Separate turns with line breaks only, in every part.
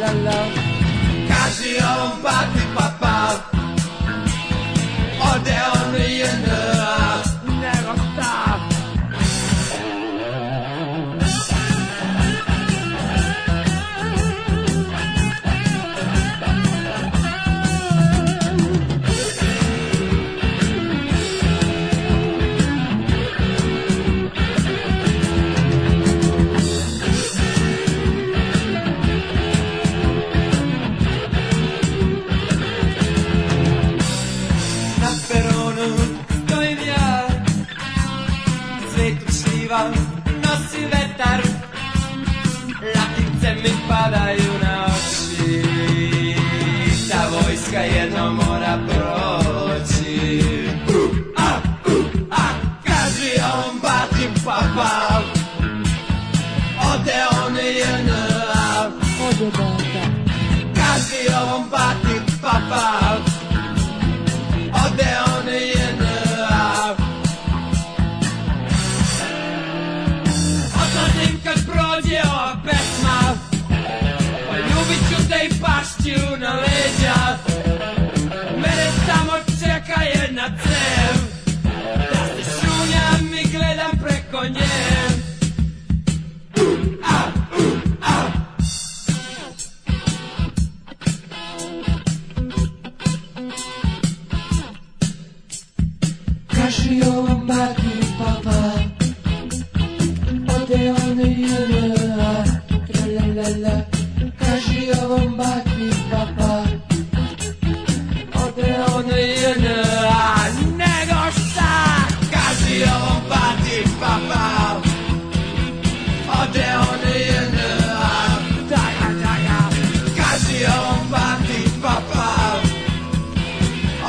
la la.
Kasi on baki papa Og det er nye nød
Never stop.
Na peronu stojim ja Cvetu šljiva nosi vetar Latice mi padaju na oči Ta vojska jedno mora proći U, a, u, uh, ah, a, kaži on bati papa Ode on jedna
Ode bata.
Kaži ovom bati papa Ode on jedna Odladim kad prođe ova pesma Pa ljubit ću te i pašću na leđa Mene samo čeka jedna cev Da se šunjam i gledam preko nje
Kaži ovom baki papa. Ode on jedna. Tra la la la. Kaži ovom baki papa. Ode on jedna.
nego šta Kaži ovom bati papa Ode on jedna Taga, taga Kaži ovom bati papa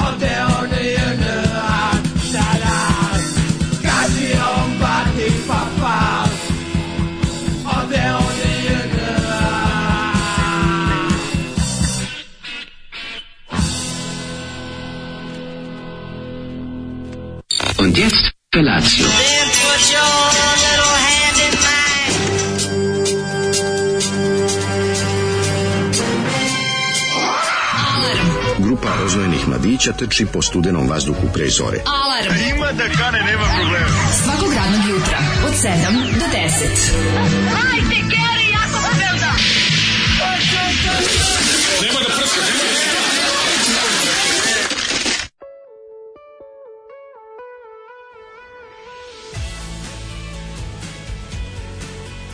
Ode on jedna Tada Kaži ovom bati papa Ode on jedna
Und jetzt Felatio.
Then put your little hand in mine.
Grupa rozvojenih mladića teči po studenom vazduhu pre zore.
Alarm. A ima da kane, nema problema. Svakog radnog jutra, od 7 do 10. Hajde, Geri, jako se velda.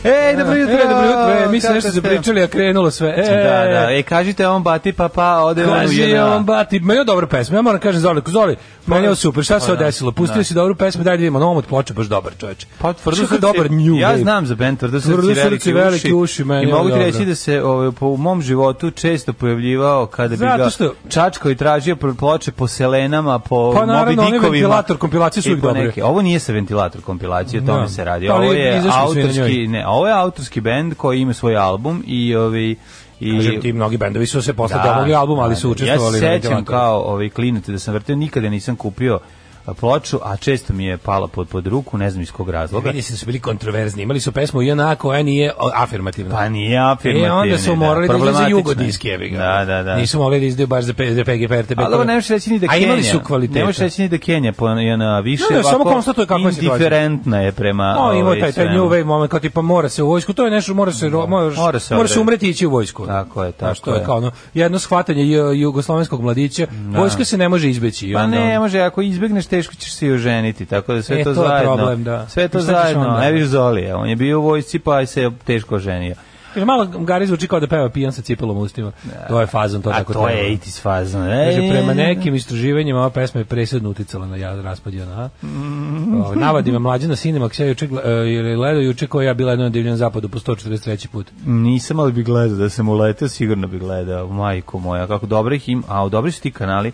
Ej, E, dobro jutro,
Evo,
dobro jutro. E, Mi se
E, kako
nešto
ste?
zapričali, a krenulo sve. E,
Da, da, e, kažite on bati papa, ode ono on u
Kaži
jedan.
on bati, ma je dobra pesma, ja moram kažem Zoli, Zoli, meni je ovo super, šta se
Pa da,
odesilo, pustio
da.
si dobru pesmu, daj da vidimo, novom od ploče, baš dobar čoveče.
Pa tvrdo
Što
srce,
dobar new
ja
wave.
znam za band tvrdo srce,
Tvrdo
veliki,
srce,
uši,
veliki uši, meni
i
je
mogu ti
dobro.
reći da se ovaj, po, u mom životu često pojavljivao kada bi
Zato
ga
što-
čačkao i tražio pr- ploče po selenama, po
Pa naravno,
Moby
one
Dickovima
ventilator kompilacije su
i
uvijek
po
dobre.
Ovo nije sa ventilator kompilacije, o tome
Da.
se radi.
Pa, ali
Ovo je
izašli su i na
autorski,
njoj.
ne, ovo je autorski band koji ima svoj album i ovi i
Kažem ti, mnogi bendovi su se posle da, domogli album, ali su učestvovali. na
Ja se sećam
ventilatoru.
kao ovaj klinac da sam vrteo, nikada nisam kupio a, ploču, a često mi je pala pod, pod ruku, ne znam iz kog razloga.
Vidi se da su bili kontroverzni, imali su pesmu Jana koja nije o, afirmativna.
Pa nije afirmativni.
E, onda su
da,
morali da, izlaze
problematično je.
jugodiski, jebi ga.
Da, da, da.
Nisu mogli da izdaju baš za P- za PGP, RTB.
Ali dobro, ne možeš reći ni da
A
Kenja.
imali su kvaliteta.
Ne možeš reći ni da Kenja po, je na više
Ne, ne, samo
ovako
konstatuje kakva je situacija.
indiferentna je prema
O, ima
ovaj,
taj, taj
svemu.
new wave moment, kao tipa mora se u vojsku, to je nešto, mora se, ro- moraš,
Mora
mora
se
se,
odrediti.
umreti i ići u vojsku.
Tako je,
Znaš,
tako
to
je.
je kao ono, jedno shvatanje ju- jugoslovenskog mladića, vojska se ne može izbeći. i
Pa
onda
ne,
ono-
može, ako izbegneš, teško ćeš se i oženiti, tako da sve
E,
to,
to je
zajedno.
problem, da.
Sve to
I šta ćeš
zajedno,
onda?
ne viš Zolija, on je bio u vojsci pa se je teško oženio.
Kaže, malo Gari zvuči kao da peva pijan sa cipelom u ustima. To je fazon, to
A
tako
to
treba.
je itis fazno. E,
Kaže, prema nekim istraživanjima ova pesma je presudno uticala na ja, raspad JNA.
Mm.
O, Navadi me mlađa na sinimak, ja juče, gle- e, ili gledao juče koja ja bila jednom na divljem zapadu po 143. put.
Nisam, ali bi gledao da sam uletao, sigurno bi gledao, majko moja, kako dobro ih im, a dobri su ti kanali,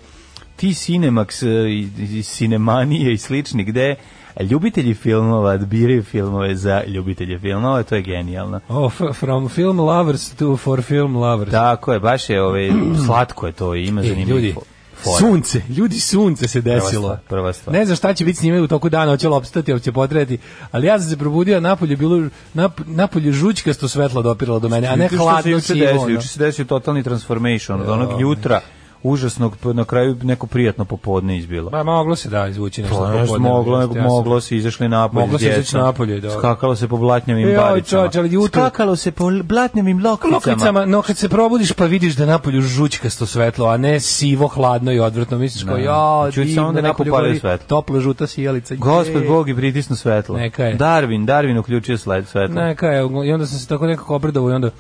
ti Cinemax e, i, i Cinemanije i slični, gde ljubitelji filmova biraju filmove za ljubitelje filmova, to je genijalno.
Oh, f- from film lovers to for film lovers.
ovaj, Tako je, baš je, ove, slatko je to ime,
E,
zanimljivo.
ljudi,
fora.
Sunce, ljudi sunce se
Prva
desilo.
stvar, prva stvar.
Ne znam šta će biti s njima u toku dana, hoće li opstati, hoće potreti, ali ja sam se probudio, a napolje je bilo nap, napolje žućkasto svetlo dopiralo do mene, a ne
Juče što se
hladno
juče
sivo.
desilo,
ono.
Juče se desio totalni transformation od onog jutra užasnog pa na kraju neko prijatno popodne izbilo.
Ba, moglo se da izvući nešto.
Pa, nešto
popodne,
moglo,
jeste,
nego
ja sam-
moglo se izašli napolje.
Moglo
s
se izaći
djecom.
napolje, da.
Skakalo se po blatnjavim
Joj,
baricama.
čovječe, ali jutro-
Skakalo se po blatnjavim lokvicama.
Lokvicama, no kad se probudiš pa vidiš da je napolju žućkasto svetlo, a ne sivo, hladno i odvrtno, misliš kao, ja,
Čuj,
divno,
samo da ne
napolju
popalio
gori
svetlo.
Topla žuta sijalica.
Gospod
jej.
Bog i pritisnu svetlo.
E. Neka je.
Darwin, Darwin uključio sled svetlo.
Ne, kaj, i onda sam se tako nekako obradovao i onda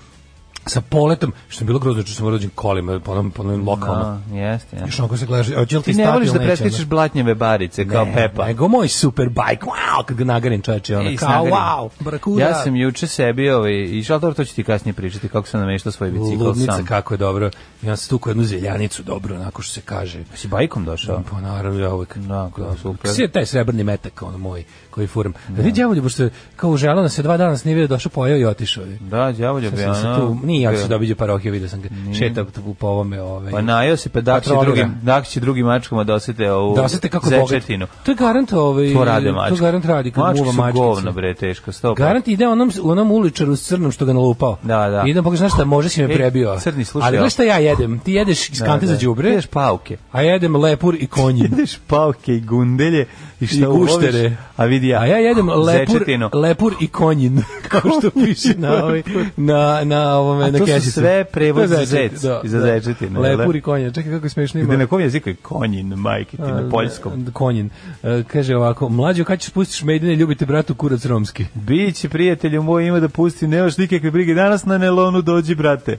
sa poletom, što je bilo grozno, što sam rođen kolima, po onom, po onom lokalno.
A, jeste, jeste.
ono. Još onako se gledaš, hoće li ti
Ti ne
stati
voliš
ili
da
neće,
preskačeš
ono?
blatnjave barice kao
Ne,
Pepa.
Nego moj superbike, wow, kad ga nagarim čoveče, ono,
Ej,
kao,
snagarin.
wow, brakuda.
Ja sam juče sebi ovaj, išao, dobro, to ću ti kasnije pričati, kako sam nameštao svoj bicikl
Ludnica,
sam.
kako je dobro. Ja sam stukao jednu zeljanicu, dobro, onako što se kaže.
Si bajkom došao?
Pa naravno, ja uvek.
Da, kao super.
Sve taj srebrni metak, ono moj, koji furam. Da vidi djavolju, pošto kao želeo da se dva dana nije vidio, došao pojeo i otišao. je.
Da, đavolje bi
Sam se tu,
ono.
nije, ja
bio.
se dobiđe parohije, vidio sam ga. Šeta tu po ovome, ovaj. ove.
Pa najao se, pa dak će
Patrolira.
drugim, dak će drugim mačkama da osete ovu
da osete kako je bogat.
zečetinu.
To je garant ovaj,
To rade mačke.
To garant radi kad
mačke
muva
su
mačkice.
govno, bre, teško, stop.
Garant ide onom, onom uličaru s crnom što ga nalupao.
Da, da.
Idem, pogledaj, znaš šta, može si me
Ej,
prebio.
crni, slušaj,
Ali
ovo.
gledaj šta ja jedem. Ti jedeš iz kante za đubre,
Ideš pauke.
a ja jedem lepur i konjin.
Ideš pauke i gundelje i
I
šta uloviš.
guštere.
A vidi ja.
A ja jedem lepur,
Zečetinu.
lepur i konjin, kao što piše na, ovoj, na, na ovome,
A
na
to su
kesici.
sve prevod
To je
za
zečet,
zec,
da,
za
da.
zečetinu, jel da?
Lepur i konjin, čekaj kako je smešno ima.
Gde na kom jeziku je konjin, majke ti, na poljskom.
Konjin. E, Kaže ovako, mlađo, kad ćeš pustiš Mejdine, ljubite bratu kurac romski.
Bići prijatelju moj ima da pusti, nemaš nikakve brige, danas na Nelonu dođi, brate.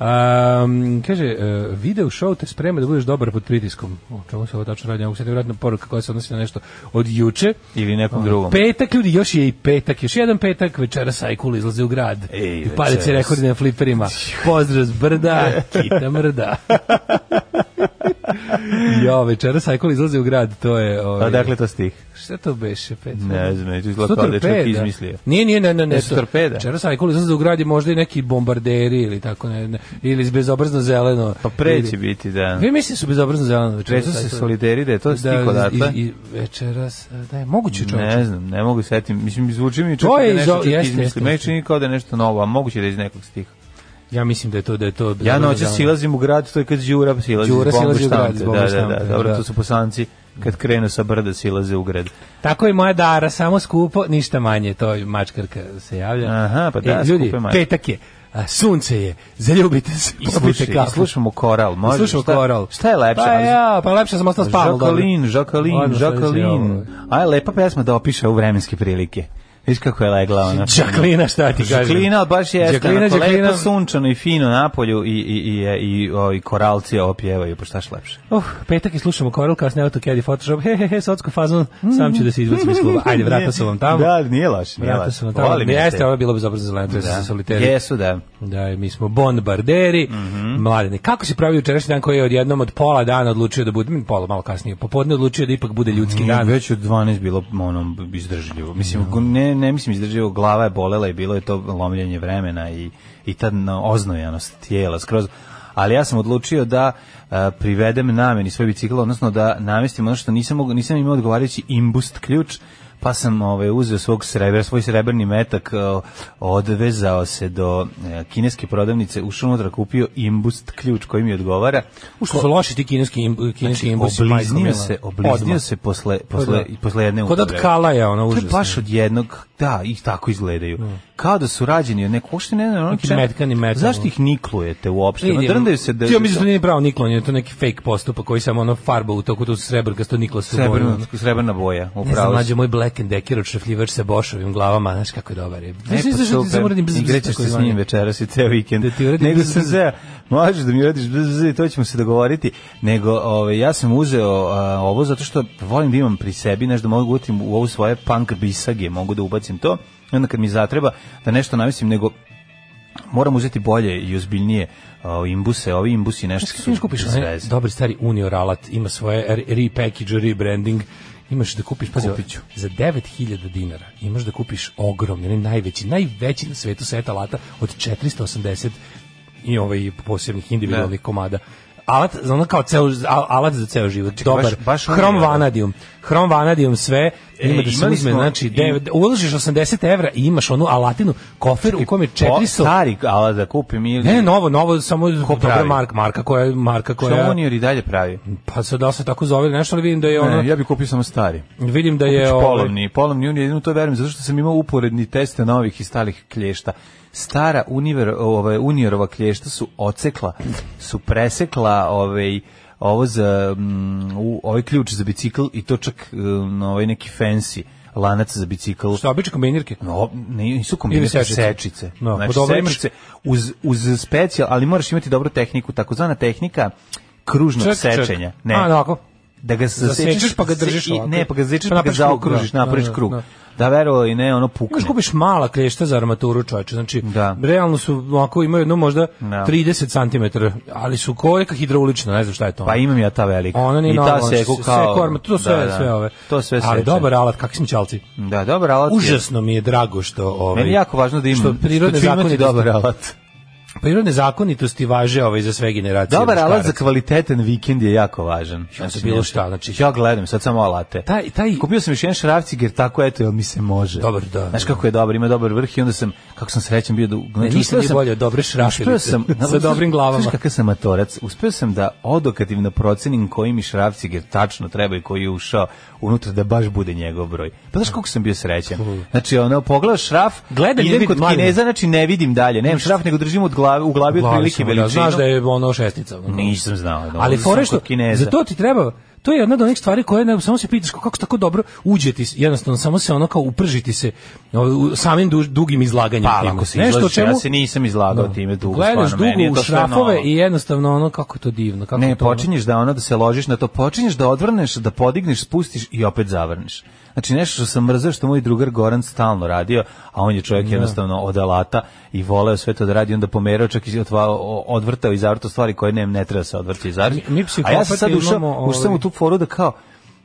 Um, kaže, e, video show te sprema da budeš dobar pod pritiskom. O čemu se ovo tačno radi? Ja mogu se vjerojatno poruka koja se odnosi na nešto od juče.
Ili nekom drugom.
Petak, ljudi, još je i petak, još jedan petak, večera Sajkul izlaze u grad.
Ej,
I pare se
večeras.
rekordi na fliperima. Pozdrav s brda, kita mrda. jo, večera Sajkul izlaze u grad, to je... Ovaj,
A dakle to stih?
Šta to beše, petak?
Ne znam, neću izgleda kao da je čovjek izmislio.
Nije, nije, ne, ne, ne.
Jesu torpeda?
Večeras Ajkul izlaze u grad je možda i neki bombarderi ili tako, ne, ne ili bezobrazno zeleno.
Pa pre će
Ili-
biti, da.
Vi mislite su bezobrazno zeleno večeras?
Tresu se
Ajkul?
solideri da je to stih odatle.
i, i večeras, e, da je moguće čovječe.
Ne znam, ne mogu setim. Mislim, zvuči mi čak
To
da
je
je
iz
nešto
o-
čak
jeste,
izmisli.
jeste,
Meni
jeste.
čini kao da je nešto novo, a moguće da je iz nekog stiha.
Ja mislim da je to da je to.
Ja
bezobrazno
noće
zeleno.
silazim u grad, to je kad Đura silazi
Đura
iz bombu
silazi u grad iz
štampe.
bombu
Da, da,
štampe,
da, dobro,
da.
to su posanci kad krenu sa brda silaze u grad.
Tako je moja Dara, samo skupo, ništa manje, to je mačkarka se javlja.
Aha, pa da,
E, ljudi,
skupe mačke.
petak je, a, sunce je, zaljubite se,
I
popite
slušaj, i
kafu.
slušamo koral, može?
Slušamo
šta,
koral.
Šta je lepše?
Pa
Ali-
ja, pa lepše sam ostao s Pavlom. dobro.
Žakalin, Žakalin,
Odmah sledeće, ovo.
Žakalin. Aj, lepa pesma da opiše u vremenske prilike. Viš kako je legla ona.
Žaklina, šta ti kažem?
Žaklina, baš jeste.
Žaklina,
Žaklina,
Žaklina.
Lepo sunčano i fino napolju i, i, i, i, i, o, i koralci ovo pjevaju, pa šta lepše.
Uh, petak i slušamo Coral, kasne auto, Caddy Photoshop, he, he, he, socko fazon, sam ću da se izvacim iz kluba. Ajde, vrata su vam tamo.
Da, nije loš, nije
Vrata
loš.
su vam tamo.
Volim
Ne,
ja
jeste,
te.
ovo je bilo bezobrazno zeleno, to
Da.
da. soliteri.
Jesu, da.
Da, i mi smo bombarderi, mm
Mhm.
-hmm. mladene. Kako se pravi jučerašnji dan koji je odjednom od pola dana odlučio da bude, pola malo kasnije, popodne odlučio da ipak bude ljudski
Nije
dan.
već od 12 bilo ono izdržljivo. Mislim ne ne mislim izdržljivo, glava je bolela i bilo je to lomljenje vremena i i ta na- oznojanost tijela skroz. Ali ja sam odlučio da e, privedem nameni svoj bicikl, odnosno da namestim ono što nisam mogao, nisam imao odgovarajući imbust ključ, pa sam ovaj uzeo svog sreber, svoj srebrni metak, e, odvezao se do e, kineske prodavnice, ušao unutra, kupio imbust ključ koji mi odgovara.
Što su loši ti kineski, im- kineski znači, imbusi, majko
Obliznio
mila.
se, obliznio
Odmah. Pa
se posle, posle,
da.
posle jedne
Kod od
upotrebe.
kalaja, ono,
To je
užasno.
baš od jednog, da, i tako izgledaju. Kao da su rađeni od nekog, uopšte ne znam, ono
Neki
čemu-
metkani metal.
Zašto ih niklujete uopšte? Ma
Vidim,
drndaju se da...
Ja mislim da to nije pravo niklanje, to je neki fake postupak koji samo ono farba u toku, tu srebrkasto ono. niklo se
Srebrna, srebrna boja,
Ne znam,
upravo.
mlađe, moj Black and Decker odšrafljivač sa Bošovim glavama, znaš kako je dobar je. Znaš,
pa
znaš, znaš, samo uradim bzz, bzz,
Igrećeš
tako
se s
zvani.
njim večeras i ceo vikend.
Da ti uradim
Nego
bzz,
sam
bzz.
se, možeš da mi uradiš bzz, bzz, i to ćemo se dogovoriti. Nego, ove, ja sam uzeo a, ovo zato što volim da imam pri sebi, nešto da mogu utim u ovo svoje punk bisage, mogu da ubacim to. I onda kad mi zatreba da nešto namislim, nego moram uzeti bolje i ozbiljnije a, imbuse, ovi imbusi nešto
Znaš, kako imaš kupiš onaj
zveze.
dobri stari Unior alat, ima svoje re- repackage, rebranding, imaš da kupiš, pazi,
Kupit ću.
za 9000 dinara imaš da kupiš ogromni, onaj najveći, najveći na svetu set alata od 480 i ovaj posebnih individualnih komada alat, za ono kao ceo, al- alat za ceo život. Dobar.
baš ono
Hrom
je, da.
vanadium. Hrom vanadium sve.
E,
ima da se
imali
uzme,
smo
znači,
i-
dev, uložiš 80 evra i imaš onu alatinu, kofer u kome je
Po,
400...
stari, ali da kupim ili...
Ne, ne, novo, novo, samo dobra
pravi?
marka, marka koja, je- marka koja,
Što Junior i dalje pravi?
pa sad da li se tako zove ili nešto, ali vidim da je ono,
Ne, ja bih kupio samo stari.
vidim da je,
Znači,
ovaj,
polovni, polovni Junior, jedino to verujem, zato što sam imao uporedni teste novih i starih klješta. Stara univer, ovaj, Uniorova klješta su ocekla, su presekla ovaj, ovo za, mm, u, ovaj ključ za bicikl i to čak mm, ovaj neki fancy lanac za bicikl.
što obične kombinirke.
No, ne, nisu kombinacije
sečice.
sečice.
No,
znači,
pa dobro imaš-
sečice uz, uz specijal, ali moraš imati dobru tehniku, takozvana tehnika kružnog
Ček, ček.
sečenja. Ne,
A, onako.
da ga
Zasečeš,
zasečeš
pa ga držiš
i-
ovako.
Ne, pa ga zasečeš
Pa
pa ga
napraviš krug,
zaokružiš,
da,
napraviš
da,
krug.
da.
Da verovalo i ne, ono pukne.
Možeš kupiš mala klješta za armaturu, čoveče. Znači,
Da.
realno su, ako imaju jedno možda
Da.
30 cm, ali su ko neka hidraulična, ne znam šta je to.
Pa imam ja ta velika.
Ona nije
I ta
normalna,
seku
se-
kao...
seku armaturu, to sve,
da, da.
sve ove.
To sve
Ali
seče.
dobar alat, kakvi smo ćalci.
Da, dobar alat. je.
Užasno mi je drago što... Ovaj,
Meni je jako važno da imam.
Što prirodne
ću imati
zakonitosti,
dobar alat.
prirodne zakonitosti važe ovaj, za sve generacije.
Dobar alat za
muškaraca.
kvalitetan vikend je jako važan. Znači,
bilo
ne-
šta, znači-
ja gledam sad samo alate.
Taj, taj,
Kupio sam još jedan šrafciger, tako eto, jel mi se može.
Dobar, da.
Znaš kako je dobar, ima dobar vrh i onda sam, kako sam srećan bio da... znači,
Ne, ništa
uspeo
nije
sam-
bolje od dobre šrafilice
uspeo sam,
sa
znaš-
dobrim glavama.
Znaš kakav sam matorac, uspeo sam da odokativno procenim koji mi šrafciger tačno treba i koji je ušao unutra da baš bude njegov broj. Pa znaš koliko sam bio srećan? Znači, ono, pogledaš šraf,
Gledam, ne
idem
vidim,
kod
mladine.
Kineza, znači ne vidim dalje, nemam šraf, nego držim od glave, u glavi
Glavi
otprilike
sam, da,
veličinu.
Znaš da je ono šestica. ono.
Nisam znao.
Ali
da, onda sam
fore
kod
što
Kineza.
za to ti treba To je jedna od onih stvari koje ne, samo se pitaš kako se tako dobro uđe ti, jednostavno samo se ono kao upržiti se o, u- samim duž- dugim izlaganjem.
Pa,
time.
ako se izlažeš, ja se nisam izlagao
Da.
time dugo,
Gledaš
stvarno, meni je
dugo u
to sve
šrafove
novo.
i jednostavno ono kako je to divno. Kako
Ne,
je to ono.
počinješ da ono da se ložiš na to, počinješ da odvrneš, da podigneš, spustiš i opet zavrneš. Znači nešto što sam mrzeo što moj drugar Goran stalno radio, a on je čovjek jednostavno od alata i voleo sve to da radi, onda pomerao čak i otvao, o- odvrtao i zavrtao stvari koje ne, ne treba se odvrti i zavrti.
Mi- mi
a ja sam sad
psihopati
ušao,
imamo,
ušao sam u
ovaj-
tu foru da kao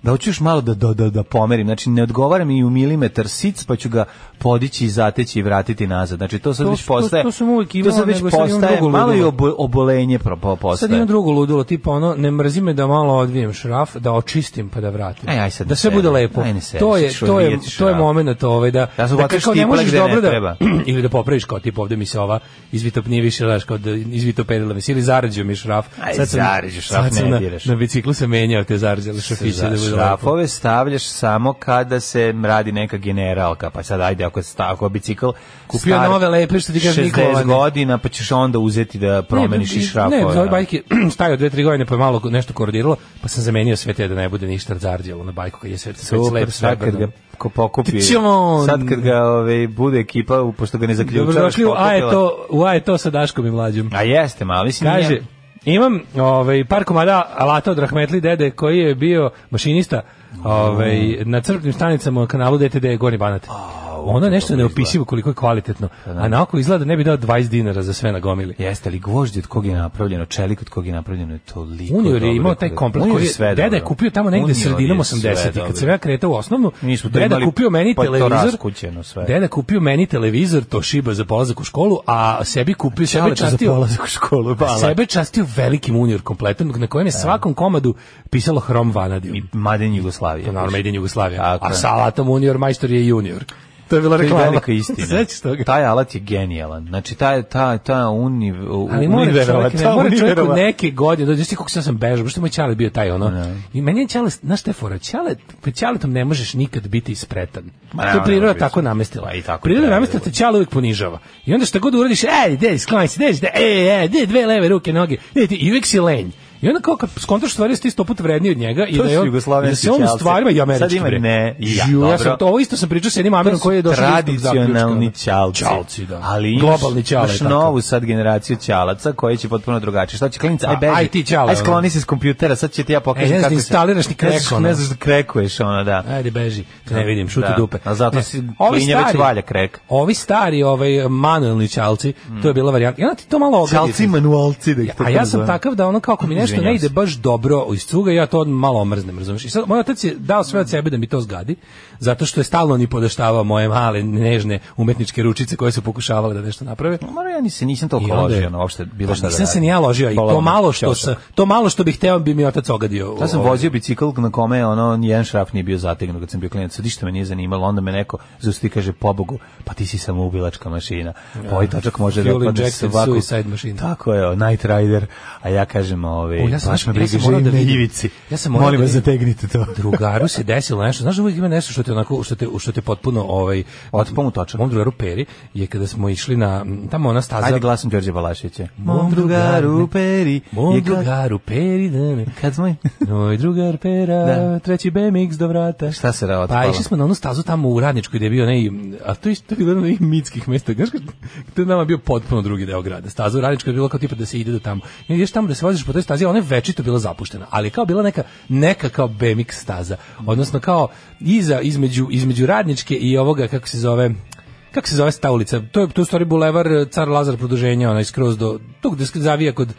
da hoću još malo da, da, da, da pomerim. Znači, ne odgovaram i u milimetar sic, pa ću ga podići i zateći i vratiti nazad. Znači, to sad
To-
već
to-
postaje...
to sam uvijek imao,
to sad već
nego sad imam
postaje
drugo
malo i
ludilo.
obo- obolenje pro, po- postaje.
Sad imam drugo ludilo, tipa ono, ne mrzi me da malo odvijem šraf, da očistim pa da vratim.
Aj, aj sad
da
ne
sve bude
sedi.
lepo.
Aj, ne sedi,
to je,
sad ću
to je,
odvijeti
to je
šraf.
moment ovaj da,
Ja sam
da
uhvatio
kao ne
štipla
možeš
gde ne
dobro da,
treba.
ili da popraviš kao tipa ovde mi se ova izvitopnije više, znaš, kao da izvitopedila mi se, ili zarađuje mi šraf.
Aj,
Sad sam-
zarađe šraf,
sad sam
ne
na,
diraš.
na biciklu sam menjao te zarađale šrafiće da
Za
bude lepo.
šrafove stavljaš samo kada se radi neka generalka, pa sad ajde ako je sta- ako je bicikl
Kupio
star
nove lepe, što ti kažem,
60
Nikola, ne.
godina, pa ćeš onda uzeti da promeniš
ne,
i šrafove.
Ne, za ove
da.
bajke stajao dve, tri godine, pa je malo nešto korodiralo, pa sam zamenio sve te da ne bude ništa zarđalo na bajku, kad je sve, sve
Super,
lep,
sad kad ga
srebrno.
ko pokupi,
Ćemo!
sad kad ga ove, bude ekipa, u- pošto ga ne zaključavaš,
Dobrodošli u A je
pokupila-
to, u A je to sa Daškom i mlađom.
A jeste, mali si
Kaže,
nije.
imam ovaj, par komada alata od Rahmetli dede koji je bio mašinista ovaj, na crpnim stanicama na kanalu DTD Gornji Banat. Ono nešto neopisivo koliko je kvalitetno. A naoko izgleda da ne bi dao 20 dinara za sve na gomili.
Jeste li gvožđe od kog je napravljeno, čelik od kog je napravljeno, je toliko
Junior je
dobro
imao taj
kod-
komplet
Unior
koji je,
sve
deda je
dobro.
kupio tamo negde
Unior je
sredinom
sve
80-ih kad
dobro.
sam ja kretao u osnovnu
Mi smo to
deda
imali,
kupio meni
pa je to
televizor
raskućeno sve.
deda kupio meni televizor Toshiba za polazak u školu a sebi kupio sebe
Čaleta za
častio
polazak u školu, bala.
sebe častio velikim Unior kompletom na kojem je svakom komadu pisalo Hrom Vanadium
i Maden Jugoslavije.
naravno Made in Jugoslavia
Tako
a
je.
sa alatom Unior majstor je Junior to je bila
To je
reklama
velika istina.
Sećaš toga?
Taj alat je genijalan. Znači, taj, ta, ta uni,
Ali mora
univerova,
čovjek, ne,
ta
mora čovjek u
univerova.
neke godine, dođe si kako sam sam bežao, pošto moj Ćale bio taj ono. I meni je Ćale, znaš te fora, Ćale, pred Ćaletom ne možeš nikad biti ispretan.
Ma,
to
ne,
je
ne,
priroda
ne, ne,
tako
ne.
namestila.
Pa i tako
priroda
treba,
namestila te
jebote.
Ćale uvijek ponižava. I onda šta god uradiš, ej, ide, sklanj se, ide, ej, ej, ide, e, dve leve ruke, noge, ide, ti, i uvijek si lenj. I onda kao kad skontraš stvari, da si ti sto puta vredniji od njega i
To
da
su
je on,
jugoslavenski
da se on u
Ćalci.
stvarima i
Sad
američki.
ima
bre.
ne, i ja,
Ju,
dobro.
sam to, ovo isto sam pričao sa jednim Amerikom koji je došao do istog zaključka, ono.
tradicionalni ćalci.
Ćalci, da.
Ali imaš,
Globalni ćale,
imaš
tako.
novu sad generaciju ćalaca koji će potpuno drugačije. Šta će klinica? Aj,
A,
beži.
aj ti ćale, ono.
Aj, skloni se s kompjutera, sad će ti ja
E, ne
pokažem
znaš
kako
da instaliraš ni krek,
Ne znaš,
ono.
ne znaš da krekuješ, ono, da.
Ajde beži, ne vidim, šuti
Da,
dupe.
a zato
Ne,
si
ovi
klinja već
stari-
valja krek. Mm.
Ovi stari, ovaj manuelni čalci, to je bila varijanta. I onda ti to malo ogadi.
Ćalci manualci da ih to
A ja sam
nazovem.
takav da ono kako mi nešto nešto ne ide baš dobro iz cuga, ja to odmah malo omrznem, razumiješ? I sad, moj otac je dao sve od sebe da mi to zgadi, zato što je stalno ni podaštavao moje male, nežne umetničke ručice koje su pokušavale da nešto naprave.
Mora ja ni se nisam
I
toliko
onda je-
ložio, ono, uopšte bilo Pa šta da
Nisam se
radim.
ni ja ložio i to
Bolovno,
malo što,
ćošak.
sa, to malo što bih hteo bi mi otac ogadio.
Ja sam
Ovaj.
vozio bicikl na kome ono jedan šraf nije bio zategnut kad sam bio klinac. Sad Ništa me nije zanimalo, onda me neko zaustavi i kaže pobogu, pa ti si samo ubilačka mašina. Pa ovaj točak može da
Fuel
otpadne
injected
svaku-
suicide machine.
Tako je, o, Night Rider, a ja kažem, ovaj,
O, ja sam-
baš me
ja sam
briga,
morao
živim
da
na
vidim.
ivici.
Ja sam morao
Molim
da
vas,
vidim.
zategnite to.
drugaru se desilo nešto, znaš uvijek ima nešto što te onako što te što te potpuno ovaj
Otpuno točak.
Mom drugaru Peri je kada smo išli na m, tamo ona staza.
Ajde glasom Đorđe Balašića.
drugaru
Mom drugaru Peri.
Mom
je kad-
drugaru Peri, da ne.
Kad smo...
Moj drugar Pera,
Da.
treći BMX do vrata.
Šta se ra-
Pa
otpalo?
išli smo na onu stazu tamo u Radničkoj gde je bio nej, a to je isto bilo na nekim mitskih mesta. Znaš kad, to je nama bio potpuno drugi deo grada. Staza u Radničkoj je bilo kao tipa da se ide do tamo. I ideš tamo da se voziš po toj stazi, a ona je večito bila zapuštena, ali je kao bila neka, neka kao BMX staza. Odnosno kao iza, između, između Radničke i ovoga, kako se zove, kako se zove ta ulica? To je tu u stvari bulevar eh, Car Lazar produženja, onaj skroz do, tu gde se zavija kod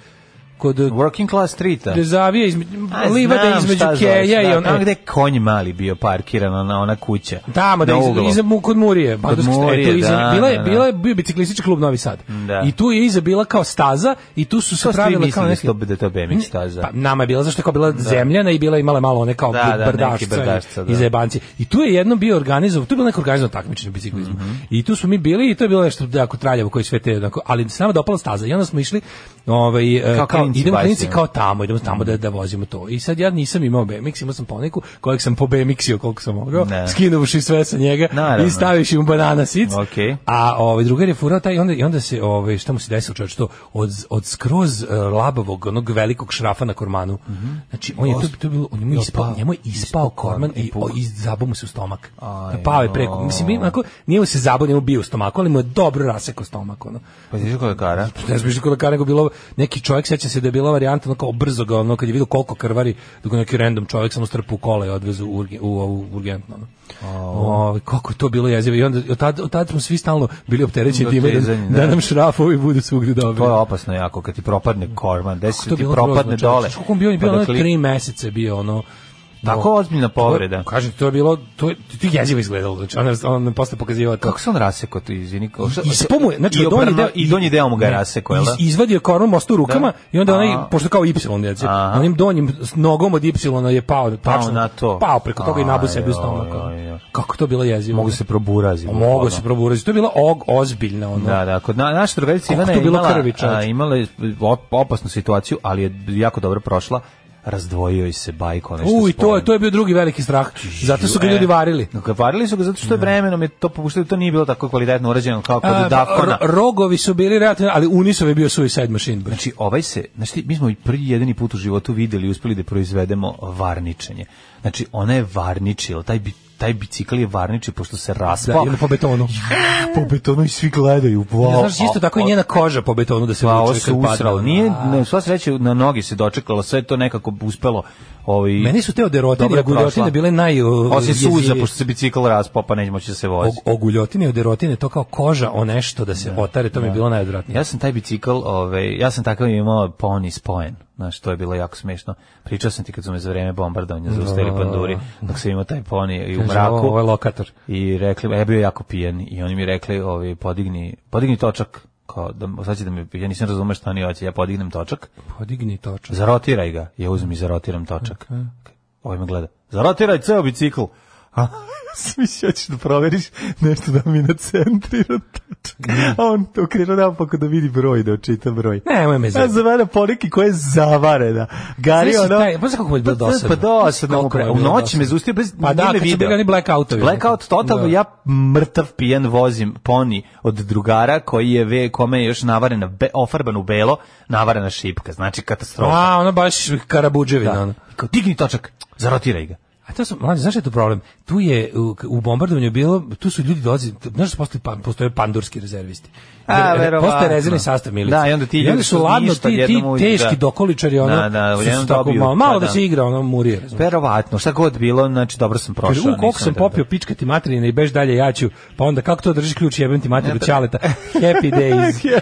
kod eh,
Working Class Streeta.
gde zavija između
A,
livade
Pa znam
između
šta zoveš,
Keja i
da, e,
on
tamo gde je konj mali bio parkiran, ona, ona kuća.
Tamo da
Na
iz,
uglu.
iza mu kod Murije, pa Bandurski
Murije,
eto, e, iza,
da,
bila je
da, da.
bila je bio biciklistički klub Novi Sad.
Da.
I tu je iza bila kao staza i tu su se
To ste vi
pravile kao
mislili da
neki
to bude to BMX staza.
Pa nama je bila zašto je kao bila zemljana i bila je imala malo one kao
Da, da, neki
brdašca,
brdašca, da.
i zajebanci. I tu je jedno bio organizovan, tu je bilo neko organizovano takmičenje u biciklizmu.
Mhm.
I tu smo mi bili i to je bilo nešto jako traljavo koji sve te jednako, ali se nama dopala staza i onda smo išli ovaj e,
Kao klinci Mhm.
idemo klinici
bajsimo.
kao tamo, idemo tamo da da vozimo to. I sad ja nisam imao BMX, imao sam poneku kojeg sam po BMX-io koliko sam mogao,
Ne.
skinuoši sve sa njega
Naravno.
i staviš im banana sic.
Okej.
A ovaj drugar je furao taj i onda i onda se ovaj šta mu se desilo čoveče to od od skroz eh, labavog onog velikog šrafa na kormanu. Znači on je to to je bilo on je mu ispao, njemu je ispao korman i, o, i zabao mu se u stomak.
Aj,
Pao je preko. Mislim ima onako nije mu se zabao, nije mu bio u stomaku, ali mu je dobro rasekao stomak ono.
Pa ti kako je kara?
Ne znam više kod lekara, nego bilo neki čovjek seća se da je bila varijanta ono kao brzo ga ono kad je video koliko krvari dok ga neki random čovjek samo strpu u kola i odvezu u, urge- u, ovu urgentno. Ono. Ovaj, kako je to bilo jezivo i onda od tad, od tad smo svi stalno bili opterećeni
Do
time da,
tezanja,
da,
da.
nam šrafovi budu svugdje dobri.
To je opasno jako, kad ti propadne korman,
Kako
desi
je
ti
bilo
propadne
grozno, čoveče.
dole.
znači? Znaš Koliko on bio, on je bio
pa
ono
da klik-
tri meseca je bio ono
Tako
ono,
ozbiljna povreda.
To, kažem, ti, to je bilo, to je, to je jezivo izgledalo, znači, on, on nam posle pokazivao to.
Kako se on raseko tu, izvini? kao šta-
Ispao mu je, znači
I,
od donji
obrno,
deo,
i donji deo mu ga
ne,
raseko, jel da?
iz- izvadio koronu ostao u rukama
Da.
i onda onaj,
A.
pošto kao Y djece,
Aha.
onim donjim s- nogom od Y je pao, tačno,
na to.
pao preko toga i nabu sebi u
Aj,
stomak. ono.
aj, aj.
Kako to bilo jezivo. Pa
Mogu se proburazi.
Mogu se proburaziti. To je bila og, ozbiljna ono.
Da, da, kod na, naša drugarica
Koliko
Ivana
to
je
bilo
imala,
krvi, čoveče?
a, imala je op- opasnu situaciju, ali je jako dobro prošla. Razdvojio joj se bajko, nešto
Uj, to je,
sporedno.
to je bio drugi veliki strah. Zato su ga
E,
ljudi varili.
Ga varili su ga zato što je vremenom je to popuštili, to nije bilo tako kvalitetno urađeno kao kod
A, pa,
Dafkona.
ro- rogovi su bili relativno, ali Unisov je bio suicide machine. bre.
Znači, ovaj se, znači, mi smo i prvi i jedini put u životu videli i uspeli da proizvedemo varničenje. Znači, ona je varničila, taj, bi, taj bicikl je varničio pošto se
Da,
raspao.
ili po betonu. pa,
po betonu i svi gledaju. Wow.
Znaš, isto tako i njena koža po betonu da se
Pa, ovo
vuče
se
kad padne,
usralo.
ono.
Nije,
A.
na sva sreća, na noge se dočekalo, sve je to nekako uspelo. Ovaj,
Meni su te oderotine
dobro
i
je prošla.
guljotine bile naj... uh,
Osim suza,
jezivije.
pošto se bicikl raspao, pa neće moći da se vozi.
Og- oguljotine i oderotine, to kao koža o nešto da se otare, to mi je bilo najodvratnije.
Ja sam taj bicikl, ovaj, ja sam takav imao poni spojen. Znaš, to je bilo jako smešno. Pričao sam ti kad su me za vreme bombardovanja zaustavili panduri, dok sam imao taj poni i u
Kaže,
mraku.
Ovo, ovo je lokator.
I rekli, a ja bio jako pijen i oni mi rekli, ovaj, podigni, podigni točak. Kao, da, sad će da mi, ja nisam razumeo šta oni hoće, ja podignem točak,
Podigni točak.
zarotiraj ga. Ja uzmem i zarotiram točak. Ovaj me gleda, zarotiraj ceo bicikl. A, smišlja ćeš da proveriš nešto da mi nacentrira točak. A on okrenuo napako da vidi broj, da očita broj.
Nemoj me
Ja
zezati.
zavara poneki koja je zavarena. Gari
Znaš
ono...
taj- pa znaš kako mu je bilo
Pa, pa,
dosadno?
Pa dosadno mu
Koliko mu je
pre- U
bilo
noći
dosadno?
me zustio bez...
Pa da,
nije me
kad su
video.
bili oni blackoutovi.
Blackout totalno,
Da.
ja mrtav pijen vozim poni od drugara koji je ve, kome je još navarena, be, ofarban u belo, navarena šipka. Znači katastrofa.
A, ono baš karabuđevina.
Da.
ono.
I Kao, digni točak, zarotiraj ga.
A to su, mlađe, znaš što je tu problem? Tu je u, u bombardovanju bilo, tu su ljudi dolazi, znaš što postoje, pa- postoje pandurski rezervisti.
A,
Jer, e,
verovatno.
Postoje rezervni sastav milice.
Da, i onda ti ljudi
su
su
ladno,
ništa,
ti, ti
jednom uđu,
teški
da.
dokoličari, ono,
Da, da,
su- su
jednom
tako
dobiju,
malo, malo
pa
da
da.
se igra, ono, murije. razumeš?
Verovatno, šta god bilo, znači dobro sam prošao.
Kaže, u, koliko
nisam
sam
da-
popio pička ti materina i beš dalje ja ću, pa onda kako to držiš ključ jebem ti materinu ćaleta, happy days.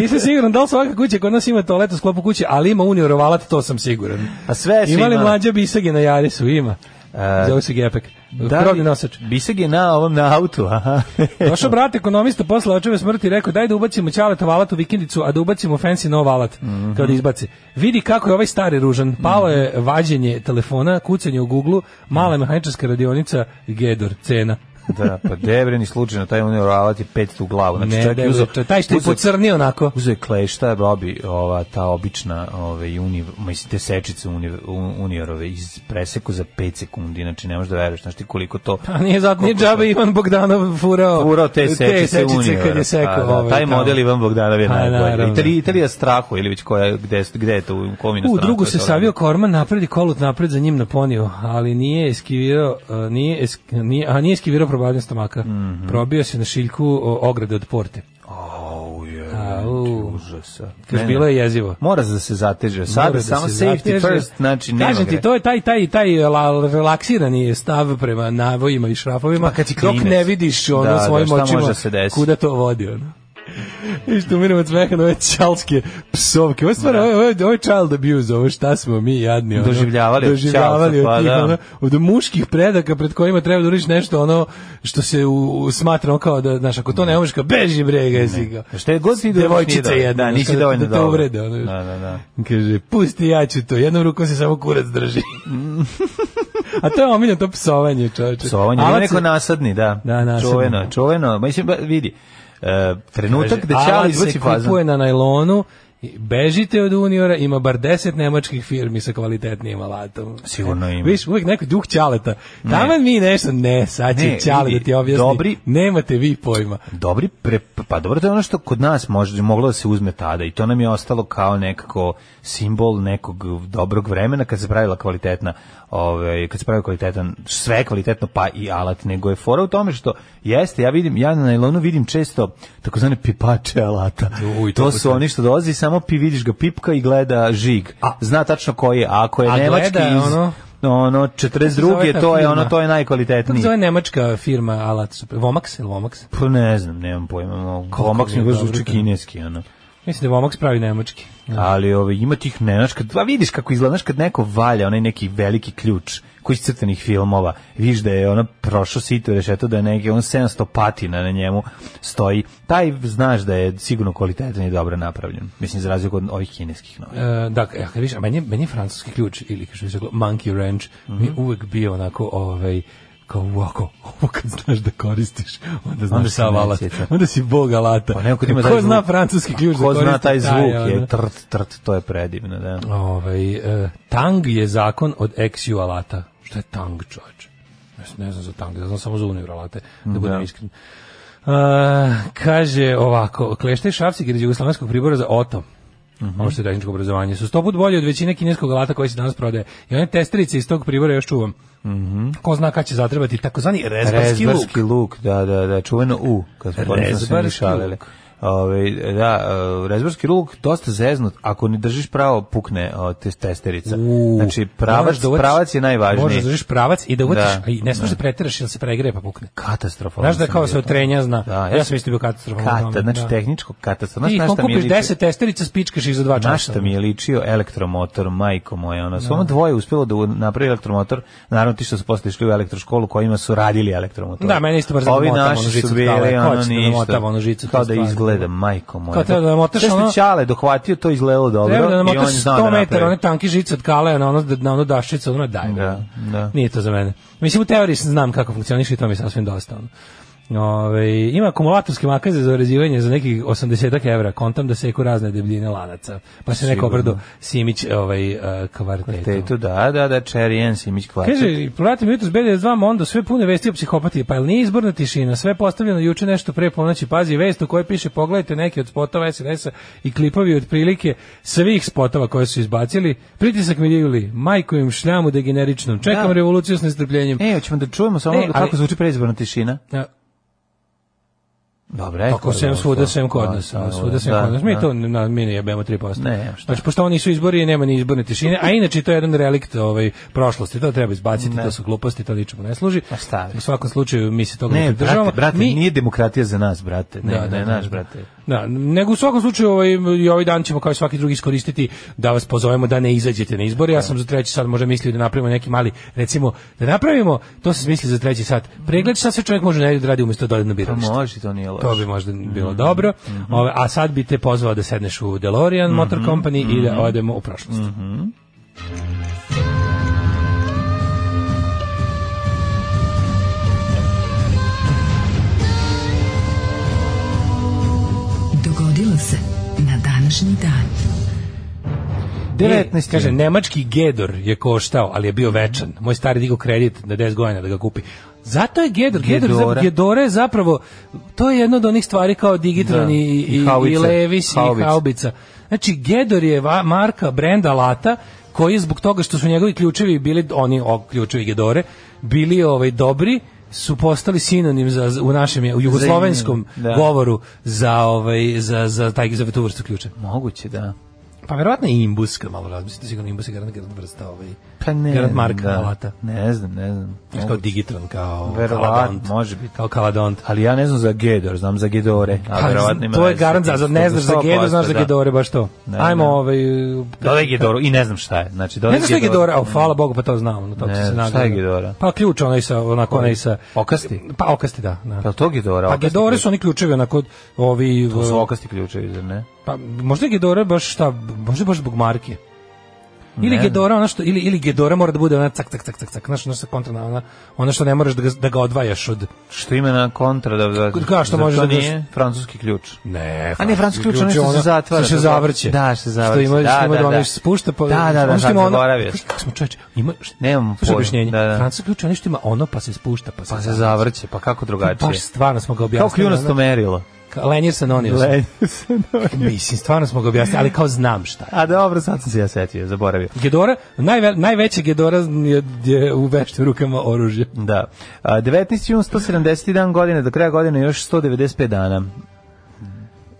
Nisam siguran da li svaka kuća kod nas ima toalet u sklopu kuće, ali ima unio rovalat, to sam siguran.
A sve su
Ima li
imali.
mlađa bisage na Jarisu? Ima.
E,
Zove se Gepek.
Da,
Krovni nosač.
Biseg je na ovom na autu, aha.
Došao brat ekonomista posle očeve smrti i rekao daj da ubacimo ćaleta valat u vikendicu, a da ubacimo fancy nov alat, kao da izbaci. Vidi kako je ovaj stari ružan. Palo je vađenje telefona, kucanje u Google, mala mehaničarska radionica, Gedor, cena.
da, pa debren i slučajno taj unio ravati pet tu glavu. Znači,
Ne,
čak
da
je uzeo,
taj što je
uzeo-
pocrnio onako.
Uzeo je klešta, robi ova, ta obična ove, univ, mislim, te sečice univ, un- uniorove iz preseku za 5 sekundi, znači ne možeš da veruješ, znači ti koliko to...
A nije zato, nije
koliko to-
džabe Ivan Bogdanov furao,
Furao te sečice, uniora.
kad je
Pa,
sekao.
da,
ovaj,
taj
tamo.
model Ivan Bogdanov je
Pa,
najbolji.
naravno.
Italija, Italija strahu ili već koja, gde, gde je to, u
U
kom inostranstvu
drugu
je
se
to
savio
rađeno?
Korman napred i Kolut napred za njim naponio, ali nije eskivirao, uh, nije, esk, nije, a nije eskivirao probavljanje stomaka.
Mhm.
Probio se na šiljku o, ograde od porte.
Au, je,
Au.
ti užasa.
Kaže,
Ne,
bilo
ne.
je jezivo.
Mora da se zateže. Sada
Mora da
samo
se
safety
zateže.
first, znači nema
Kažem ti,
greške.
to je taj, taj, taj e, la- relaksirani stav prema navojima i šrafovima,
Pa kad si
dok
klinec.
ne vidiš ono
Da, da,
svojim
šta može
očima
da se desi.
kuda to vodi. Ono. I što umiramo od smeha na ove čalske psovke. Ovo je stvarno, ovo, je- ovo, je- ovo je child abuse, ovo šta smo mi jadni. Ono,
Doživljavali od
doživljavali
čalca,
od
pa
tih,
da.
ono, od muških predaka pred kojima treba da uriš nešto ono što se u, u, smatrano kao da, znaš, ako to ne umeš, kao beži brega, jesi ga.
Šta je god ti dobro,
Devojčica
nije dobro.
jedna,
Da,
znaš,
nisi
da-
dovoljno
da te
dobro.
uvrede, ono,
Da, da, da.
Kaže, pusti ja ću to, jednom rukom se samo kurac drži. A to je omiljeno to psovanje, čoveče.
Psovanje, ima
Alat
neko
se-
nasadni, da.
Da, nasadni.
Čuveno, čuveno. Mislim, ba- vidi, e,
kaže,
trenutak da
alat
Ćala
se
izbaci fazan.
kupuje na najlonu, i bežite od Uniora, ima bar 10 nemačkih firmi sa kvalitetnijim alatom.
Sigurno ima.
Viš, uvijek neko duh ćaleta. Taman mi nešto, ne, sad će
Ne,
ćale da
vidi,
ti objasni.
dobri-
Nemate vi pojma.
Dobri, pre, pa dobro, to je ono što kod nas može, moglo da se uzme tada i to nam je ostalo kao nekako simbol nekog dobrog vremena kad se pravila kvalitetna, ovaj, kad se pravio kvalitetan, sve je kvalitetno pa i alat, nego je fora u tome što jeste, ja vidim, ja na najlonu vidim često takozvane pipače alata.
Uj,
to
to
su oni što dolazi, i samo pi, vidiš ga pipka i gleda žig. Zna tačno koji je, a ako je
A
nemački
gleda,
iz,
ono-
ono, 42.
ta
to je
firma?
ono, to
Kako
je
se
najkvalitetniji.
zove nemačka firma alat? Vomax ili Vomax?
Pa ne znam, nemam pojma. Glomak
mi je
mi baš
dobro
zvuči
to.
kineski, ono.
Mislim da Vomax pravi nemački.
Ali ove, ima tih nenaš, kad, a vidiš kako izgleda, znaš kad neko valja onaj neki veliki ključ koji iz crtenih filmova, vidiš da je ono prošao sito rešeto da je neki on 700 patina na njemu stoji, taj znaš da je sigurno kvalitetan i dobro napravljen. Mislim, za razliku od ovih kineskih novina.
E, da, ja kad vidiš, a meni, je- meni je francuski ključ ili kako se zove Monkey Wrench, mi je
Mhm.
uvek bio onako ovaj kao ovako, ovo kad znaš da koristiš, onda znaš
Onda si
sav alat,
najsjeća.
onda si bog alata.
Pa neko ko ima
ko
taj zvuk.
zna francuski ključ da
Ko
koristi,
zna taj zvuk,
ono.
je trt, trt, to je predivno, da.
Ovaj, e, tang je zakon od XU alata. Šta je tang, čovječ? Ja se ne znam za tang, ja znam samo za univro alate, da budem iskren. E, kaže ovako, klešta i šafsik iz jugoslovenskog pribora za oto.
Mhm.
Ovo što je tehničko obrazovanje. Su sto put bolje od većine kineskog alata koji se danas prodaje. I one testerice iz tog pribora još čuvam. Ko zna kad će zatrebati takozvani rezbarski,
Mhm. Rezbarski
luk.
luk, da, da, da, čuveno U, kad smo to nisam se ni
Rezbarski
šalili.
luk.
Ove, da, e, rezbarski luk dosta zeznut, ako ne držiš pravo, pukne o, te, testerica.
U,
znači,
moraš
pravac,
da uvaciš-
pravac je
Možeš
najvažniji.
da držiš pravac i da uvaciš,
Da,
a i ne smiješ da
da.
preteraš ili se pregreje pa pukne.
Katastrofa.
Znaš da kao se od trenja zna.
Da,
ja, sam isto bio katastrofalno.
Kata,
domen,
znači
da.
tehničko katastrofa.
Ti
Znaš na
kom
šta mi je
kupiš
ličio?
10 testerica, spičkaš ih za dva
Na
časa.
šta mi je ličio elektromotor, majko moja, ona, samo dvoje uspjelo da u- napravi elektromotor, naravno ti što su posle išli u elektroškolu kojima su radili elektromotor.
Da, mene isto brzo
Ovi
motam, ono,
naši
žicu
su
kao
bili,
lek,
ono,
hoćete da
ništa,
motam, ono, žicu,
kao
to
da
stvar.
izgleda, majko moja.
Kao treba da namotaš,
Sve što
ono-
je Ćale dohvatio, to izgledalo dobro,
Treba da
i on
namotaš
je znao
100
da
metara, one
napravi.
tanki žice od kale na ono, na ono daščice, ono daj. mi.
Da, da.
Nije to za mene. Mislim, u teoriji sam znam kako funkcioniš i to mi je sasvim dosta. Ono. Ove, ima akumulatorske makaze za orezivanje za nekih 80 evra, kontam da seku razne debljine lanaca. Pa se neko
Sigurno.
obrdo Simić ovaj, uh, kvartetom.
Teto, da, da, da, Cherry and Simić kvartet.
Kaže, pratim jutros B92 Mondo, sve pune vesti o psihopatiji, pa jel nije izborna tišina, sve postavljeno juče nešto pre ponoći, pazi, vest u kojoj piše, pogledajte neke od spotova SNS-a i klipovi od prilike svih spotova koje su izbacili, pritisak mi juli, majku im šljamu degeneričnom, čekam
Da.
revoluciju s nestrpljenjem.
E, hoćemo da čujemo samo
E, ali-
kako zvuči predizborna tišina.
Ja,
Dobre,
Tako sem svuda, sem kod
Pa,
nas. a Svuda sem kod nas. Mi to na, mi ne jebemo 3%.
Ne, šta.
Znači, pošto oni su izbori, nema ni izborne tišine, a inače to je jedan relikt ovaj, prošlosti, to treba izbaciti, to su gluposti, to ničemu ne služi.
Pa stavi.
U svakom slučaju mi se toga ne,
Ne,
pridržavamo.
brate, brate,
mi,
nije demokratija za nas, brate. Ne,
Da, da,
ne,
da,
naš,
da.
brate.
Da, nego u svakom slučaju ovaj, i ovaj dan ćemo kao i svaki drugi iskoristiti da vas pozovemo da ne izađete na izbore. Ja sam za treći sat možda mislio da napravimo neki mali, recimo, da napravimo, to sam mislio za treći sat, pregled šta se čovjek može na da radi umjesto da ode na
Pa
biralište.
može, to nije loše.
To bi možda bilo dobro. Ove, a sad bi te pozvao da sedneš u DeLorean Motor Company i da odemo u prošlost.
Dogodilo se na današnji dan.
19.
Kaže, nemački Gedor je koštao, ali je bio večan. Moj stari digo kredit na 10 godina da ga kupi. Zato je Gedor, Gedor,
Gedora.
Gedora. Gedora je zapravo, to je jedno od onih stvari kao Digitron
Da.
i,
I
i, i,
haubice.
Levis i
Haubice.
Haubica. Znači, Gedor je va- marka brenda alata koji je zbog toga što su njegovi ključevi bili, oni o, ključevi Gedore, bili ovaj dobri, su postali sinonim za, za- u našem je- u jugoslovenskom
Da.
govoru za ovaj za za taj za tu vrstu ključa.
Moguće, da.
Pa verovatno i imbus, kad malo razmislite, sigurno imbus je garant garant vrsta ovaj.
Pa ne.
Garant marka
da.
alata.
Ne znam, ne znam.
Znaš, Kao
Moguće.
Digitron, kao
Verovatno,
Kaladont.
može biti.
Kao Kaladont.
Ali ja ne znam za Gedor, znam za Gedore. A
Pa,
verovatno ima
to je
veze.
garant za, za ne znaš za Gedo, znaš za
100%, da.
Gedore, baš to.
Ne,
Ajmo
ne.
ovaj...
Dodaj Gedoru i ne znam šta je. Znači, dodaj
Ne znaš što je
Gedora.
Gedora, a hvala Bogu, pa to znamo. No, to
Ne,
se
šta je
nagleda.
Gedora?
Pa ključ onaj sa, onako onaj sa...
Okasti?
Pa okasti, da. da.
Pa to Gedora.
Pa
okasni
Gedore
ključ.
su oni ključevi, onako, ovi... ovaj,
To su okasti ključevi, zar ne?
Pa možda je Gedora baš šta, možda je baš zbog marke. Ili
Ne.
Gedora, ono što, ili, ili Gedora mora da bude ona cak, cak, cak, cak, cak, znaš, ono sa kontrana, ona, ono što ne moraš da ga, da ga odvajaš od...
Što ima na kontra da... da
Kao što
zar
možeš
to
da daš-
nije francuski ključ.
Ne, pa,
A ne, francuski ključ, onaj što se zatvara.
Što ono- se zavrće.
Da, što se zavrće.
Što ima,
Da,
što ima
da,
da,
da.
da. spušta, pa...
Da, da, da,
ono što
sad
ima ono-
zaboravio
Znaš
sam.
Kako smo čoveče, ima...
Nemam
Slušaj
pojma,
objašnjenje.
da, da.
Francuski ključ, ono što ima ono, pa se spušta, pa se
Pa se zavrće, pa kako drugačije?
Baš stvarno smo ga
Kao
objasnili.
kljunasto
ono-
merilo.
Ka- Lenjer sa Nonius. Mislim, stvarno smo ga objasnili, ali kao znam šta je.
A dobro, sad sam se ja setio, zaboravio.
Gedora, najve, najveća Gedora je, je u veštim rukama oružje.
Da. A, 19. jun, 170. dan godine, do kraja godine još 195 dana.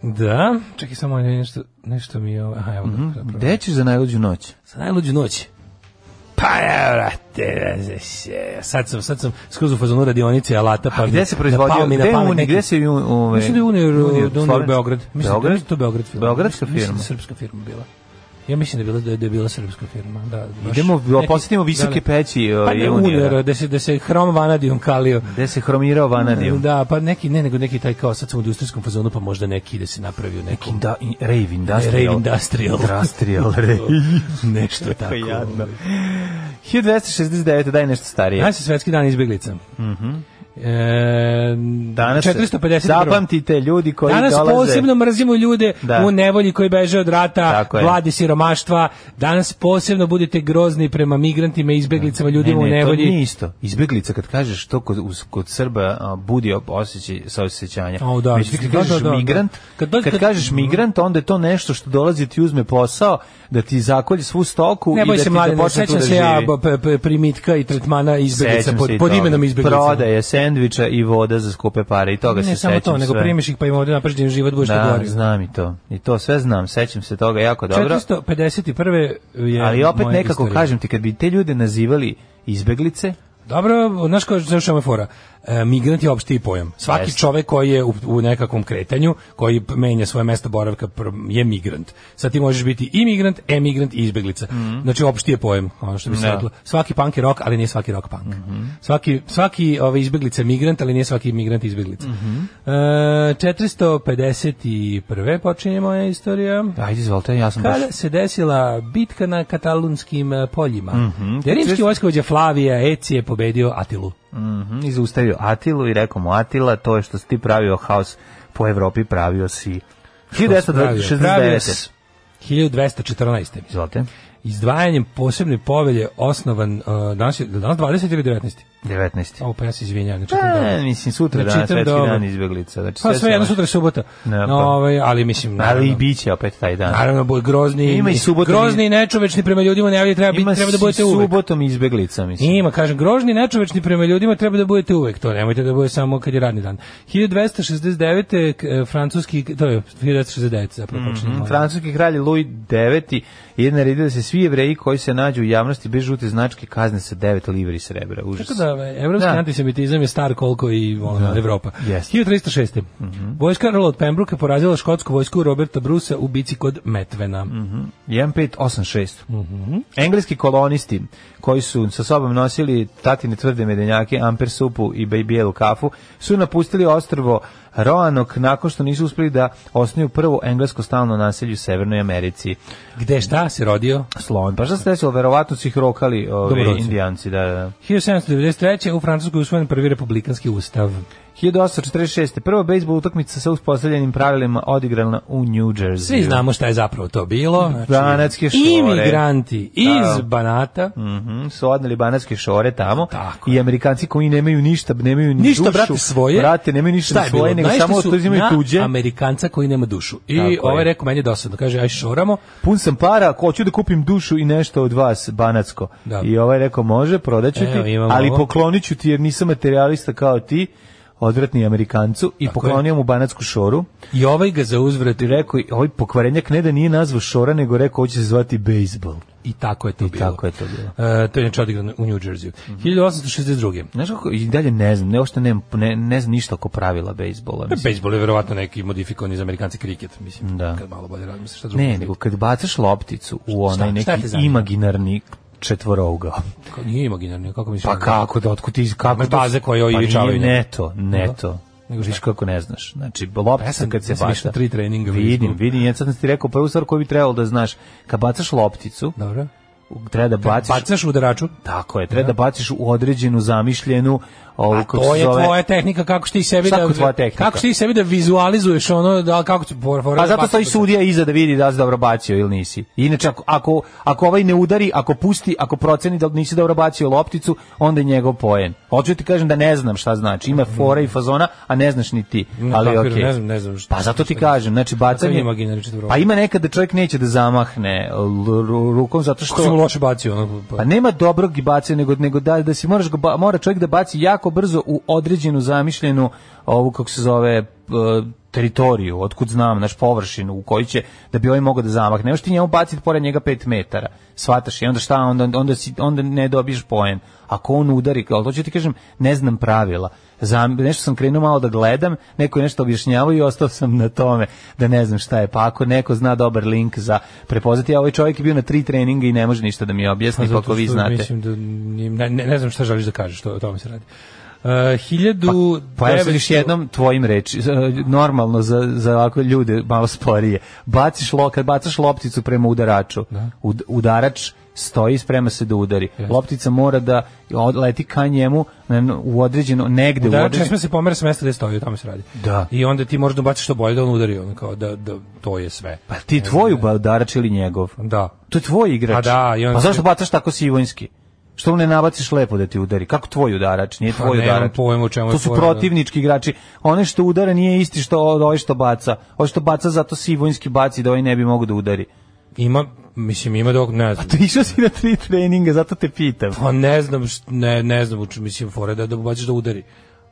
Da, čekaj samo nešto, nešto mi je ovo, aha, evo ga. zapravo.
Gde ćeš za najluđu noć?
Za Mhm. najluđu noć. Pa ja, vrate, sad sam, sad sam skroz u fazonu radionice alata, pa
A
mi-
gde se
napao
proizvodio?
mi na
Gde, je
pamet
uni,
neki-
gde se ju, ove,
Mislim da ovaj, je Unir,
Unir,
da je Unir
Slovenska?
Beograd. Mislim da
Beograd?
je to Beograd firma.
Beogradska
Mislim- Mislim da
firma.
je srpska firma bila. Ja mislim da je bila da je, da je bila srpska firma, da. baš
Idemo,
neki-
posjetimo visoke
da, da.
peći
Pa
ove,
ne,
Unira.
Unir, da se, da se hrom vanadijom kalio.
Gde se hromirao vanadijom.
Da, pa neki, ne, nego neki taj kao, sad sam u industrijskom fazonu, pa možda neki da se napravio neki
Da, i- rave industrial.
Rave industrial.
Industrial rave. Pa
nešto tako.
jadno. 1269, daj nešto starije.
Danas je svetski dan izbjeglica. Mhm. e,
Danas
450
Zapamtite ljudi koji
Danas
dolaze.
posebno mrzimo ljude
Da.
u nevolji koji beže od rata,
Tako je.
vladi siromaštva. Danas posebno budite grozni prema migrantima, izbeglicama, ljudima
ne, ne,
u
To
nevolji.
nije isto. Izbeglica, kad kažeš to kod, uz, kod Srba a, budi osjećaj, saosećanja.
O, da.
Međutim, kad
Da,
kažeš
da, da, da.
migrant,
Kad
Kad,
dođe- kad-
kažeš migrant, onda je to nešto što dolazi ti uzme posao, da ti zakolje svu stoku
Ne
i
boj
da
se
ti da
mladine,
počne tu
sećam
da
se ja
živi.
b- p- p- primitka i tretmana izbjeglica
Sećam
pod,
se i
pod
toga.
imenom izbjeglica.
Prodaje sendviča i voda za skupe pare i toga
Ne
se
samo
sećam
to, nego
sve.
primiš ih pa im ovde napraviš da im život budeš
Da,
da,
znam i to. I to sve znam, sećam se toga jako dobro.
451. je
Ali opet
moja
nekako
istorija.
kažem ti, kad bi te ljude nazivali izbeglice,
Dobro, znaš kao znaš što je fora. E, migrant je opšti pojam. Svaki
Jeste.
čovek koji je u, u nekakvom kretanju, koji p- menja svoje mesto boravka pr- je migrant. Sad ti možeš biti i migrant, emigrant i izbeglica. Znači opšti je pojam, ono što bi se
Mhm. Da. Mhm.
reklo. Svaki punk je rock, ali nije svaki rock punk. Svaki svaki ovaj izbeglica je migrant, ali nije svaki migrant izbeglica.
Mhm.
e, 451. počinje moja istorija.
ajde izvolite, ja sam baš...
Kada se e, desila bitka na katalunskim eh, poljima, mm rimski vojskovođa Flavija Ecije pobedio Atilu.
Mhm, i zaustavio Atilu i rekao mu Atila, to je što si ti pravio haos po Evropi, pravio si
Pravio
1969.
s- 1214.
Izvolite.
Izdvajanjem posebne povelje osnovan, uh, danas, je, je li danas 20 ili 19?
19.
Ovo pa ja se izvinjam, ne čitam
E,
dobro.
mislim, sutra je
Ne
danas
čitam
svetski
dobro.
dan izbjeglica. Znači,
Pa sve, jedno
se-
sutra je subota.
Ne, pa.
No, ovaj, ali mislim...
Ali i
naravno-
bit će opet taj dan.
Naravno, boj grozni,
Ima i subotom
grozni
i-
i nečovečni prema ljudima, ne ali treba, biti, treba da
si
budete uvek.
subotom izbjeglica, mislim.
Ima, kažem, grožni i nečovečni prema ljudima treba da budete uvek to, nemojte da bude samo kad je radni dan. 1269. k- e, francuski, to je 1269. zapravo počinje.
Mhm,
moja-
Francuski kralj Louis IX je naredio da se svi jevreji koji se nađu u javnosti bez žute značke kazne sa 9 livri srebra. Užas.
Tako da, e, evropski
Da.
antisemitizam je star koliko i ono, Evropa.
Jeste.
1306.
Mhm.
Vojska Earl od Pembroke porazila škotsku vojsku Roberta Brusa u bici kod Metvena.
Mhm. 1586.
Mhm.
Engleski kolonisti koji su sa sobom nosili tatine tvrde medenjake, amper supu i bej- bijelu kafu, su napustili ostrvo Roanok nakon što nisu uspeli da osnuju prvo englesko stalno naselje u Severnoj Americi.
Gde šta se rodio?
Slon. Pa šta se desilo? Verovatno su ih rokali ove,
Dobrovoljci.
indijanci. Da, da.
1793. u Francuskoj je usvojen prvi republikanski ustav.
1846. Prva bejsbol utakmica sa uspostavljenim pravilima odigrana u New Jersey.
Svi znamo šta je zapravo to bilo. Znači,
Banatske šore.
Imigranti iz
Da.
Banata.
Mhm, su odneli banatske šore tamo
Tako
i Amerikanci koji nemaju ništa, nemaju ni
ništa
dušu,
brate svoje.
Brate, nemaju ništa
Šta je
svoje,
bilo?
nego
Naišli
samo
su
to uzimaju
na
tuđe.
Amerikanca koji nema dušu. I
Tako je.
ovaj rekao meni je dosadno, kaže aj šoramo.
Pun sam para, ako hoću da kupim dušu i nešto od vas, banatsko.
Da.
I ovaj rekao, može, prodat ću
Evo,
ti,
imam
ali
ovo.
poklonit ću ti jer nisam materialista kao ti, odvratni Amerikancu, i
Tako je.
poklonio mu banatsku šoru.
I ovaj ga zauzvrat
Ti rekao, ovaj pokvarenjak ne da nije nazvao šora, nego rekao, ovo će se zvati bejsbol.
i tako je to bilo.
tako je Mhm. to bilo.
E, to je inače odigrano u New Jersey. 1862.
Znaš kako, i dalje ne znam, ne, ošto ne, ne, ne znam ništa oko pravila bejsbola. mislim.
Baseball je verovatno neki modifikovan iz Amerikanci kriket, mislim,
Da.
kad malo bolje radimo se šta drugo.
Ne, nego kad bacaš lopticu u onaj
Šta? Šta
neki
te zanima?
imaginarni četvorouga.
Kako- Nije imaginarno, kako misliš?
Pa kako da otkud iz kako
Ma baze koje
pa
ovi
nije,
čavaju.
ne to, ne
Da.
to.
Nego
Nego
šta?
viš kako ne znaš. Znači
Pa ja
loptica
sam-
kad se
ja sam
baca.
išao tri treninga u
Vidim,
Lisbonu.
vidim, ja sad sam ti rekao prvu stvar koju bi trebalo da znaš. Kad bacaš lopticu,
Dobro.
treba da baciš
Bacaš udaraču.
Tako je, treba da baciš u određenu zamišljenu, ovu,
A
kako
to
se
je
zove,
tvoja tehnika kako ćeš ti sebi
Šta
da
je tvoja tehnika?
kako ćeš ti sebi da vizualizuješ ono da kako će for, for,
Pa zato stoji sudija iza da vidi da li si dobro bacio ili nisi. Inače, ako, ako, ako ovaj ne udari, ako pusti, ako proceni da nisi dobro bacio lopticu, onda je njegov poen. Hoću ti kažem da ne znam šta znači. Ima fora i fazona, a ne znaš ni ti.
Na
Ali
papiru
okej.
ne znam- ne znam šta-
Pa zato
šta
ti
je.
kažem, znači
Kakav je
bacanje...
imaginarni četvorouk?
Pa ima nekad da čovjek neće da zamahne l- ru- rukom zato
Kako si mu
što...
loše bacio ono, pa-
Pa nema dobrog i bacanja, nego, nego da, da si moraš, ga ba- mora čovjek da baci jako brzo u određenu zamišljenu ovu, kako se zove, e, teritoriju, otkud znam, naš površinu u kojoj će, da bi ovaj mogao da zamah. Nemoš ti njemu baciti pored njega 5 metara. Svataš i onda šta, onda, onda, si, onda ne dobiješ poen. Ako on udari, ali to ću ti kažem, ne znam pravila. Zam, nešto sam krenuo malo da gledam, neko je nešto objašnjavao i ostao sam na tome da ne znam šta je. Pa ako neko zna dobar link za prepoznati, a ovaj čovjek je bio na tri treninga i ne može ništa da mi objasni, pa
zato
ako vi
što
znate.
Mislim da nije- ne, ne, ne znam šta želiš da kažeš, to o tome se radi. Uh, 1900
Pa evo sad još jednom tvojim reči, e, normalno za, za ovako ljude malo sporije. Baciš lo, kad bacaš lopticu prema udaraču, ud- udarač stoji i sprema se da udari. Loptica mora da od- leti ka njemu na- na- u određeno, negde u
Da, ne
određeno.
sme se pomera sa mesta gde stoji, o tome se radi.
Da.
I onda ti možeš da baciš što bolje da on udari, ono kao da, da to je sve.
Pa ti tvoj udarač ili njegov?
Da.
To je tvoj igrač.
Pa da, i onda
Pa
se-
zašto bacaš tako sivojnski? Što mu ne nabaciš lepo da ti udari? Kako tvoj udarač? Nije
Pa
tvoj
nemam
udarač.
pojma u čemu je
to su
fora, da.
protivnički igrači. One što udara nije isti što od ovaj što baca. Ovo što baca zato sivojnski baci da ovaj ne bi mogao da udari.
Ima, mislim, ima dok, ne znam.
Ti išao si na tri treninga, zato te pitam.
Pa ne znam, št- ne, ne znam, uči, mislim, fore da, da baciš da udari.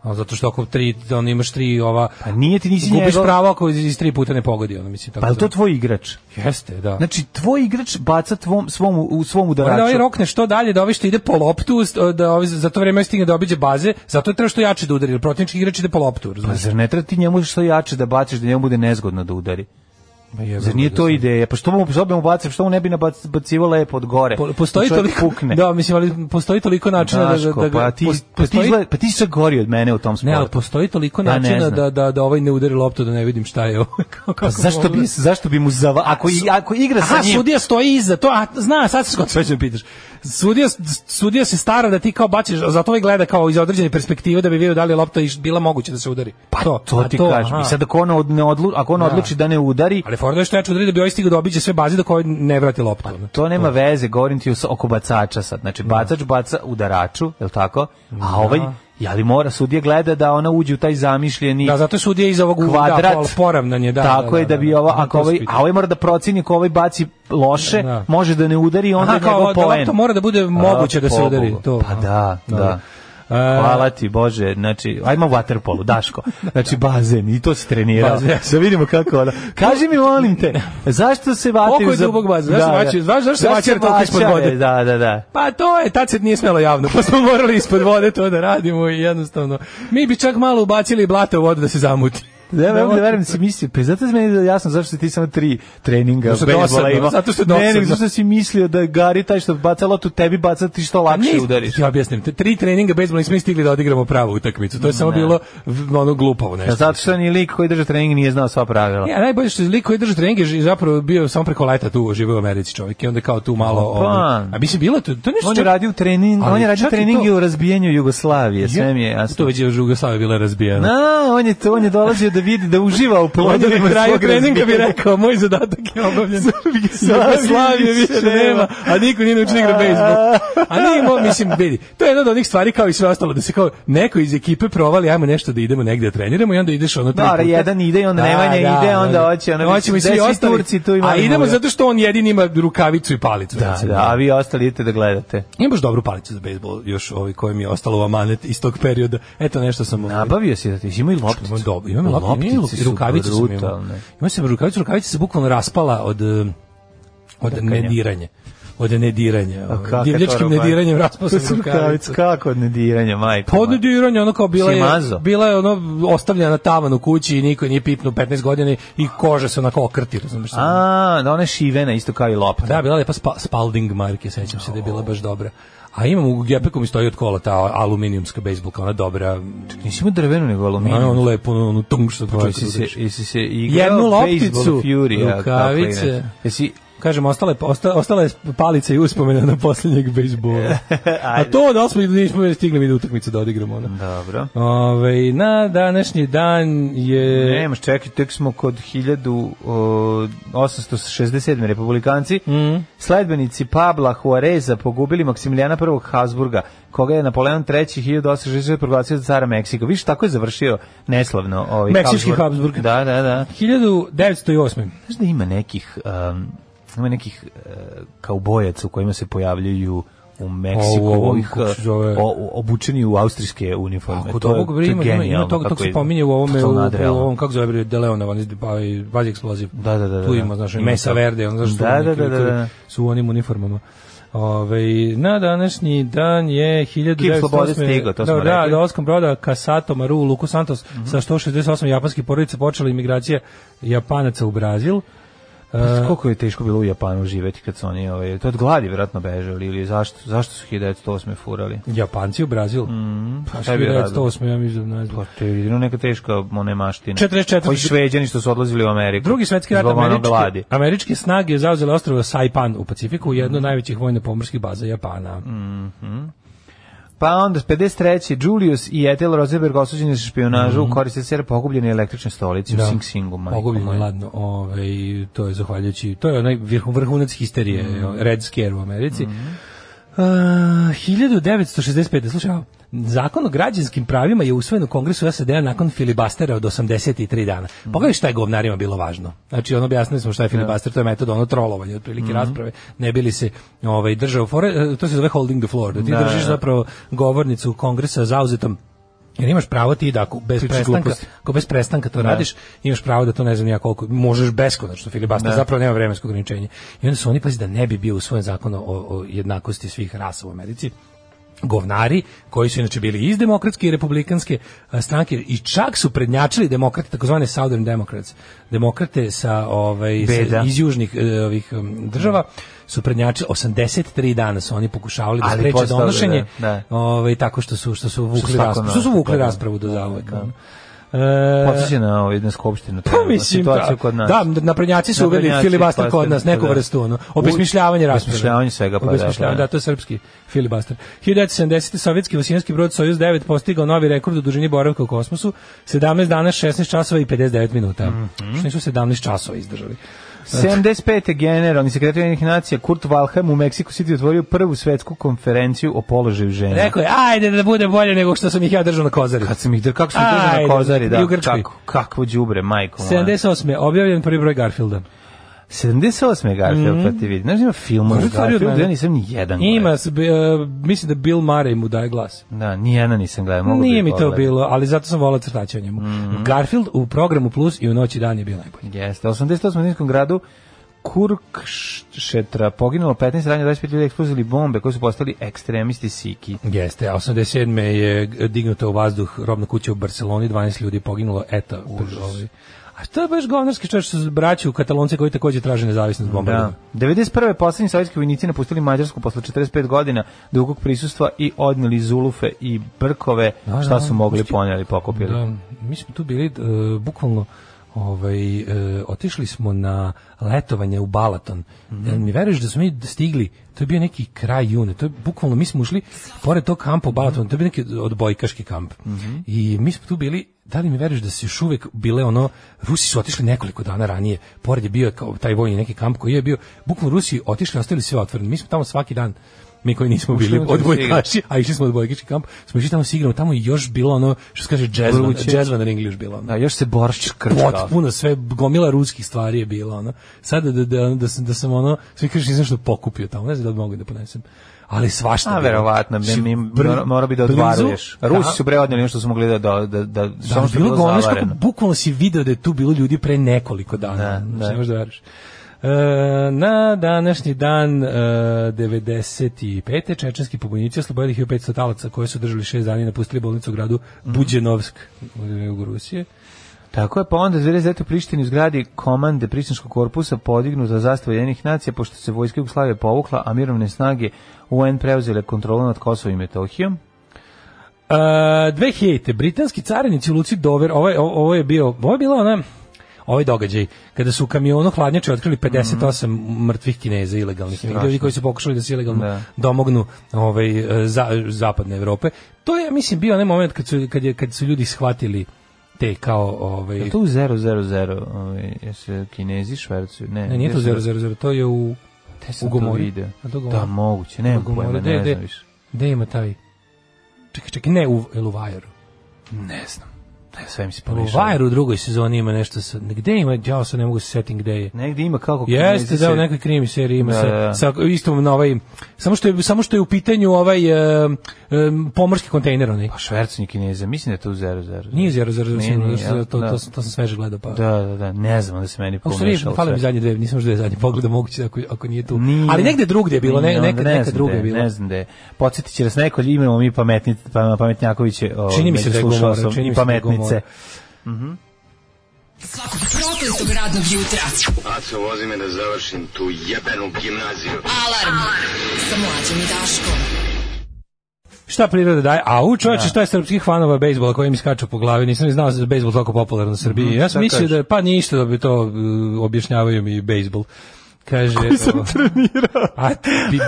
A zato što ako tri, da on imaš tri ova...
Pa nije ti nisi
gubiš
njegov.
pravo ako iz, iz tri puta ne pogodi, ono, mislim. Tako
Pa je li to tvoj igrač?
Jeste, da.
Znači, tvoj igrač baca tvom, svom, u svom
Mora
udaraču.
da ovaj rokne što dalje, da ovi što ide po loptu, st- da ovi za to vreme stigne da obiđe baze, zato je treba što jače da udari, jer protivnički igrač ide po loptu,
Pa
razumiješ?
zar ne treba ti njemu što jače da baciš, da njemu bude nezgodno da udari? Zar nije to ideja? Pa što mu zobe mu bacim, što mu ne bi nabacivo lepo od gore?
Po, postoji
Da čovjek
toliko
pukne.
Da, mislim, ali postoji toliko načina da, da,
Daško,
da ga
pa ti,
pos-
pa, ti izgled, pa ti si sad gori od mene u tom sportu.
Ne, ali postoji toliko
Ja ne
načina
znam.
da, da, da ovaj ne udari loptu da ne vidim šta je ovo. Kako,
Pa zašto bi, zašto bi mu zava... Ako, i- ako igra sa
Aha,
njim...
sudija stoji iza, to, a, zna, sad se skoči, već me pitaš. sudija, sudija se stara da ti kao baciš, zato i gleda kao iz određene perspektive da bi vidio da li je lopta iš- bila moguće da se udari.
Pa to,
a
ti kažem. I
aha.
sad ako ona, od- ne odlu, ako ona odluči da ne udari,
Ali Fordo je što ja udari da bi ovaj stigao da obiđe sve baze do koje ne vrati loptu. ono.
to nema veze, govorim ti s- oko bacača sad. Znači, bacač baca udaraču, je li tako? A ovaj, ali mora, sudija gleda da ona uđe u taj zamišljeni
Da, zato je sudija iz ovog
kvadrat.
da, pol- poravnanje. Da,
tako
da,
je da bi ova, ako
To se
ovaj,
pita.
a ovaj mora da procini ako ovaj baci loše,
Da.
može da ne udari, onda
Aha,
je njegov
kao da
poen.
lopta mora da bude moguće da se
pobogu.
udari. To.
Pa da, da.
Dobro. E,
Hvala ti, Bože, znači, ajmo waterpolu, Daško. Znači, bazen, i to si trenirao.
Bazen.
Da vidimo kako ono. Kaži mi, molim te, zašto se vataju...
Koliko je dubog bazen? Zašto se vaćaju- znaš zašto se vaćaju toliko ispod
vaćave?
vode?
Da, da, da.
Pa to je, tad se nije smelo javno, pa smo morali ispod vode to da radimo i jednostavno. Mi bi čak malo ubacili blata u vodu da se zamuti.
Da, ja mogu da verujem da si mislio, pa zato se meni jasno zašto si ti samo tri treninga
Zato što je
bejsbola
dosadno,
imao.
zato što je
Ne, nego
dosadno.
zašto si mislio da Gari taj što baca loptu tebi baca ti što
A
lakše
nis-
udariš.
Ja objasnim, te tri treninga bezbola nismo ni stigli da odigramo pravu utakmicu. To je samo bilo v- ono glupavo
Da,
nešto.
Zato što ni lik koji drži trening nije znao sva pravila.
Ja, najbolje što je lik koji drži treninge ži- zapravo bio samo preko leta tu živeo u Americi čovjek i onda kao tu malo...
Opa.
ovaj- a mislim, bilo je to, to je nešto...
On je
čak-
radio trening,
Ali
on je radio
čak i
treninge
to-
u razbijanju Jugoslavije, sve mi je jasno.
To već je Jugoslavija bila razbijena.
Na, on je to, on je dolazio da vidi da uživa
On
u
je
plodovima
na kraju
svog
treninga bi
razbijanja.
rekao, moj zadatak je obavljen.
Jugoslavije
Jugoslavije više nema, a niko nije naučio da igra bejsbol. A nije mo, mislim, vidi, to je jedna od onih stvari kao i sve ostalo, da se kao neko iz ekipe provali, ajmo nešto da idemo negde da treniramo i onda ideš ono tri
Da,
puta.
jedan ide i onda Nemanja ide, onda hoće, ono,
Hoćemo i
gde
svi
svi
ostali.
Turci tu i
a
mali
idemo
Mura.
zato što on jedini ima rukavicu i palicu.
Da,
recimo.
da, a vi ostali idete da gledate.
Imam baš dobru palicu za bejsbol, još ovaj koja mi je ostalo u amanet iz tog perioda. Eto nešto sam... ovaj,
Nabavio si da ti, imao i
Imam
lopticu.
dobro, imam loptice, nije loptice,
Loptice su
rukavice sam imao.
brutalne.
Imao sam rukavice, rukavice se bukvalno raspala od eh, od nediranja. Od nediranja. ovaj,
kakve to
Divljačkim
rukavice?
nediranjem raspala
To su
sam
rukavice,
rukavice.
kako od nediranja, majko.
Pod
moja.
nediranje, ono kao bila
Si
je,
mazao?
bila je ono ostavljena na tavan u kući i niko je nije pipnuo 15 godina i koža se onako okrti, razumiješ?
A, da ona je šivena, isto kao i lopta.
Da, bila je lepa spa, Spalding marke, sećam se da je bila baš dobra. A imam u gepeku mi stoji od kola ta aluminijumska bejsbolka, ona dobra,
Nisi imao drvenu nego
ona
aluminijum.
onu lepu, onu, onu tung što dva
Jesi se, jesi se
Jednu
igrao
lopticu,
Baseball Fury, a
rukavice.
kako inače? Jesi,
Kažem, ostale, osta, ostala je palica i uspomena na posljednjeg bejsbola. A to da li smo i nismo stigli mi do utakmice da odigramo. Ona.
dobro.
Ove, na današnji dan je...
Nemaš, čekaj, tek smo kod 1867. republikanci.
Mhm.
Sledbenici Pabla Juareza pogubili Maksimilijana I. Habsburga, koga je Napoleon III. 1860 proglasio za cara Meksika. Viš, tako je završio neslavno ovaj
Meksički Habsburg.
Da, da, da.
1908.
Znaš da ima nekih, um, ima nekih uh, kaubojaca u kojima se pojavljuju u Meksiku,
O, u ovom,
ovih,
kako se zove?
o- o- obučeni u austrijske uniforme.
Ako
E, To
to
je-
ovog
to je
ima, ima, ima
genijalno
toga,
kako
toga se
je
pominje u ovome, u,
totalno
u
nadrealno.
ovom, kako zove, bre, De Leona, on izde, pa, i vazi eksploziv.
Da, da, da,
Tu
da.
ima, znaš,
Ima
Mesa
to.
Verde, on znaš, tu
Da,
neki
da, da,
likovi
da, da.
su u onim uniformama. Ove, na današnji dan je 1908.
Kip slobode stigao, to smo
da, Da,
rekli. Mhm.
dolaskom broda Kasato Maru Luku Santos sa 168 japanskih porodica počela imigracija Japanaca u Brazil. E.
Znaš koliko je teško bilo u Japanu živeti kad su oni, ovaj, to od gladi vjerojatno bežali ili zašto, zašto su 1908. furali?
Japanci u Brazil? Mm, pa
šta je bio
smo, ja mislim, ne znam.
Pa to je jedino neka teška one maština.
44.
Koji šveđani što su odlazili u Ameriku.
Drugi svetski rat
Zbog ono
američke,
gladi.
američke snage zauzele ostrovo Saipan u Pacifiku, jedno
Mhm.
od najvećih vojno-pomorskih baza Japana.
Pa onda 53. Julius i Ethel Rosenberg osuđeni za špionažu
Mhm.
u koriste sere pogubljene električne stolice u Sing Singu. majko
Pogubljeno,
moja.
ladno. Ove, ovaj, to je zahvaljujući, to je onaj vrhu- vrhunac histerije,
Mm.
Red Scare u Americi. Uh, 1965. Slušaj, ovo, zakon o građanskim pravima je usvojen u kongresu SAD-a nakon filibastera od 83 dana.
Mm.
Pogledaj šta je govnarima bilo važno. Znači, ono objasnili smo šta je filibaster, to je metod ono trolovanje, otprilike
Mm.
rasprave, ne bili se ovaj, držao fore, e, to se zove holding the floor, da ti držiš zapravo govornicu kongresa zauzetom Jer imaš pravo ti da ako bez
Pričaš
prestanka,
gluposti.
ako bez prestanka to radiš, imaš pravo da to ne znam ja koliko, možeš beskonačno filibaster, zapravo nema vremenskog ograničenja. I onda su oni pazi da ne bi bio usvojen zakon o, o jednakosti svih rasa u Americi govnari koji su inače bili iz demokratske i republikanske a, stranke i čak su prednjačili demokrate takozvane Southern Democrats demokrate sa ovaj sa-
Beda.
iz južnih e, ovih um, država su prednjačili 83 dana su oni pokušavali da
Ali
spreče
postavili,
donošenje
da, da.
ovaj tako što su što su vukli
su tako
raspravu, što su vukli
napravili.
raspravu do zauvek. ono.
Podseća na ovaj na skupštinu.
Pa mislim,
situaciju
da,
kod nas.
da, naprednjaci su uveli
Naprednjaci,
filibaster kod nas,
paste,
neku
da.
vrstu, ono, obesmišljavanje rasprave.
Obesmišljavanje svega, pa da,
Obesmišljavanje,
pa
da,
da.
to je srpski filibaster. 1970. sovjetski vasijanski brod Sojuz 9 postigao novi rekord u dužini boravka u kosmosu, 17 dana, 16 časova i 59 minuta.
Mhm.
Što nisu 17 časova izdržali.
75. generalni sekretar Ujedinjenih nacija Kurt Valheim u Meksiku City otvorio prvu svetsku konferenciju o položaju žena.
Rekao je, ajde da bude bolje nego što sam ih ja držao na kozari.
Kad sam ih dr- kako sam ih držao
Ajde,
na kozari, da.
i u Grčkoj.
Kako, kakvo đubre, majko moja.
78. objavljen prvi broj Garfielda.
78. Garfield, pa ti vidi. Znaš, ima ovaj film o
Mhm. Može stvari od
Garfieldu,
mene.
ja nisam ni jedan
Ima, s- b- e, mislim da Bill Murray mu daje glas.
gledao. Da, ni jedan nisam gledao. mogu
Nije
bi
mi to
pogledati.
bilo, ali zato sam volao crtaće o njemu. Garfield u programu Plus i u noći dan je bio najbolji.
Jeste, u 88. u Ninskom gradu Kurkšetra poginulo 15 ranije 25 ljudi eksplozili bombe koji su postali ekstremisti Siki.
Jeste, a 87. je dignuta u vazduh robna kuća u Barceloni, 12 ljudi je poginulo, eta. Ovaj. A što je baš govnarski čovječ su braću katalonce koji takođe traže nezavisnost
Da.
bombardovanja?
91. poslednji sovjetski vojnici napustili Mađarsku posle 45 godina dugog prisustva i odneli zulufe i brkove,
Da,
šta
da,
su mogli
pusti-
ponijeli, pokupili.
Da, mi smo tu bili e, bukvalno ovaj e, otišli smo na letovanje u Balaton. Jel Mi veruješ da smo mi stigli, to je bio neki kraj june, to je bukvalno mi smo ušli pored tog kampa u Balatonu, to je bio neki odbojkaški kamp. I mi smo tu bili, da li mi veruješ da se još uvek bile ono Rusi su otišli nekoliko dana ranije. Pored je bio kao taj vojni neki kamp koji je bio bukvalno Rusi otišli, ostavili sve otvoreno. Mi smo tamo svaki dan mi koji nismo
Ušli
bili
unutra da se igra.
odbojkaši, a išli smo u odbojkaški kamp, smo išli tamo s igrom, tamo je još bilo ono, što se kaže, jazzvan,
Vruće.
jazzvan English bilo ono.
Da, još se boršč krčka.
Potpuno sve, gomila ruskih stvari je bilo ono. Sada da, da, da, sam, da sam ono, svi kažeš nisam što pokupio tamo, ne znam da li mogu da ponesem. Ali svašta.
A
bilo. Znači,
verovatno,
Si-
mi, mi,
br-
mora, mora bi da
blizu-
odvaruješ. Rusi su bre odneli nešto što smo gledali da, da, da,
Da,
samo što je
bilo
bilo
govnaš kako
zavareno.
bukvalno si video da je tu bilo ljudi pre nekoliko dana.
Da,
Znači,
da.
ne možeš da veriš. E, na današnji dan e, 95. čečenski pobunjici oslobodili 1500 talaca koji su držali 6 dana i napustili bolnicu u gradu
Mhm.
Buđenovsk u jugu Rusije.
Tako je, pa onda 2009. u Prištini u zgradi komande Prištinskog korpusa podignuta zastava jedinih nacija, pošto se vojska Jugoslavije povukla, a mirovne snage UN preuzele kontrolu nad Kosovo i Metohijom.
Uh, 2000. britanski carinici u Luci Dover, ovo je, ovo je bio, ovo je bila ona ovaj događaj kada su u kamionu hladnjače otkrili 58 mrtvih Kineza ilegalnih ljudi koji su pokušali da se ilegalno
Mhm. Da.
domognu ovaj e, za, zapadne Evrope. To je ja mislim bio onaj moment kad su kad je kad su ljudi shvatili te kao
Je
ovaj
to u 000, ovaj, jesu Kinezi, Švercu? Ne,
ne, nije to 000, to je u
u
u
Gomori.
Gomori.
Video.
A to Gomori?
Da, moguće, nemam
Gomori,
pojma,
de-
ne
de-
znam više.
gde ima taj Čekaj, čekaj, ne u Eluvajeru.
Ne znam, ne, sve mi se
Pa u
pomiješalo.
u drugoj sezoni ima nešto sa gde ima, ja se ne mogu setiti gde je.
Negde ima kako
Jeste, da, u
se-
nekoj krimi seriji ima
Da,
sa,
da, da.
sa istom na ovaj, samo što je, samo što je u pitanju ovaj em, em, pomorski kontejner onaj.
Pa Švercu ni Kineza, mislim da je to u 000.
Nije zero zero
Nije, nije,
zero, to,
da.
to, sam- to sam sveže gledao pa.
Da, da, da, ne znam da se meni
A u stvari,
pomiješalo.
fale mi
sve.
zadnje dve, nisam još dve zadnje pogleda, moguće ako, ako nije tu.
Nije.
Ali negde drugdje je bilo, ne,
Nije,
nekad,
onda ne
nekad
znam
drugdje
da
je bilo.
Ne znam da je. Podsjetit će nas neko, imamo mi pametni, pa, pametnjakoviće. O,
Čini mi se da je
slušao
govora,
sam
čini
i
mi se da je
pametnice.
govora.
Svakog prokletog radnog jutra.
Aco, vozi me da završim tu jebenu gimnaziju.
Alarm. Sa mlađom i Daškom.
Šta priroda daje? A u čoveče, šta je srpskih fanova bejsbola koji mi skaču po glavi? Nisam ni znao da je bejsbol toliko popularan u Srbiji. ja
Mhm, šta
sam mislio
kažeš?
da je, pa ništa da bi to uh, objašnjavaju mi bejsbol. Kaže, o,
trenirao.
A ti- bi,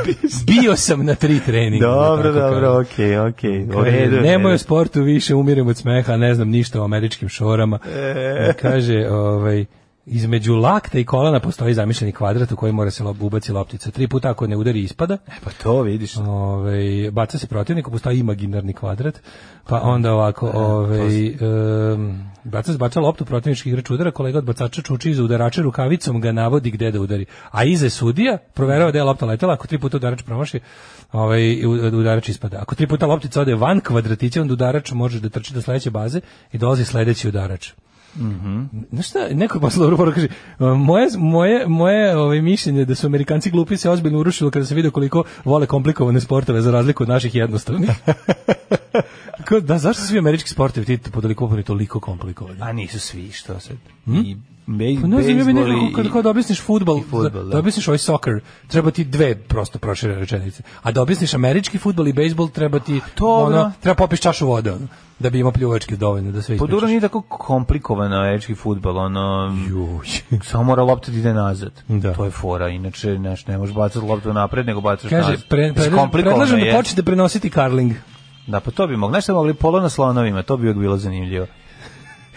bio sam na tri treninga.
Dobro,
tako
dobro,
kaže.
okej, okej. u
Kaže,
redu, u
nemoj o
redu.
sportu više, umirem od smeha, ne znam ništa o američkim šorama.
E.
E, Kaže, ovaj, između lakta i kolana postoji zamišljeni kvadrat u koji mora se lob, ubaci loptica. Tri puta ako ne udari ispada,
Pa to vidiš.
ovaj, baca se protivniku, postoji imaginarni kvadrat, pa onda ovako, ovaj, em, baca se baca loptu, protivnički igrač udara, kolega od bacača čuči iz udarača rukavicom, ga navodi gde da udari. A iza je sudija proverava da je lopta letela, ako tri puta udarač promaši, ovaj, u- udarač ispada. Ako tri puta loptica ode van kvadratića, onda udarač može da trči do sledeće baze i dolazi sledeći udarač. Znaš šta, neko posle dobro poruka kaže, moje, moje, moje ovaj, mišljenje da su Amerikanci glupi se ozbiljno urušilo kada se vidio koliko vole komplikovane sportove za razliku od naših jednostavnih.
pa
Kao, da, zašto su svi američki sportovi ti podaliko toliko komplikovani?
A nisu svi, što sad? I bej,
Hm? Pa ne znam, ja bih
bejsbol
nekako,
i-
kad, kad objasniš futbol,
i fudbal,
da,
da.
objasniš ovaj soccer, treba ti dve prosto proširene rečenice. A da objasniš američki futbol i bejsbol, treba ti,
dobro.
ono, treba popiš čašu vode, ono, da bi imao pljuvačke dovoljno, da sve
Pa dobro,
ispričaš.
nije tako komplikovano američki futbal, ono...
Juj.
Samo mora lopta da ide nazad.
Da.
To je fora, inače neš, ne možeš bacati loptu napred, nego bacaš
Kaže,
nazad.
pre, predlažem,
Iskomplikovano
predlažem da
je.
počnete prenositi karling.
Da, pa to bi mogli. Znaš šta bi mogli polo na slonovima, to bi uvijek bilo zanimljivo.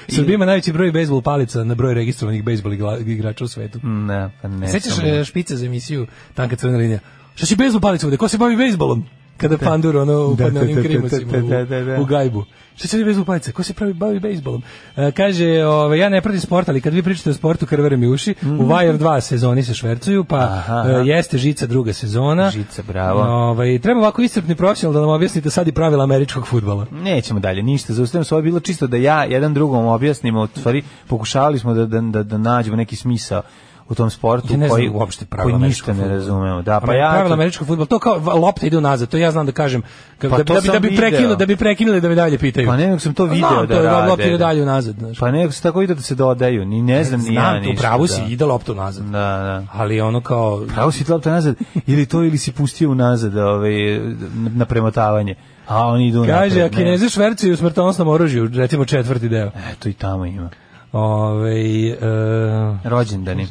Srbija ima najveći broj bejsbol palica na broj registrovanih bejsbol igla- igrača u svetu.
Ne, pa ne.
Sećaš
samo-
e, špice za emisiju Tanka crvena linija? Šta si bejsbol palicu ovde? Ko se bavi bejsbolom? Kada pandur ono upadne
da, da,
onim
da,
krimacima
da, da, da, da.
u, u gajbu. Šta će bejsbol palice? Ko se pravi bavi bejsbolom? E, kaže, ove, ja ne pratim sport, ali kad vi pričate o sportu, krvare mi uši. U Wire 2 sezoni se švercuju, pa
Mhm. Aha, aha.
e, jeste žica druga sezona.
Žica, bravo.
Ovaj, treba ovako iscrpni profesional da nam objasnite sad i pravila američkog futbala.
Nećemo dalje, ništa, zaustavljam se, ovo je bilo čisto da ja jedan drugom objasnimo, u stvari pokušavali smo da, da, da, da nađemo neki smisao u tom sportu
Ja ne znam
koji,
uopšte pravila
koji ništa
američkog
ne
fudbala.
razumemo. Da,
Pa
pa ja,
pravila američkog fudbala, to kao lopta ide unazad, to ja znam da kažem, ka-
Pa
da,
to
da bi da
sam
bi
video.
prekinuo, da bi prekinuli da me dalje pitaju.
Pa ne, nego sam to video
Znam,
da
to je
rade.
Lopta ide dalje unazad, znaš.
pa nego se tako ide da se dodaju, ni ne znam, ni ja
znam,
ništa.
u pravu
da. Pa
si, ide lopta unazad.
Da, da.
Ali ono kao
Pravo si lopta nazad, ili to, ili si pustio unazad ovaj, na premotavanje, a oni idu
Kaže, a
napred, ne.
kineze švercuju u smrtonosnom oružju, recimo četvrti deo.
Eto i tamo ima.
Ove, e,
Rođendani.